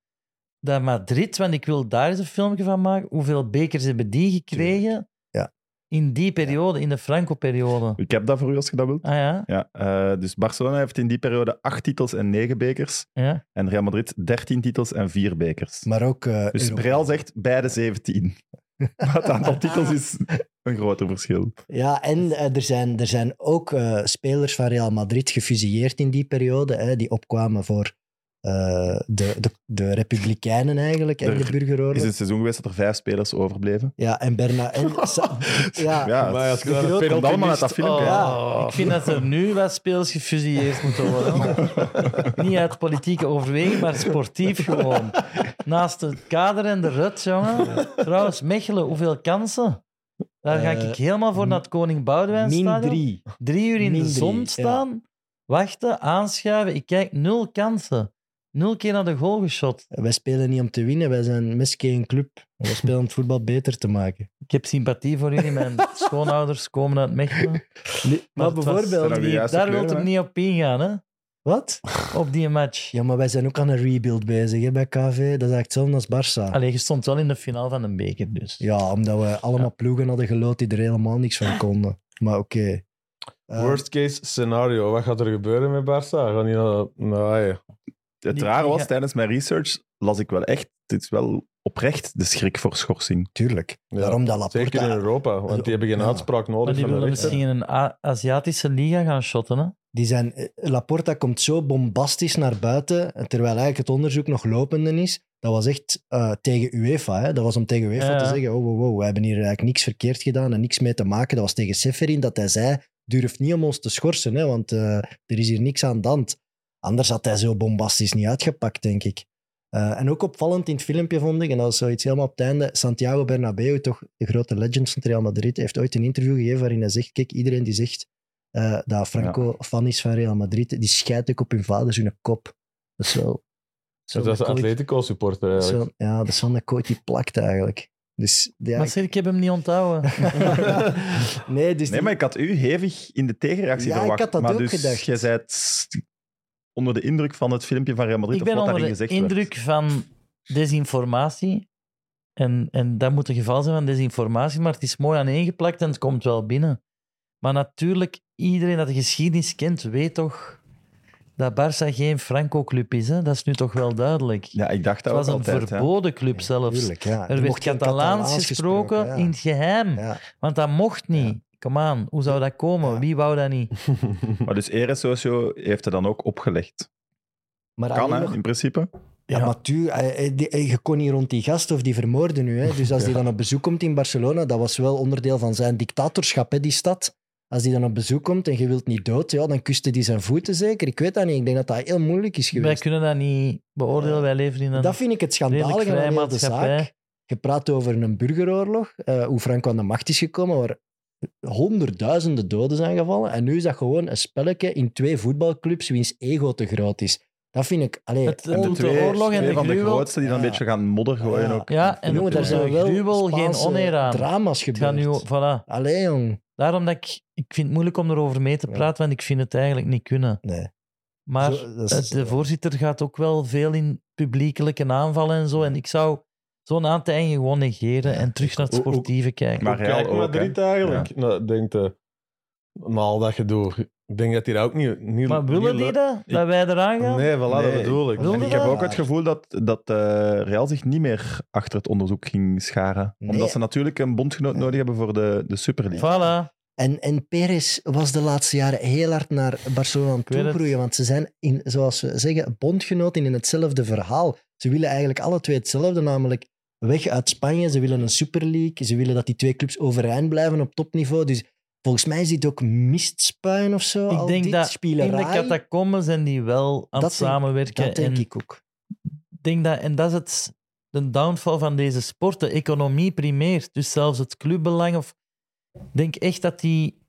Speaker 3: dat Madrid, want ik wil daar eens een filmpje van maken, hoeveel bekers hebben die gekregen
Speaker 5: Ja.
Speaker 3: in die periode, in de Franco-periode.
Speaker 1: Ik heb dat voor u als je dat wilt.
Speaker 3: Ah ja,
Speaker 1: Ja, eh, dus Barcelona heeft in die periode acht titels en negen bekers.
Speaker 3: ja.
Speaker 1: En Real Madrid dertien titels en vier bekers.
Speaker 5: Maar ook... eh,
Speaker 1: dus
Speaker 5: Europa.
Speaker 1: Real zegt beide 17. Maar het aantal titels is een groter verschil.
Speaker 5: Ja, en eh, er, zijn, er zijn ook eh, spelers van Real Madrid gefusilleerd in die periode, hè, die opkwamen voor eh, de, de, de Republikeinen eigenlijk en
Speaker 1: Er
Speaker 5: de
Speaker 1: Het is
Speaker 5: burgeroorlog.
Speaker 1: een seizoen geweest dat er vijf spelers overbleven.
Speaker 5: Ja, en Berna... En, Sa-
Speaker 3: Ah,
Speaker 5: ja,
Speaker 1: Ja,
Speaker 4: Maar als
Speaker 1: het
Speaker 4: je dan een
Speaker 1: komt
Speaker 4: penalty
Speaker 1: allemaal uit
Speaker 4: mist,
Speaker 1: dat filmpje.
Speaker 3: oh.
Speaker 1: hè.
Speaker 5: Ja.
Speaker 3: Ik vind dat er nu wat spelers gefusilleerd moeten worden. Niet uit politieke overweging, maar sportief gewoon. Naast het kader en de rut, jongen. Trouwens, Mechelen, hoeveel kansen? Daar ga
Speaker 5: Eh,
Speaker 3: ik helemaal voor naar het Koning Boudewijn
Speaker 5: min
Speaker 3: stadion.
Speaker 5: drie.
Speaker 3: Drie uur in
Speaker 5: Min
Speaker 3: de
Speaker 5: drie,
Speaker 3: zon
Speaker 5: ja.
Speaker 3: staan, wachten, aanschuiven. Ik kijk, nul kansen. Nul keer naar de goal geschot.
Speaker 5: Wij spelen niet om te winnen, wij zijn misschien een club. Wij spelen om het voetbal beter te maken.
Speaker 3: Ik heb sympathie voor jullie. Mijn schoonouders komen uit Mechelen.
Speaker 5: maar
Speaker 3: het was-
Speaker 5: bijvoorbeeld-
Speaker 1: Zijn dat de juiste
Speaker 3: daar wil
Speaker 1: kleuren,
Speaker 3: ik
Speaker 1: hè?
Speaker 3: niet op ingaan, hè?
Speaker 5: Wat?
Speaker 3: op die match.
Speaker 5: Ja, maar wij zijn ook aan een rebuild bezig hè, bij KV. Dat is eigenlijk hetzelfde als Barça.
Speaker 3: Allee, je stond wel in de finale van een beker, dus.
Speaker 5: Ja, omdat we allemaal ploegen hadden geloot die er helemaal niks van konden. Maar oké. Eh,
Speaker 4: Worst case scenario. Wat gaat er gebeuren met Barça? Gaan die naar... Nou, ja.
Speaker 1: Het
Speaker 3: Die-
Speaker 1: rare
Speaker 3: die
Speaker 1: was,
Speaker 3: ga-
Speaker 1: tijdens mijn research las ik wel echt, dit is wel oprecht de schrik voor schorsing.
Speaker 5: Tuurlijk.
Speaker 4: Ja,
Speaker 5: Daarom dat
Speaker 4: Zeker in
Speaker 5: Laporta...
Speaker 4: Europa, want die hebben geen
Speaker 5: Ja.
Speaker 4: uitspraak
Speaker 3: Maar
Speaker 4: nodig.
Speaker 3: die
Speaker 4: van de
Speaker 3: willen
Speaker 4: rechter.
Speaker 3: misschien in een A- Aziatische liga gaan shotten, hè?
Speaker 5: Die zijn, eh, Laporta komt zo bombastisch naar buiten, en terwijl eigenlijk het onderzoek nog lopende is. Dat was echt eh, tegen UEFA. Hè? Dat was om tegen UEFA
Speaker 3: Ja,
Speaker 5: te
Speaker 3: ja.
Speaker 5: zeggen, oh, wow, wow, we hebben hier eigenlijk niks verkeerd gedaan en niks mee te maken. Dat was tegen Seferin dat hij zei, durf niet om ons te schorsen, hè? want eh, er is hier niks aan de hand. Anders had hij zo bombastisch niet uitgepakt, denk ik. Eh, en ook opvallend in het filmpje vond ik, en dat is zoiets helemaal op het einde, Santiago Bernabeu, toch de grote legend van Real Madrid, heeft ooit een interview gegeven waarin hij zegt, kijk, iedereen die zegt eh, dat Franco fan is van Real Madrid, die scheidt ook op hun vaders hun kop. Dat is wel...
Speaker 4: Dus Dat is een
Speaker 5: wel cool.
Speaker 4: Atletico-supporter
Speaker 5: Dat is
Speaker 4: eigenlijk.
Speaker 5: wel- ja, dat is wel een coach die plakt eigenlijk. Dus ja,
Speaker 3: Maar zeg, ik heb hem niet onthouden.
Speaker 5: nee, dus
Speaker 1: Nee, maar ik had u hevig in de tegenreactie
Speaker 5: Ja, ik
Speaker 1: verwacht.
Speaker 5: had dat
Speaker 1: maar
Speaker 5: ook
Speaker 1: dus
Speaker 5: gedacht.
Speaker 1: Jij bent onder de indruk van het filmpje van Real Madrid,
Speaker 3: ik
Speaker 1: of
Speaker 3: ben
Speaker 1: wat daarin
Speaker 3: onder de
Speaker 1: gezegd
Speaker 3: indruk
Speaker 1: werd.
Speaker 3: van desinformatie. En, en dat moet het geval zijn van desinformatie, maar het is mooi aaneengeplakt en het komt wel binnen. Maar natuurlijk, iedereen dat de geschiedenis kent, weet toch dat Barça geen Franco-club is. Hè? Dat is nu toch wel duidelijk.
Speaker 1: Ja, ik dacht
Speaker 3: het
Speaker 1: dat ook
Speaker 3: was een
Speaker 1: altijd. hè.
Speaker 3: verboden club
Speaker 5: Ja,
Speaker 3: zelfs.
Speaker 5: tuurlijk, ja.
Speaker 3: Er werd
Speaker 5: mocht geen
Speaker 3: Catalaans gesproken
Speaker 5: ja.
Speaker 3: in het geheim,
Speaker 5: Ja.
Speaker 3: want dat mocht niet. Kom aan, hoe zou dat komen?
Speaker 5: Ja.
Speaker 3: Wie wou dat niet?
Speaker 1: Maar dus Eres Socio heeft het dan ook opgelegd.
Speaker 5: Maar
Speaker 1: Kan,
Speaker 5: alleen
Speaker 1: hè,
Speaker 5: nog-
Speaker 1: in principe.
Speaker 5: Ja, maar tu, eh, eh, die- eh, je kon niet rond die gast of die vermoorden nu. Hè. Dus als die dan op bezoek komt in Barcelona, dat was wel onderdeel van zijn dictatorschap, hè, die stad. Als die dan op bezoek komt en je wilt niet dood, ja, dan kuste die zijn voeten zeker. Ik weet dat niet. Ik denk dat dat heel moeilijk is
Speaker 3: Wij
Speaker 5: geweest.
Speaker 3: kunnen dat niet beoordelen,
Speaker 5: Ja.
Speaker 3: wij leven in een...
Speaker 5: Dat vind ik het
Speaker 3: redelijk
Speaker 5: schandalige
Speaker 3: vrije
Speaker 5: aan heel de
Speaker 3: maatschappij.
Speaker 5: zaak. Je praat over een burgeroorlog, eh, hoe Franco aan de macht is gekomen, waar honderdduizenden doden zijn gevallen. En nu is dat gewoon een spelletje in twee voetbalclubs wiens ego te groot is. Dat vind ik... Allee,
Speaker 3: Het- het
Speaker 1: En
Speaker 5: on-
Speaker 1: de
Speaker 3: de
Speaker 1: twee,
Speaker 3: oorlog en
Speaker 1: twee
Speaker 3: de
Speaker 1: van de
Speaker 3: gruwel.
Speaker 1: grootste die dan
Speaker 5: Ja.
Speaker 1: een beetje gaan modder gooien
Speaker 5: Ja.
Speaker 1: ook.
Speaker 3: Ja, en
Speaker 5: Jongen, daar
Speaker 3: de
Speaker 5: zijn wel
Speaker 3: gruwel, geen
Speaker 5: Spaanse
Speaker 3: oneer aan.
Speaker 5: drama's
Speaker 3: Het gaat
Speaker 5: gebeurd.
Speaker 3: nu... Voilà.
Speaker 5: Allee, jong.
Speaker 3: Daarom dat ik, ik vind het moeilijk om erover mee te
Speaker 5: Ja.
Speaker 3: praten, want ik vind het eigenlijk niet kunnen.
Speaker 5: Nee.
Speaker 3: Maar
Speaker 5: Zo, dat is-
Speaker 3: eh, de voorzitter gaat ook wel veel in publiekelijke aanvallen en zo. En ik zou zo'n aantijging gewoon negeren en terug naar het
Speaker 4: Hoe- hoe-
Speaker 3: sportieve kijken.
Speaker 1: Maar Real
Speaker 4: Kijk,
Speaker 1: ook,
Speaker 4: Madrid eigenlijk. Nou, ik denk de, na al dat gedoe. Ik denk dat die dat ook niet... niet
Speaker 3: Maar willen
Speaker 4: niet
Speaker 3: die
Speaker 4: leuk-
Speaker 3: dat? Dat wij eraan gaan?
Speaker 4: Nee, voilà, dat
Speaker 1: Nee,
Speaker 4: bedoel ik.
Speaker 5: Wil
Speaker 1: En
Speaker 5: je
Speaker 1: ik heb
Speaker 5: dat?
Speaker 1: ook het gevoel dat, dat eh, Real zich niet meer achter het onderzoek ging scharen.
Speaker 5: Nee.
Speaker 1: Omdat ze natuurlijk een bondgenoot
Speaker 5: Nee.
Speaker 1: nodig hebben voor de, de Super League.
Speaker 3: Voilà.
Speaker 5: En, en Perez was de laatste jaren heel hard naar Barcelona aan het
Speaker 3: weet het.
Speaker 5: toegroeien, want ze zijn, in, zoals we zeggen, bondgenoten in hetzelfde verhaal. Ze willen eigenlijk alle twee hetzelfde, namelijk weg uit Spanje. Ze willen een Super League, ze willen dat die twee clubs overeind blijven op topniveau. Dus volgens mij is dit ook mistspuien of zo. al
Speaker 3: Ik denk
Speaker 5: dit
Speaker 3: dat in de
Speaker 5: spielerij.
Speaker 3: catacombes zijn die wel aan
Speaker 5: Dat
Speaker 3: het
Speaker 5: denk-
Speaker 3: samenwerken.
Speaker 5: Dat denk
Speaker 3: en
Speaker 5: ik ook.
Speaker 3: denk dat, en dat is het, de downfall van deze sport. De economie primeert. Dus zelfs het clubbelang. Of, ik denk echt dat die.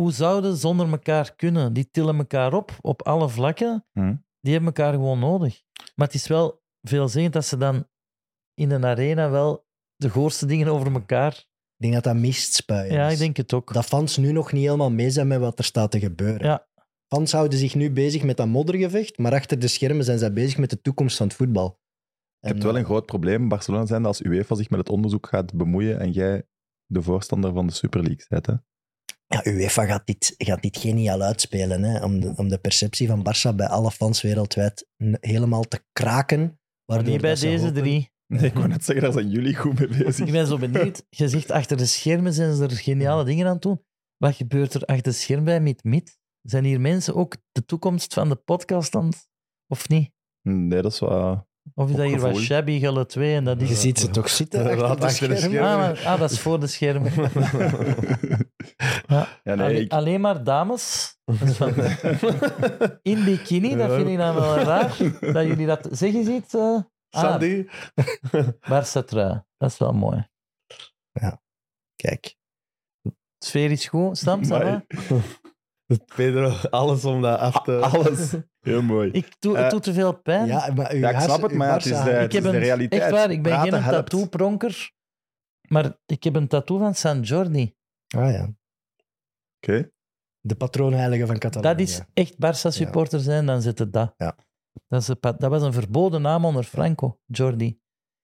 Speaker 3: Hoe zouden zonder elkaar kunnen? Die tillen elkaar op op alle vlakken.
Speaker 5: Hm.
Speaker 1: Mhm.
Speaker 3: Die hebben elkaar gewoon nodig. Maar het is wel veelzeggend dat ze dan in een arena wel de goorste dingen over elkaar.
Speaker 5: Ik denk dat dat mistspuien
Speaker 3: Ja,
Speaker 5: is.
Speaker 3: ik denk het ook.
Speaker 5: dat fans nu nog niet helemaal mee zijn met wat er staat te gebeuren.
Speaker 3: Ja.
Speaker 5: Fans houden zich nu bezig met dat moddergevecht, maar achter de schermen zijn zij bezig met de toekomst van het voetbal.
Speaker 1: Je hebt wel een groot probleem. Barcelona zijn als UEFA zich met het onderzoek gaat bemoeien en jij de voorstander van de Super League bent. Hè?
Speaker 5: Ja, UEFA gaat dit, gaat dit geniaal uitspelen, hè, om, de, om de perceptie van Barça bij alle fans wereldwijd n- helemaal te kraken. waardoor
Speaker 3: Niet bij
Speaker 5: dat ze
Speaker 3: deze
Speaker 5: hopen-
Speaker 3: drie.
Speaker 1: Nee, ik wou net zeggen, daar zijn jullie goed mee
Speaker 3: Ik
Speaker 1: bezig.
Speaker 3: ben zo benieuwd. Je zegt achter de schermen zijn ze er geniale dingen aan het doen. Wat gebeurt er achter de schermen bij Mit Mit? Zijn hier mensen ook de toekomst van de podcast aan het- Of niet?
Speaker 1: Nee, dat is wel...
Speaker 3: Of is dat hier wat
Speaker 1: Opgevolgd.
Speaker 3: shabby, gulle 2 en dat
Speaker 5: Je
Speaker 3: is...
Speaker 5: ziet ze toch zitten
Speaker 4: Inderdaad,
Speaker 5: achter de
Speaker 4: achter de
Speaker 5: schermen.
Speaker 4: schermen.
Speaker 3: Ah, maar- ah, dat is voor de schermen. Ja.
Speaker 1: ja,
Speaker 3: Allee- ah.
Speaker 1: nee, ik...
Speaker 3: Alleen maar dames. Dat is van- in bikini, dat vind ik dan wel raar. Dat jullie dat... Zeg eens iets, eh
Speaker 4: Sandy?
Speaker 3: Barca trui. Dat is wel mooi.
Speaker 5: Kijk,
Speaker 3: De sfeer is goed. Sam, ça va?
Speaker 1: Amai.
Speaker 4: Pedro, alles om dat af te...
Speaker 1: Alles. Heel mooi.
Speaker 3: Ik doe, het
Speaker 1: Eh,
Speaker 3: doet te veel pijn.
Speaker 5: ja, maar uw
Speaker 1: Ja, ik
Speaker 5: hars-
Speaker 1: snap het,
Speaker 5: uw
Speaker 1: maar het
Speaker 5: Barça-
Speaker 1: is, eh,
Speaker 3: ik heb
Speaker 1: de
Speaker 3: een,
Speaker 1: realiteit.
Speaker 3: Echt waar, ik ben
Speaker 1: Praten
Speaker 3: geen
Speaker 1: helpt.
Speaker 3: tattoo-pronker, maar ik heb een tattoo van San Jordi.
Speaker 5: Ah, ja.
Speaker 1: Oké.
Speaker 5: De patroonheilige van Catalonië.
Speaker 3: Dat is echt Barça-supporter zijn, dan zit het dat.
Speaker 5: Ja.
Speaker 3: Dat, is een pa- dat was een verboden naam onder Franco, Jordi.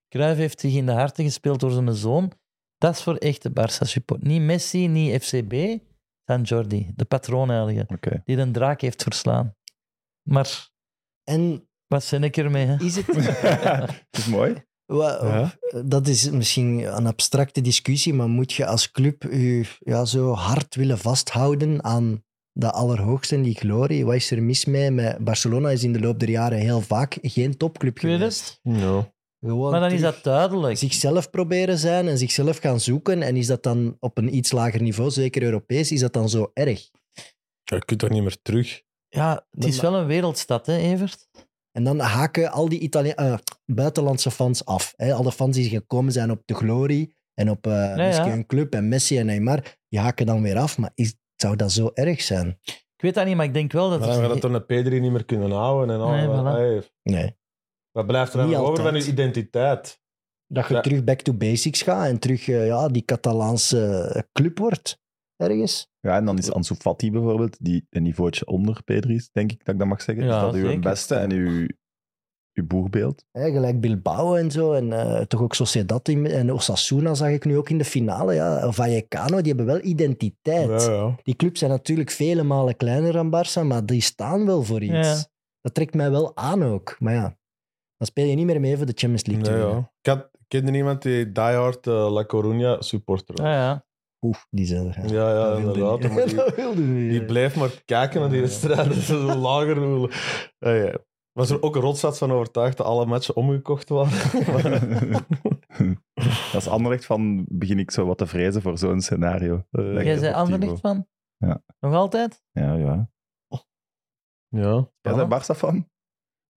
Speaker 3: Cruijff heeft zich in de harten gespeeld door zijn zoon. Dat is voor echte Barça-supporter. Niet Messi, niet FCB, dan Jordi, de patroonheilige,
Speaker 1: Oké.
Speaker 3: die een draak heeft verslaan. Maar
Speaker 5: En
Speaker 3: wat zin ik ermee, hè?
Speaker 5: is het...
Speaker 1: dat is mooi.
Speaker 5: Wa-
Speaker 1: Ja.
Speaker 5: Dat is misschien een abstracte discussie, maar moet je als club je ja, zo hard willen vasthouden aan dat allerhoogste, en die glorie? Wat is er mis mee? Met Barcelona is in de loop der jaren heel vaak geen topclub
Speaker 3: Ik weet
Speaker 5: geweest.
Speaker 3: het.
Speaker 4: Ja.
Speaker 5: Gewoon
Speaker 3: Maar dan is
Speaker 5: terug
Speaker 3: dat duidelijk.
Speaker 5: zichzelf proberen zijn en zichzelf gaan zoeken. En is dat dan op een iets lager niveau, zeker Europees, is dat dan zo erg?
Speaker 4: Je kunt daar niet meer terug.
Speaker 3: Ja, het is wel een wereldstad, hè, Evert?
Speaker 5: En dan haken al die Itali- eh, buitenlandse fans af. Hè? Al de fans die gekomen zijn op de glorie en op eh misschien
Speaker 3: ja.
Speaker 5: een club en Messi en Neymar, die haken dan weer af. Maar is, zou dat zo erg zijn?
Speaker 3: Ik weet dat niet, maar ik denk wel dat...
Speaker 4: Maar dan
Speaker 3: er-
Speaker 4: gaat dat door de P3 niet meer kunnen houden. En al.
Speaker 3: Nee, voilà.
Speaker 4: Hey,
Speaker 5: Nee.
Speaker 4: wat blijft er
Speaker 5: Niet
Speaker 4: eigenlijk over van
Speaker 5: altijd.
Speaker 4: je identiteit?
Speaker 5: Dat je
Speaker 4: Ja.
Speaker 5: terug back to basics gaat en terug eh, ja, die Catalaanse eh, club wordt. Ergens.
Speaker 1: Ja, en dan is Ansu Fati bijvoorbeeld, die een niveautje onder Pedri is, denk ik dat ik dat mag zeggen.
Speaker 3: Ja,
Speaker 1: is dat uw
Speaker 3: zeker.
Speaker 1: beste en uw, uw boegbeeld?
Speaker 5: Hè, gelijk Bilbao en zo. En eh, toch ook Sociedad in- en Osasuna zag ik nu ook in de finale. Ja. Vallecano, die hebben wel identiteit.
Speaker 4: Ja, ja.
Speaker 5: Die clubs zijn natuurlijk vele malen kleiner dan Barça, maar die staan wel voor iets.
Speaker 3: Ja.
Speaker 5: Dat trekt mij wel aan ook. Maar ja, dan speel je niet meer mee voor de Champions League.
Speaker 4: Nee,
Speaker 5: toernooi.
Speaker 4: ja. Ik had, ik kende iemand die diehard eh, La Coruña supporter was.
Speaker 3: Ja, ja.
Speaker 5: Oef, die zijn er.
Speaker 4: Ja, ja,
Speaker 5: Ah, Dat wilde
Speaker 4: inderdaad.
Speaker 5: niet.
Speaker 4: maar die,
Speaker 5: Dat wilde niet.
Speaker 4: die bleef maar kijken naar die wedstrijd. Dat is een lager roelen. Ja, ja. Was er ook een rotsats van overtuigd dat alle matchen omgekocht waren? Maar-
Speaker 1: dat is Anderlecht van, begin ik zo wat te vrezen voor zo'n scenario.
Speaker 4: Eh,
Speaker 1: Lijkt
Speaker 3: Jij
Speaker 1: op
Speaker 3: zei
Speaker 1: Thibaut.
Speaker 3: Anderlicht van?
Speaker 1: Ja.
Speaker 3: Nog altijd?
Speaker 1: Ja, ja.
Speaker 4: ja.
Speaker 1: Jij bent Barca-fan?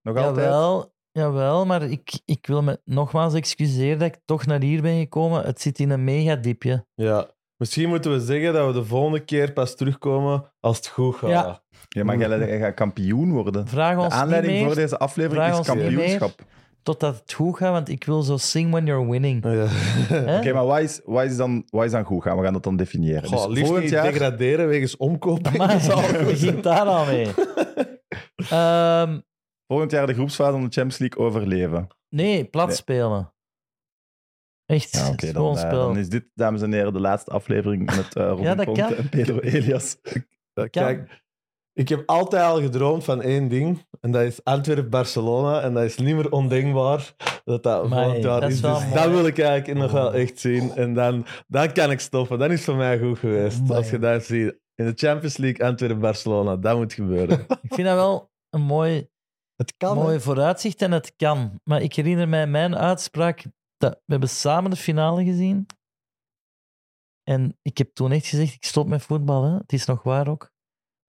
Speaker 1: Nog altijd?
Speaker 3: Jawel, jawel, maar ik, ik wil me nogmaals excuseren dat ik toch naar hier ben gekomen. Het zit in een mega diepje.
Speaker 4: ja. Misschien moeten we zeggen dat we de volgende keer pas terugkomen als het goed gaat.
Speaker 3: Ja.
Speaker 1: Ja, maar jij, jij gaat kampioen worden.
Speaker 3: Vraag
Speaker 1: De
Speaker 3: ons niet
Speaker 1: aanleiding
Speaker 3: meer
Speaker 1: voor deze aflevering
Speaker 3: Vraag
Speaker 1: is
Speaker 3: ons niet meer.
Speaker 1: kampioenschap.
Speaker 3: totdat het goed gaat, want ik wil zo sing when you're winning.
Speaker 4: Ja.
Speaker 3: Hè?
Speaker 1: Oké, maar wat is, wat, is dan, wat is dan goed gaan? We gaan dat dan definiëren.
Speaker 4: Goh,
Speaker 1: dus
Speaker 4: liefst
Speaker 1: volgend
Speaker 4: niet
Speaker 1: jaar...
Speaker 4: degraderen wegens omkopen.
Speaker 3: Maar
Speaker 4: Dat is al
Speaker 3: het
Speaker 4: goed.
Speaker 3: begint daar al mee. Ehm,
Speaker 1: Volgend jaar de groepsfase van de Champions League overleven.
Speaker 3: nee, plat
Speaker 1: Nee.
Speaker 3: spelen. Echt,
Speaker 1: Ja, oké,
Speaker 3: gewoon
Speaker 1: dan, eh,
Speaker 3: spelen.
Speaker 1: dan is dit, dames en heren, de laatste aflevering met eh Robin
Speaker 3: Ja, dat
Speaker 1: Ponte
Speaker 3: kan.
Speaker 1: en Pedro Elias.
Speaker 3: kan.
Speaker 4: Dat Kijk, ik heb altijd al gedroomd van één ding. En dat is Antwerp-Barcelona. En dat is niet meer ondenkbaar dat dat
Speaker 3: Amai,
Speaker 4: volgend jaar
Speaker 3: dat is
Speaker 4: is.
Speaker 3: wel
Speaker 4: Dus
Speaker 3: mooi. Oh.
Speaker 4: dat wil ik eigenlijk nog wel echt zien. En dan, dan kan ik stoppen. Dan is het voor mij goed geweest.
Speaker 5: Amai.
Speaker 4: Als je dat ziet. In de Champions League Antwerp-Barcelona. Dat moet gebeuren.
Speaker 3: Ik vind dat wel een mooi,
Speaker 5: Het kan. hè.
Speaker 3: mooi vooruitzicht en het kan. Maar ik herinner mij mijn uitspraak. Dat, we hebben samen de finale gezien. En ik heb toen echt gezegd, ik stop met voetbal. Hè. Het is nog waar ook.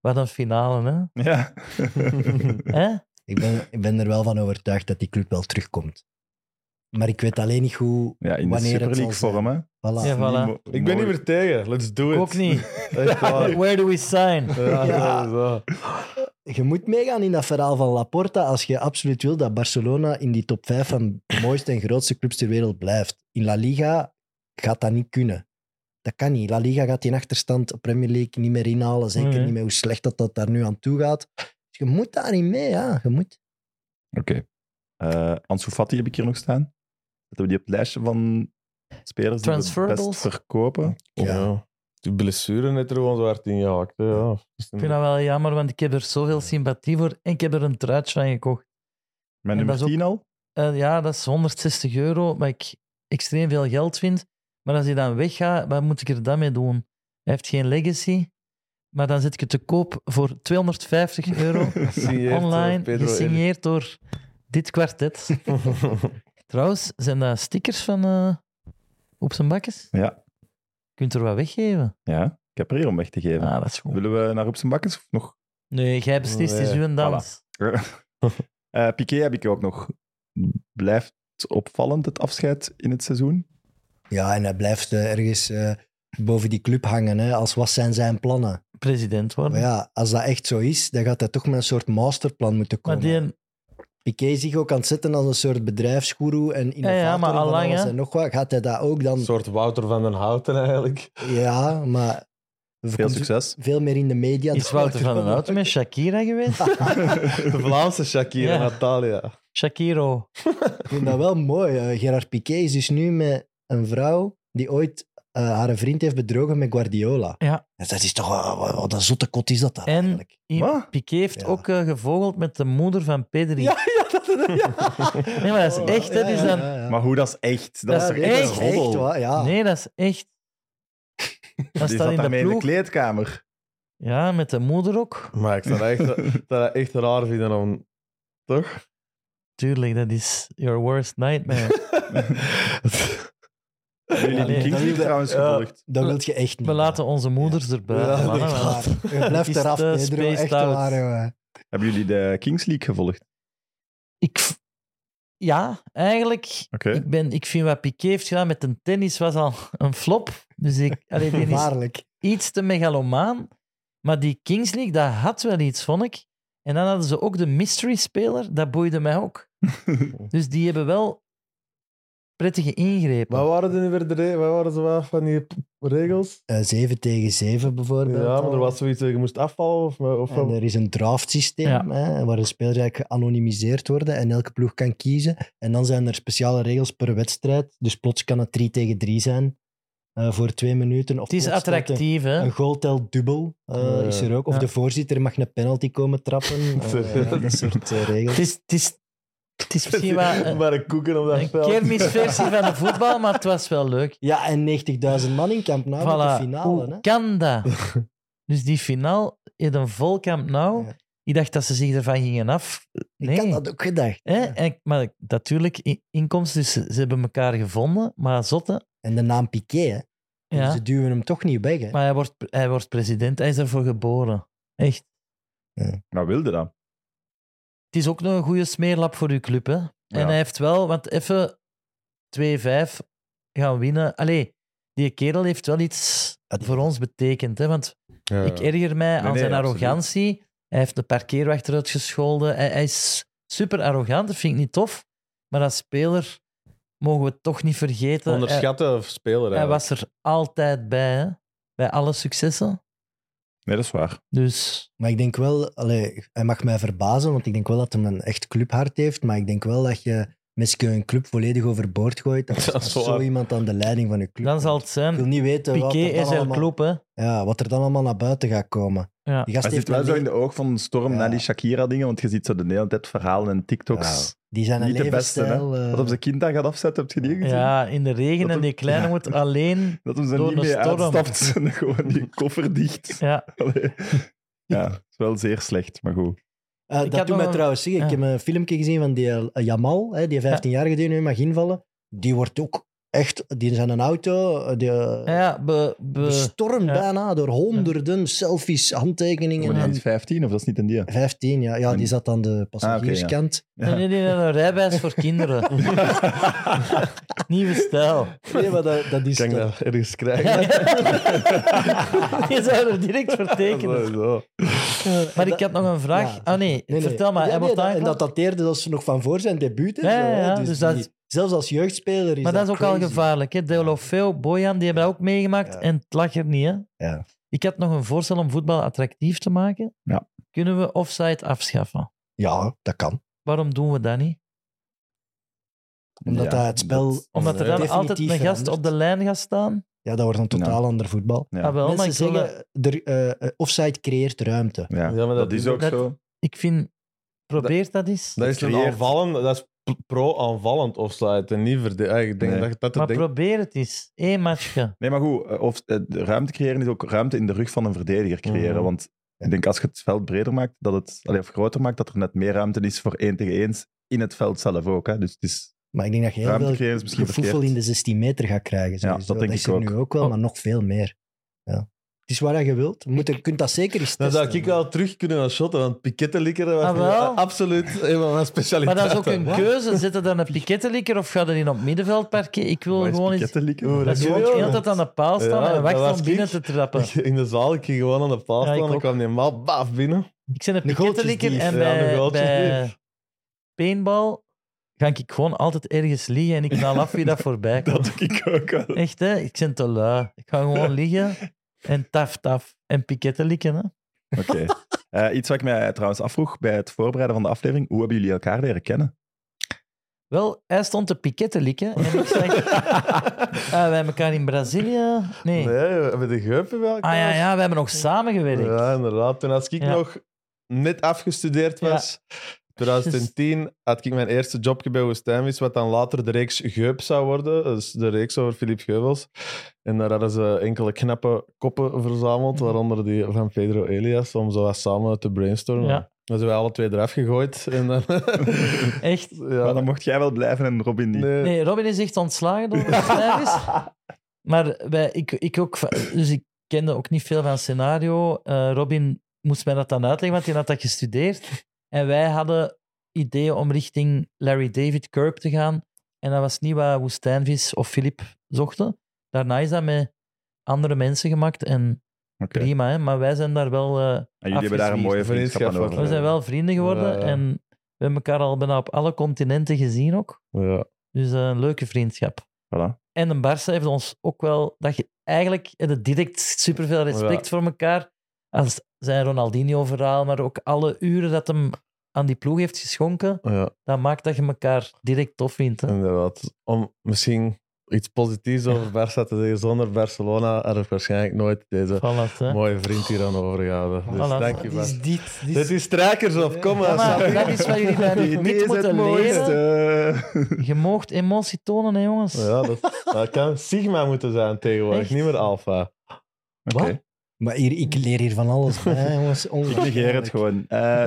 Speaker 3: Wat een finale, hè.
Speaker 1: Ja.
Speaker 3: hè?
Speaker 5: Ik, ben, ik ben er wel van overtuigd dat die club wel terugkomt. Maar ik weet alleen niet hoe.
Speaker 1: ja, in de
Speaker 5: Wanneer het
Speaker 1: Super League
Speaker 5: zal
Speaker 1: vorm, hè.
Speaker 5: Voilà.
Speaker 3: Ja, voilà.
Speaker 1: Niet mo-
Speaker 4: ik ben niet
Speaker 1: mooi.
Speaker 4: meer tegen. Let's do it.
Speaker 3: Ook niet.
Speaker 4: Echt waar.
Speaker 3: Where do we sign?
Speaker 4: Ja,
Speaker 5: Ja.
Speaker 4: zo.
Speaker 5: Je moet meegaan in dat verhaal van Laporta als je absoluut wil dat Barcelona in die top 5 van de mooiste en grootste clubs ter wereld blijft. In La Liga gaat dat niet kunnen. Dat kan niet. La Liga gaat die achterstand op Premier League niet meer inhalen. Zeker
Speaker 3: Nee.
Speaker 5: niet met hoe slecht dat, dat daar nu aan toe gaat. Dus je moet daar niet mee, ja. Je moet.
Speaker 1: Oké. Eh Ansu Fati heb ik hier nog staan. Zetten we die op het lijstje van spelers die we het best
Speaker 3: Transferables?
Speaker 1: verkopen? Of-
Speaker 5: Ja.
Speaker 4: Ja. Die blessure net er gewoon zo hard in gehakt. hè, Ja.
Speaker 3: Ik vind dat wel jammer, want ik heb er zoveel sympathie voor en ik heb er een truitje aan gekocht.
Speaker 1: Mijn
Speaker 3: En
Speaker 1: nummer
Speaker 3: dat is
Speaker 1: 10 al?
Speaker 3: Eh, ja, dat is 160 euro, maar ik extreem veel geld vind. Maar als hij dan weggaat, wat moet ik er dan mee doen? Hij heeft geen legacy, maar dan zit ik het te koop voor 250 euro
Speaker 4: Gesigneerd door
Speaker 3: online,
Speaker 4: eh, Pedro
Speaker 3: gesigneerd door dit kwartet. Trouwens, zijn dat stickers van eh, op zijn bakjes?
Speaker 1: Ja.
Speaker 3: Je kunt er wat weggeven.
Speaker 1: Ja, ik heb er hier om weg te geven.
Speaker 3: Ah, dat is goed.
Speaker 1: Willen we naar Roep zijn Bakkens of nog?
Speaker 3: Nee, jij beslist, het is
Speaker 4: Nee,
Speaker 3: uw dans.
Speaker 1: Eh Piqué heb ik ook nog. Blijft opvallend het afscheid in het seizoen?
Speaker 5: Ja, en hij blijft eh, ergens eh, boven die club hangen. Hè, als wat zijn zijn plannen?
Speaker 3: President worden.
Speaker 5: Maar ja, als dat echt zo is, dan gaat hij toch met een soort masterplan moeten
Speaker 3: maar
Speaker 5: komen.
Speaker 3: die,
Speaker 5: Piqué is zich ook aan het zetten als een soort bedrijfsgoeroe en innovator
Speaker 3: ja, maar
Speaker 5: en van
Speaker 3: allang,
Speaker 5: alles
Speaker 3: hè.
Speaker 5: en nog wat. Gaat hij dat ook dan...
Speaker 4: Een soort Wouter van den Houten eigenlijk.
Speaker 5: Ja, maar Er
Speaker 1: Veel
Speaker 5: komt
Speaker 1: succes.
Speaker 5: Veel meer in de media. Dus
Speaker 3: Is Wouter van den Houten met Shakira geweest?
Speaker 4: De Vlaamse Shakira,
Speaker 3: Ja.
Speaker 4: Natalia.
Speaker 3: Shakiro.
Speaker 5: Ik vind dat wel mooi. Eh, Gerard Piqué is dus nu met een vrouw die ooit eh, haar vriend heeft bedrogen met Guardiola.
Speaker 3: Ja.
Speaker 5: En Dat is toch wel, wat, wat een zotte kot is dat daar
Speaker 3: En-
Speaker 5: eigenlijk.
Speaker 1: Wat?
Speaker 3: Piqué heeft
Speaker 5: Ja.
Speaker 3: ook eh, gevogeld met de moeder van Pedri.
Speaker 5: Ja, ja, dat
Speaker 3: Nee, maar dat is echt, hè,
Speaker 5: dat
Speaker 3: dus
Speaker 5: Oh, ja,
Speaker 3: dan-
Speaker 5: ja, ja.
Speaker 1: Maar hoe, dat is echt. Dat
Speaker 3: Dat
Speaker 1: is
Speaker 3: is
Speaker 1: toch echt
Speaker 3: echt,
Speaker 1: een roddel.
Speaker 5: echt waar, ja.
Speaker 3: Nee, dat is echt. Dat
Speaker 1: Die
Speaker 3: staat
Speaker 1: zat
Speaker 3: in de
Speaker 1: daarmee in de
Speaker 3: ploeg.
Speaker 1: kleedkamer.
Speaker 3: ja, met de moeder ook.
Speaker 4: Maar ik zou dat echt, ik zou dat echt raar vinden om... Toch?
Speaker 3: Tuurlijk, dat is your worst nightmare.
Speaker 1: Hebben jullie
Speaker 5: Ja,
Speaker 1: die
Speaker 3: nee.
Speaker 1: Kings League trouwens
Speaker 4: Ja.
Speaker 1: gevolgd?
Speaker 5: Dat wil je echt niet.
Speaker 3: We laten onze moeders
Speaker 4: Ja,
Speaker 3: erbuiten.
Speaker 4: dat
Speaker 3: mannen.
Speaker 4: is waar.
Speaker 5: Je blijft
Speaker 3: Is
Speaker 5: eraf,
Speaker 3: te
Speaker 5: Pedro. Echt
Speaker 3: spaced out.
Speaker 5: waar, jongen.
Speaker 1: Hebben jullie de Kings League gevolgd?
Speaker 3: Ik, v- ja, eigenlijk.
Speaker 1: Oké.
Speaker 3: Ik, ben, ik vind wat Piqué heeft gedaan met de tennis was al een flop. Dus ik, allee, die is
Speaker 5: Waarlijk.
Speaker 3: iets te megalomaan. Maar die Kings League, dat had wel iets, vond ik. En dan hadden ze ook de mystery-speler. Dat boeide mij ook. dus die hebben wel prettige ingrepen.
Speaker 4: Wat waren er nu weer de re- Wat waren ze wat van die p- regels?
Speaker 5: Eh, 7 tegen 7 bijvoorbeeld.
Speaker 4: Ja, maar er
Speaker 5: al.
Speaker 4: was zoiets dat je moest afvallen of... of
Speaker 5: En er is een draftsysteem
Speaker 3: Ja.
Speaker 5: hè, waar de spelers eigenlijk geanonimiseerd worden en elke ploeg kan kiezen. En dan zijn er speciale regels per wedstrijd. Dus plots kan het 3 tegen 3 zijn eh, voor twee minuten. Of
Speaker 3: Het is
Speaker 5: plots telt een-
Speaker 3: attractief, hè?
Speaker 5: Een goal telt dubbel, eh,
Speaker 4: Ja.
Speaker 5: is er ook. Of
Speaker 3: Ja.
Speaker 5: de voorzitter mag een penalty komen trappen. Eh, ja, dat soort eh, regels.
Speaker 3: Het is, het is, het is misschien wel een,
Speaker 4: maar een koeken op dat
Speaker 3: een
Speaker 4: veld.
Speaker 3: kermisversie van de voetbal, maar het was wel leuk.
Speaker 5: Ja, en 90.000 man in Camp Nou met
Speaker 3: Voilà.
Speaker 5: de finale.
Speaker 3: Hoe
Speaker 5: Hè?
Speaker 3: kan dat? Dus die finale in een volkamp nou.
Speaker 5: Ja.
Speaker 3: Ik dacht dat ze zich ervan gingen af. Nee.
Speaker 5: Ik had dat ook gedacht.
Speaker 3: Hè? En, maar natuurlijk, in- inkomsten, dus ze, ze hebben elkaar gevonden, maar zotte.
Speaker 5: En de naam Piqué, hè. Dus
Speaker 3: Ja.
Speaker 5: ze duwen hem toch niet weg. Hè?
Speaker 3: Maar hij wordt, hij wordt president, hij is daarvoor geboren. Echt.
Speaker 1: Maar wilde dat?
Speaker 3: Het is ook nog een goede smeerlap voor uw club. Hè? En hij heeft wel, want even 2-5 gaan winnen. Allee, die kerel heeft wel iets
Speaker 5: Het-
Speaker 3: voor ons betekend. Hè? Want
Speaker 4: Ja.
Speaker 3: ik erger mij aan
Speaker 1: nee,
Speaker 3: zijn
Speaker 1: absoluut.
Speaker 3: arrogantie. Hij heeft de parkeerwachter uitgescholden. Hij, hij is super arrogant, dat vind ik niet tof. Maar als speler mogen we het toch niet vergeten. Hij,
Speaker 4: Onderschatten of
Speaker 3: eh,
Speaker 4: speler.
Speaker 3: hij
Speaker 4: eigenlijk.
Speaker 3: was er altijd bij, hè? bij alle successen.
Speaker 1: Nee, dat is waar.
Speaker 3: Dus
Speaker 5: Maar ik denk wel, allee, hij mag mij verbazen, want ik denk wel dat hij een echt clubhart heeft. Maar ik denk wel dat je misschien een club volledig overboord gooit. Als,
Speaker 4: Dat is
Speaker 5: als
Speaker 4: waar.
Speaker 5: zo iemand aan de leiding van je club.
Speaker 3: dan zal het
Speaker 5: Ik wil
Speaker 3: zijn.
Speaker 5: niet weten wat
Speaker 3: Piqué
Speaker 5: er, dan
Speaker 3: is er
Speaker 5: allemaal,
Speaker 3: klopt, hè?
Speaker 5: ja, wat er dan allemaal naar buiten gaat komen.
Speaker 3: Ja.
Speaker 5: Die gast
Speaker 1: Hij zit
Speaker 5: heeft
Speaker 1: wel zo
Speaker 5: alleen-
Speaker 1: in de oog van de storm
Speaker 5: Ja.
Speaker 1: na die Shakira-dingen, want je ziet zo de hele tijd verhalen en TikToks.
Speaker 5: die zijn
Speaker 1: niet de beste, hè.
Speaker 5: levensstijl, eh,
Speaker 1: Dat hem zijn kind daar gaat afzetten, heb je die gezien?
Speaker 3: Ja, in de regen
Speaker 1: Dat
Speaker 3: en die
Speaker 1: ook-
Speaker 3: kleine
Speaker 1: ja.
Speaker 3: moet alleen.
Speaker 1: Dat hem ze
Speaker 3: Door
Speaker 1: niet
Speaker 3: een
Speaker 1: mee
Speaker 3: storm.
Speaker 1: uitstapt en gewoon die koffer dicht.
Speaker 3: Ja,
Speaker 1: Allee. Ja, het is wel zeer slecht, maar goed.
Speaker 5: Eh,
Speaker 3: Ik
Speaker 5: dat
Speaker 3: had
Speaker 5: doet
Speaker 3: nog
Speaker 5: mij
Speaker 3: een-
Speaker 5: trouwens zeggen. Ik
Speaker 3: ja.
Speaker 5: heb een filmpje gezien van die eh, Jamal, hè, die 15-jarige die nu mag invallen. Die wordt ook echt... Die zijn een auto, eh, die eh,
Speaker 3: ja, ja be, be-
Speaker 5: bestormd
Speaker 3: ja.
Speaker 5: bijna door honderden selfies, handtekeningen.
Speaker 1: Maar die
Speaker 5: en-
Speaker 1: is 15 of dat is niet een die?
Speaker 5: 15, ja. Ja,
Speaker 1: En- Ah,
Speaker 5: die zat aan de passagierskant.
Speaker 3: Nee, nee, nee, een rijbewijs voor kinderen. Nieuwe stijl.
Speaker 5: Nee, maar dat, dat is
Speaker 4: Kan ik
Speaker 5: toch-
Speaker 4: dat ergens krijgen?
Speaker 3: Je zou er direct voor tekenen.
Speaker 4: Sowieso.
Speaker 3: Maar ik had nog een vraag.
Speaker 5: Ja.
Speaker 3: Ah nee,
Speaker 5: Nee, nee.
Speaker 3: vertel maar.
Speaker 5: Ja,
Speaker 3: hij
Speaker 5: nee,
Speaker 3: wordt
Speaker 5: dat, en
Speaker 3: aangeklaagd?
Speaker 5: dat dateerde als nog van voor zijn debuut. en
Speaker 3: Ja,
Speaker 5: zo, hè.
Speaker 3: ja, ja,
Speaker 5: Dus
Speaker 3: dus dat
Speaker 5: die-
Speaker 3: is-
Speaker 5: zelfs als jeugdspeler is
Speaker 3: maar dat is ook al
Speaker 5: crazy.
Speaker 3: gevaarlijk. Hè? Deulofeu, Bojan, die hebben dat ook meegemaakt.
Speaker 5: Ja.
Speaker 3: En het lag er niet. Hè?
Speaker 5: Ja.
Speaker 3: Ik had nog een voorstel om voetbal attractief te maken.
Speaker 1: Ja.
Speaker 3: Kunnen we offside afschaffen?
Speaker 5: Ja, dat kan.
Speaker 3: Waarom doen we dat niet?
Speaker 5: Omdat dat het spel...
Speaker 3: Omdat er dan
Speaker 5: definitief
Speaker 3: altijd een gast
Speaker 5: verandert.
Speaker 3: op de lijn gaat staan.
Speaker 5: Ja, dat wordt een totaal ander voetbal.
Speaker 1: eh, Ja.
Speaker 3: Ah, wel, maar
Speaker 5: Mensen
Speaker 3: ik, wil dat-
Speaker 5: zeggen, er, eh, eh, offside creëert ruimte.
Speaker 1: Ja,
Speaker 4: Ja, maar
Speaker 1: dat,
Speaker 4: dat
Speaker 1: is
Speaker 4: is
Speaker 1: ook
Speaker 3: ook-
Speaker 1: zo.
Speaker 3: ik vind, probeer dat, eens.
Speaker 4: Dat is een
Speaker 1: creëert-
Speaker 4: aanvallend, dat is pro-aanvallend offside en niet verdedigen. Ik denk
Speaker 1: Nee.
Speaker 4: dat je dat
Speaker 3: maar
Speaker 4: te denken.
Speaker 3: probeer het eens. Eén matchje.
Speaker 1: Nee, maar goed, eh, of, eh, de ruimte creëren is ook ruimte in de rug van een verdediger creëren.
Speaker 4: Mhm.
Speaker 1: Want ik denk als je het veld breder maakt, dat het, allee, of groter maakt, dat er net meer ruimte is voor één tegen één in het veld zelf ook. Hè. Dus het is
Speaker 5: Maar ik denk dat je heel
Speaker 1: ruimte
Speaker 5: veel
Speaker 1: creëren is misschien
Speaker 5: gevoel
Speaker 1: verkeerd.
Speaker 5: in de 16 meter gaat krijgen. sowieso.
Speaker 1: dat denk
Speaker 5: is
Speaker 1: ik
Speaker 5: er
Speaker 1: ook. Oh.
Speaker 5: nu ook wel, maar nog veel meer. Ja. Het is waar je wilt. Je moet, je kunt dat zeker eens
Speaker 4: Dan
Speaker 5: testen.
Speaker 4: zou ik wel terug kunnen gaan shotten, want pikettenlikkeren was
Speaker 3: Ah, wel?
Speaker 4: eh, absoluut een van mijn
Speaker 3: Maar
Speaker 4: specialiteiten.
Speaker 3: dat is ook een keuze. Zet er dan een pikettenlikker of ga je die op het middenveld parkeren? Ik wil
Speaker 1: Wat is
Speaker 3: gewoon eens... Oh,
Speaker 1: pikettenlikken?
Speaker 4: Oeh,
Speaker 3: Dat
Speaker 4: is
Speaker 3: je gewoon
Speaker 4: wel-
Speaker 3: de hele tijd aan de paal staan
Speaker 4: Ja,
Speaker 3: en
Speaker 4: dat was
Speaker 3: wacht om
Speaker 4: ik.
Speaker 3: binnen te trappen.
Speaker 4: In de zaal, ik ging gewoon aan de paal
Speaker 3: Ja, ik
Speaker 4: staan en
Speaker 3: ook.
Speaker 4: dan kwam die maal baaf binnen.
Speaker 3: Ik ben een
Speaker 5: Een
Speaker 3: pikettenlikker
Speaker 5: goaltjesdief.
Speaker 3: en
Speaker 4: Ja, een
Speaker 3: bij,
Speaker 4: goaltjesdief.
Speaker 3: bij paintball ga ik gewoon altijd ergens liggen en ik knal af wie dat voorbij komt.
Speaker 1: Dat doe ik ook wel.
Speaker 3: Echt, hè? Ik ben te lui. Ik ga gewoon liggen En taf taf. En piketten likken. Hè?
Speaker 1: Oké. Eh, iets wat ik mij trouwens afvroeg bij het voorbereiden van de aflevering. Hoe hebben jullie elkaar leren kennen?
Speaker 3: Wel, hij stond te piketten likken. En ik zeg, ah, wij elkaar in Brazilië. Nee.
Speaker 4: Nee, met de geupen wel.
Speaker 3: Ah ja, ja, we hebben nog samengewerkt.
Speaker 4: Ja, inderdaad. Toen als ik
Speaker 3: Ja.
Speaker 4: nog net afgestudeerd was, 2010, had ik mijn eerste jobje bij Woestijnvis, wat dan later de reeks Geup zou worden. Dus de reeks over Philippe Geubels. En daar hadden ze enkele knappe koppen verzameld,
Speaker 3: Mhm.
Speaker 4: waaronder die van Pedro Elias, om zo wat samen te brainstormen.
Speaker 3: Ja.
Speaker 4: Dus we hebben alle twee eraf gegooid. En dan,
Speaker 3: Echt.
Speaker 1: Maar
Speaker 4: ja,
Speaker 1: dan mocht jij wel blijven en Robin niet.
Speaker 4: nee.
Speaker 3: Nee, Robin is echt ontslagen door de schrijvers. Maar wij, ik, ik ook, van- dus ik kende ook niet veel van scenario. Eh, Robin moest mij dat dan uitleggen, want hij had dat gestudeerd. En wij hadden ideeën om richting Larry David Kirk te gaan. En dat was niet wat Woestijnvis of Filip zochten. Daarna is dat met andere mensen gemaakt en
Speaker 1: Oké.
Speaker 3: prima. Hè? Maar wij zijn daar wel, eh,
Speaker 1: En jullie hebben daar een mooie vriendschap aan
Speaker 4: Vriendschap,
Speaker 1: over.
Speaker 3: we zijn wel vrienden geworden.
Speaker 4: Ja, ja.
Speaker 3: En we hebben elkaar al bijna op alle continenten gezien ook.
Speaker 4: Ja.
Speaker 3: Dus eh, een leuke vriendschap.
Speaker 1: Voilà.
Speaker 3: En de Barça heeft ons ook wel... Dat je eigenlijk eh, dat direct superveel respect
Speaker 4: Ja.
Speaker 3: voor elkaar. Als zijn Ronaldinho-verhaal, maar ook alle uren dat hem aan die ploeg heeft geschonken,
Speaker 4: ja.
Speaker 3: dat maakt dat je elkaar direct tof vindt. hè.
Speaker 4: Inderdaad. Om misschien iets positiefs over Barça te zeggen. Zonder Barcelona had ik waarschijnlijk nooit deze
Speaker 3: Voilà, hè.
Speaker 4: mooie vriend hier aan overgehouden. Dus
Speaker 3: Voilà.
Speaker 4: dank je
Speaker 3: Wat
Speaker 4: wel.
Speaker 3: is dit? Dit
Speaker 4: Dit
Speaker 3: is...
Speaker 4: is strijkers of kom
Speaker 3: Ja,
Speaker 4: maar.
Speaker 3: maar
Speaker 4: Sabi.
Speaker 3: dat is wat jullie bij
Speaker 1: Dit
Speaker 3: niet
Speaker 1: is
Speaker 3: moeten leren.
Speaker 1: mooiste.
Speaker 3: Je moogt emotie tonen, hè, jongens.
Speaker 4: Ja, dat, dat kan Sigma moeten zijn tegenwoordig,
Speaker 3: Echt?
Speaker 4: niet meer Alpha.
Speaker 1: Oké.
Speaker 3: Wat?
Speaker 5: Maar hier, ik leer hier van alles. Hè, jongens,
Speaker 1: Ik negeer het gewoon. Eh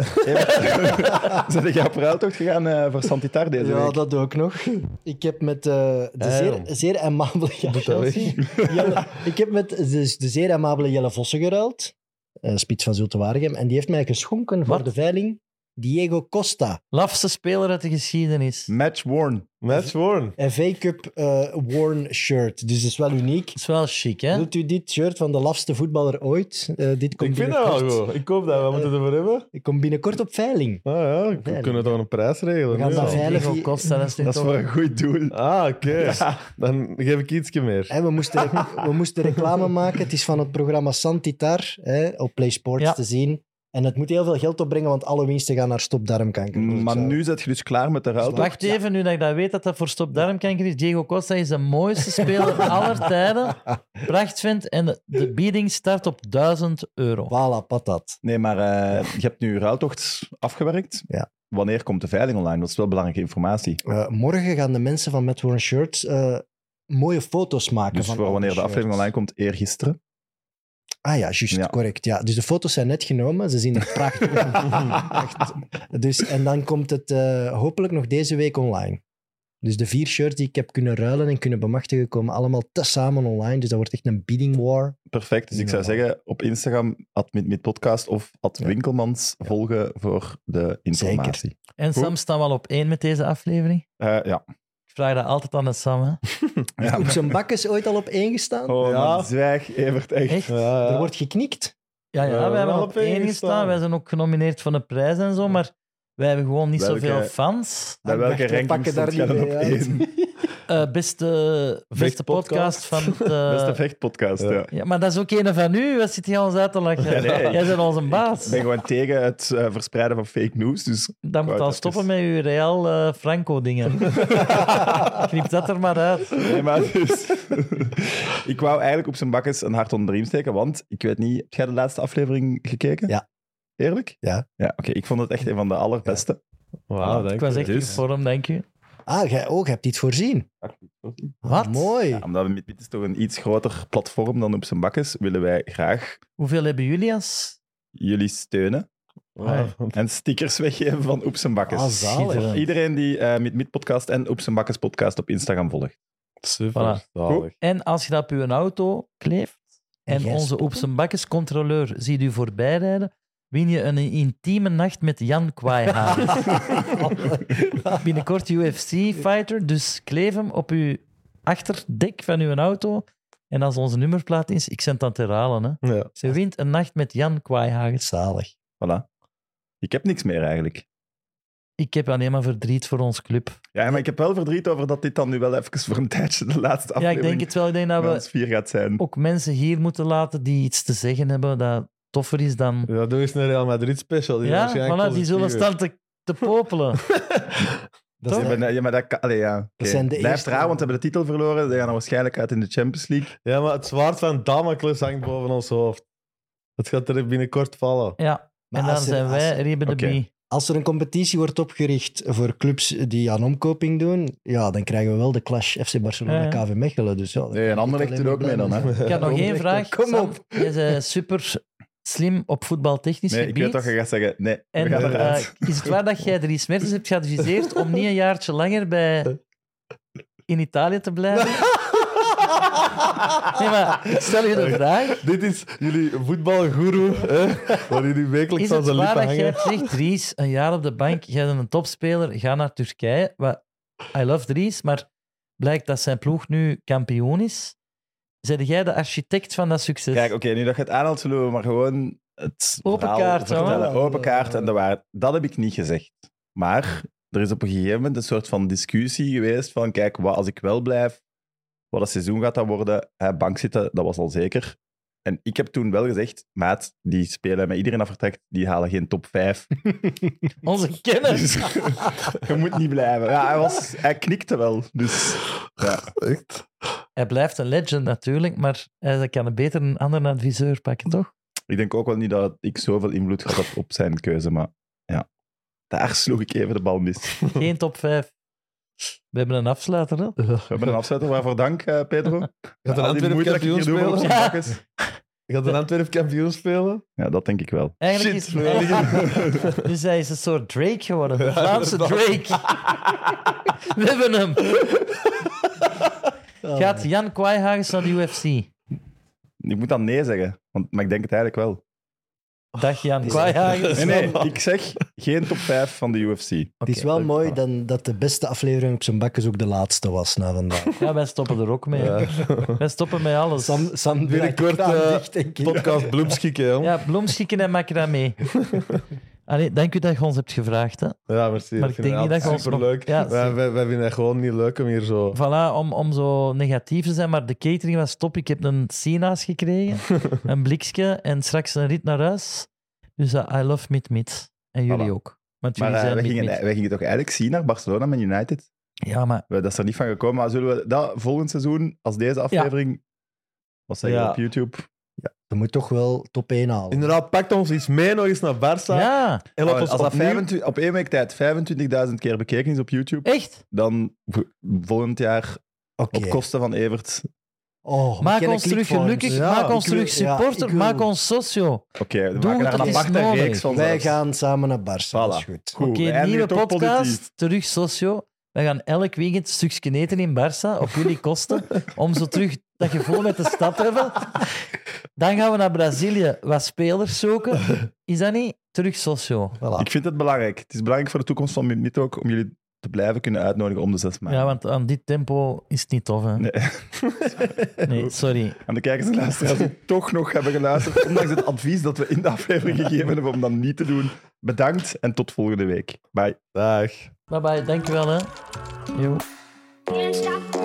Speaker 1: Evert, zijn jij op ruiltocht gegaan eh, voor Santitar deze
Speaker 5: Ja,
Speaker 1: week?
Speaker 5: dat ook nog. Ik heb met eh, de
Speaker 4: Ah,
Speaker 5: zeer,
Speaker 4: jong.
Speaker 5: zeer amabele... Ja,
Speaker 4: Doe dat weg.
Speaker 5: Chelsea. Jelle- ik heb met de, de zeer amabele Jelle Vossen geruild. eh, spits van Zulte Waregem. En die heeft mij geschonken voor
Speaker 3: Wat?
Speaker 5: de veiling Diego Costa.
Speaker 3: Lafste speler uit de geschiedenis. Dat
Speaker 1: Match worn.
Speaker 4: Match worn.
Speaker 5: FA Cup eh, worn shirt. Dus dat is wel uniek.
Speaker 3: is wel chic, hè?
Speaker 5: Wilt u dit shirt van de lafste voetballer ooit? Eh, dit komt
Speaker 4: Ik vind dat
Speaker 5: binnenkort,
Speaker 4: wel goed. Ik koop dat. We moeten ervoor hebben.
Speaker 5: Ik kom binnenkort op veiling.
Speaker 4: Ah ja, we
Speaker 5: Veilig.
Speaker 4: kunnen toch een prijs
Speaker 5: We
Speaker 4: regelen.
Speaker 5: gaan
Speaker 4: nu
Speaker 5: dat
Speaker 4: al.
Speaker 5: veilig-
Speaker 3: Diego Costa, dat is nu
Speaker 1: Dat is
Speaker 3: toch-
Speaker 1: voor een goed doel.
Speaker 4: Ah, oké. Dan geef ik ietsje meer.
Speaker 5: Hè, we, moesten, we moesten reclame maken. Het is van het programma Santitar hè, op Play Sports
Speaker 3: Ja.
Speaker 5: te zien. En het moet heel veel geld opbrengen, want alle winsten gaan naar stopdarmkanker. Dus ik
Speaker 1: Mm, Maar
Speaker 5: zou-
Speaker 1: nu zit je dus klaar met de ruiltocht.
Speaker 3: Wacht even, nu dat ik dat weet, dat dat voor stopdarmkanker is. Diego Costa is de mooiste speler aller tijden. Prachtvent. En de, de bieding start op 1000 euro.
Speaker 5: Voilà, patat.
Speaker 1: Nee, maar eh, je hebt nu ruiltocht afgewerkt.
Speaker 5: Ja.
Speaker 1: Wanneer komt de veiling online? Dat is wel belangrijke informatie.
Speaker 5: Eh, morgen gaan de mensen van Met Worn Shirts eh, mooie foto's maken.
Speaker 1: Dus
Speaker 5: van
Speaker 1: voor
Speaker 5: al die
Speaker 1: wanneer de
Speaker 5: shirts.
Speaker 1: aflevering online komt, eergisteren.
Speaker 5: Ah ja, juist,
Speaker 1: Ja.
Speaker 5: correct. Ja. Dus de foto's zijn net genomen. Ze zien er prachtig uit. Echt. dus, en dan komt het eh, hopelijk nog deze week online. Dus de vier shirts die ik heb kunnen ruilen en kunnen bemachtigen, komen allemaal tezamen online. Dus dat wordt echt een bidding war.
Speaker 1: Perfect. Dus ik zou
Speaker 5: Ja.
Speaker 1: zeggen, op Instagram, @midmidpodcast of
Speaker 5: Ja.
Speaker 1: @winkelmans volgen voor de informatie.
Speaker 3: En Sam
Speaker 1: Goed.
Speaker 3: staan wel op één met deze aflevering.
Speaker 1: Eh, ja.
Speaker 3: Ik vraag dat altijd aan de Sam. Hè.
Speaker 1: ja.
Speaker 5: Op zijn bak is ooit al op één gestaan.
Speaker 1: Oh, eh,
Speaker 4: Ja.
Speaker 1: man, zwijg, Evert, echt.
Speaker 3: Echt? Ja, Eh,
Speaker 4: Ja,
Speaker 5: Er
Speaker 4: ja.
Speaker 5: wordt geknikt.
Speaker 3: ja,
Speaker 4: Ja,
Speaker 3: wij hebben
Speaker 4: wel
Speaker 3: op één gestaan.
Speaker 4: gestaan.
Speaker 3: Wij zijn ook genomineerd voor een prijs en zo, maar wij hebben gewoon niet
Speaker 1: Welke-
Speaker 3: zoveel fans.
Speaker 1: Bij
Speaker 5: Ik
Speaker 1: welke
Speaker 5: dacht, Ah,
Speaker 1: ranking
Speaker 5: we pakken
Speaker 1: stond
Speaker 5: daar
Speaker 1: jij dan
Speaker 5: niet
Speaker 1: op
Speaker 5: mee uit.
Speaker 1: één?
Speaker 3: Eh, beste beste podcast
Speaker 4: Vechtpodcast.
Speaker 3: van... de-
Speaker 5: Eh.
Speaker 1: Beste vechtpodcast, ja.
Speaker 4: Ja.
Speaker 3: ja, maar dat is ook een van u. Wat zit jij ons uit te lachen?
Speaker 1: Ja, nee.
Speaker 3: Jij bent onze
Speaker 1: Ik
Speaker 3: baas.
Speaker 1: ben gewoon tegen het eh, verspreiden van fake news, dus
Speaker 3: Dan moet
Speaker 1: Wou
Speaker 3: al
Speaker 1: dat
Speaker 3: stoppen
Speaker 1: eens-
Speaker 3: met uw Real eh, Franco-dingen. Knip dat er maar uit.
Speaker 1: Nee, maar dus... ik wou eigenlijk op zijn bakkes een hart onder de riem steken, want ik weet niet... Heb jij de laatste aflevering gekeken?
Speaker 5: Ja.
Speaker 1: Eerlijk?
Speaker 5: Ja.
Speaker 1: Ja, oké. Ik vond het echt een van de allerbeste.
Speaker 4: Wauw, dank
Speaker 3: Ik was
Speaker 4: je.
Speaker 3: echt in vorm, denk je.
Speaker 5: Ah, jij ook, hebt dit voorzien.
Speaker 3: Wat?
Speaker 5: Mooi.
Speaker 1: Ja, omdat we met dit is toch een iets groter platform dan op zijn bakkes, willen wij graag
Speaker 3: Hoeveel hebben jullie als?
Speaker 1: jullie steunen
Speaker 4: Wauw.
Speaker 1: en stickers weggeven van Op zijn bakkes.
Speaker 5: Ah, zalig.
Speaker 1: Voor Iedereen die eh met Mid Podcast en Op zijn bakkes podcast op Instagram volgt.
Speaker 4: Super.
Speaker 3: Voilà.
Speaker 4: zalig.
Speaker 3: En als je dat op je auto kleeft
Speaker 5: En
Speaker 3: en
Speaker 5: jij
Speaker 3: onze
Speaker 5: stoppen?
Speaker 3: op zijn bakkes controleur ziet u voorbijrijden, win je een intieme nacht met Jan Kwaaihaar. Binnenkort UFC-fighter, dus kleef hem op uw achterdek van uw auto. En als onze nummerplaat is, ik zend dat te herhalen. Hè.
Speaker 4: Ja.
Speaker 3: Ze wint een nacht met Jan Kwaaihaar.
Speaker 5: Zalig.
Speaker 1: Voilà. Ik heb niks meer eigenlijk.
Speaker 3: Ik heb alleen maar verdriet voor ons club.
Speaker 1: Ja, maar ik heb wel verdriet over dat dit dan nu wel even voor een tijdje de laatste
Speaker 3: Ja,
Speaker 1: aflevering
Speaker 3: ik denk het wel. Oh, Ik denk dat
Speaker 1: met
Speaker 3: we
Speaker 1: ons vier gaat zijn.
Speaker 3: ook mensen hier moeten laten die iets te zeggen hebben dat toffer is dan...
Speaker 4: Ja, doe eens een Real Madrid special. Die
Speaker 3: Ja,
Speaker 4: waarschijnlijk
Speaker 3: voilà, die zullen
Speaker 4: positief
Speaker 3: staan te, te popelen.
Speaker 1: Ja,
Speaker 5: Dat zijn-
Speaker 1: maar- ja, maar dat kan... Allee, ja. Oké.
Speaker 5: zijn de
Speaker 1: Blijf
Speaker 5: eerste-
Speaker 1: trouw, want ze hebben de titel verloren. Ze gaan er waarschijnlijk uit in de Champions League.
Speaker 4: is. Ja, maar het zwaard van Damocles hangt boven ons hoofd. Het gaat er binnenkort vallen.
Speaker 3: Ja,
Speaker 5: Maar
Speaker 3: en
Speaker 5: als
Speaker 3: daar
Speaker 5: er-
Speaker 3: zijn
Speaker 5: als-
Speaker 3: wij, Rebe de
Speaker 1: Oké.
Speaker 3: Bie.
Speaker 5: Als er een competitie wordt opgericht voor clubs die aan omkoping doen, ja, dan krijgen we wel de clash
Speaker 3: Ja,
Speaker 5: FC
Speaker 3: ja.
Speaker 5: Barcelona-KV Mechelen. Dus ja,
Speaker 1: Nee, en Anderlecht doet ook mee dan, hè.
Speaker 3: Ik had nog één
Speaker 5: Echt,
Speaker 3: vraag.
Speaker 5: kom
Speaker 3: Sam,
Speaker 5: op.
Speaker 3: Jij bent super slim op voetbaltechnisch
Speaker 1: Nee, ik
Speaker 3: gebied.
Speaker 1: weet toch, je gaat zeggen, nee,
Speaker 3: en
Speaker 1: we gaan
Speaker 3: eh,
Speaker 1: eruit.
Speaker 3: is het waar dat jij drie smertes hebt geadviseerd om niet een jaartje langer bij in Italië te blijven? Nee, maar ik stel je de vraag.
Speaker 4: Dit is jullie voetbalgoeroe, hè? Waar jullie
Speaker 3: Is
Speaker 4: wekelijks aan
Speaker 3: het
Speaker 4: zijn
Speaker 3: waar
Speaker 4: lippen
Speaker 3: dat jij
Speaker 4: hangen.
Speaker 3: hebt gezegd, Dries, een jaar op de bank, jij bent een topspeler, ga naar Turkije. Wat- I love Dries, maar blijkt dat zijn ploeg nu kampioen is. Zijn jij de architect van dat succes?
Speaker 1: Kijk, oké, nu dat je het aanhaalt, zullen we maar gewoon het
Speaker 3: Dus- Open
Speaker 1: verhaal
Speaker 3: kaart, hè,
Speaker 1: vertellen.
Speaker 5: wel.
Speaker 1: Open kaart en de waarheid. Dat heb ik niet gezegd. Maar er is op een gegeven moment een soort van discussie geweest van, kijk, wat als ik wel blijf, wat dat seizoen gaat dat worden? Hè, bank zitten, dat was al zeker. En ik heb toen wel gezegd, maat, die spelen met iedereen dat vertrekt, die halen geen top 5.
Speaker 3: Onze kennis.
Speaker 1: je moet niet blijven. Ja, hij, was, hij knikte wel, dus... Ja.
Speaker 4: Echt?
Speaker 3: Hij blijft een legend natuurlijk, maar hij kan beter een ander adviseur pakken, toch?
Speaker 1: Ik denk ook wel niet dat ik zoveel invloed gehad heb op zijn keuze, maar ja. Daar sloeg ik even de bal mis.
Speaker 3: Geen top 5. We hebben een afsluiter, hè?
Speaker 1: We hebben een afzetter waarvoor dank, eh, Pedro.
Speaker 4: Gaat
Speaker 1: Al
Speaker 4: een
Speaker 1: die
Speaker 4: Antwerp
Speaker 1: moeite dat ik
Speaker 4: kampioen
Speaker 1: hier doe voor op
Speaker 4: spelen?
Speaker 3: Ja.
Speaker 1: zijn bakkes.
Speaker 4: Gaat een Antwerp kampioen spelen?
Speaker 1: Ja, dat denk ik wel.
Speaker 3: Eigenlijk
Speaker 4: Shit,
Speaker 3: is,
Speaker 4: we gaan
Speaker 3: Dus hij is een soort Drake geworden, de
Speaker 4: Ja,
Speaker 3: Vlaamse
Speaker 4: dat-
Speaker 3: Drake. We hebben hem.
Speaker 4: Oh,
Speaker 5: Ja,
Speaker 3: Gaat Jan Kwaaihagens naar de UFC?
Speaker 1: Ik moet dan nee zeggen, want, maar ik denk het eigenlijk wel.
Speaker 3: Dag Jan Kwaaihagens.
Speaker 1: Nee, nee, ik zeg geen top 5 van de UFC.
Speaker 5: Het is wel mooi
Speaker 4: Oh.
Speaker 5: dan, dat de beste aflevering op zijn bakkes ook de laatste was na vandaag.
Speaker 3: Ja, wij stoppen er ook mee.
Speaker 4: Ja.
Speaker 3: Wij stoppen met alles.
Speaker 5: Sam, Sam
Speaker 4: Binnenkort,
Speaker 5: draait de kraan
Speaker 4: eh,
Speaker 5: dicht, denk ik.
Speaker 4: Podcast Bloemschikken, jong.
Speaker 3: Ja, bloemschikken en macramé. Allee, dank u dat je ons hebt gevraagd. Hè.
Speaker 4: Ja, merci.
Speaker 3: Maar ik denk niet dat je ons nog-
Speaker 4: leuk.
Speaker 3: Ja,
Speaker 4: wij, wij, wij vinden het gewoon niet leuk om hier zo.
Speaker 3: Voilà, om, om zo negatief te zijn, maar de catering was top. Ik heb een sinaas gekregen, een blikje en straks een rit naar huis. Dus eh, I love meat meat. En jullie
Speaker 1: Voilà.
Speaker 3: ook. Want
Speaker 1: Maar
Speaker 3: jullie
Speaker 1: eh, wij,
Speaker 3: zijn meat
Speaker 1: gingen,
Speaker 3: meat.
Speaker 1: wij gingen toch eigenlijk zien naar Barcelona met United.
Speaker 3: Ja, maar
Speaker 1: We- Dat is er niet van gekomen, maar zullen we dat volgend seizoen, als deze aflevering, wat zeggen we
Speaker 4: Ja.
Speaker 1: op YouTube?
Speaker 5: Je moet toch wel top 1 halen.
Speaker 4: Inderdaad, pakt ons iets mee nog eens naar Barça.
Speaker 3: ja,
Speaker 4: En laat
Speaker 1: Oh,
Speaker 4: ons
Speaker 1: als dat
Speaker 4: opnieuw-
Speaker 1: 25, op één week tijd 25.000 keer bekeken is op YouTube,
Speaker 3: echt.
Speaker 1: dan v- volgend jaar
Speaker 5: Oké.
Speaker 1: op kosten van Evert.
Speaker 5: Oh,
Speaker 3: Maak
Speaker 5: McKenna
Speaker 3: ons terug
Speaker 5: Clickfarms.
Speaker 3: gelukkig,
Speaker 4: Ja,
Speaker 3: maak
Speaker 4: ik
Speaker 3: ons
Speaker 5: wil-
Speaker 3: terug
Speaker 5: ja,
Speaker 3: supporter,
Speaker 5: ik wil-
Speaker 3: maak ons socio.
Speaker 1: Oké, we maken
Speaker 3: Doe het,
Speaker 1: daar een
Speaker 3: het is
Speaker 1: aparte
Speaker 3: nodig.
Speaker 1: reeks van
Speaker 5: Wij
Speaker 1: zelfs.
Speaker 5: gaan samen naar Barça, dat is
Speaker 1: Voilà.
Speaker 5: goed.
Speaker 1: Goed,
Speaker 3: Oké,
Speaker 1: we eindigen
Speaker 3: nieuwe
Speaker 1: toch
Speaker 3: podcast,
Speaker 1: positief.
Speaker 3: terug socio. We gaan elk weekend een stukje eten in Barça, op jullie kosten, om zo terug dat gevoel met de stad te hebben. Dan gaan we naar Brazilië wat spelers zoeken. Is dat niet? Terug socio.
Speaker 1: Ik vind het belangrijk. Het is belangrijk voor de toekomst van Minute ook om jullie te blijven kunnen uitnodigen om de zes maanden.
Speaker 3: Ja, want aan dit tempo is het niet tof, hè?
Speaker 1: Nee.
Speaker 3: Nee, sorry.
Speaker 1: Aan de kijkers en luisteraars die toch nog hebben geluisterd, ondanks het advies dat we in de aflevering gegeven hebben om dat niet te doen. Bedankt en tot volgende week. Bye.
Speaker 4: Dag.
Speaker 3: Bye bye, dankjewel, hè. Joe.
Speaker 2: Can't stop,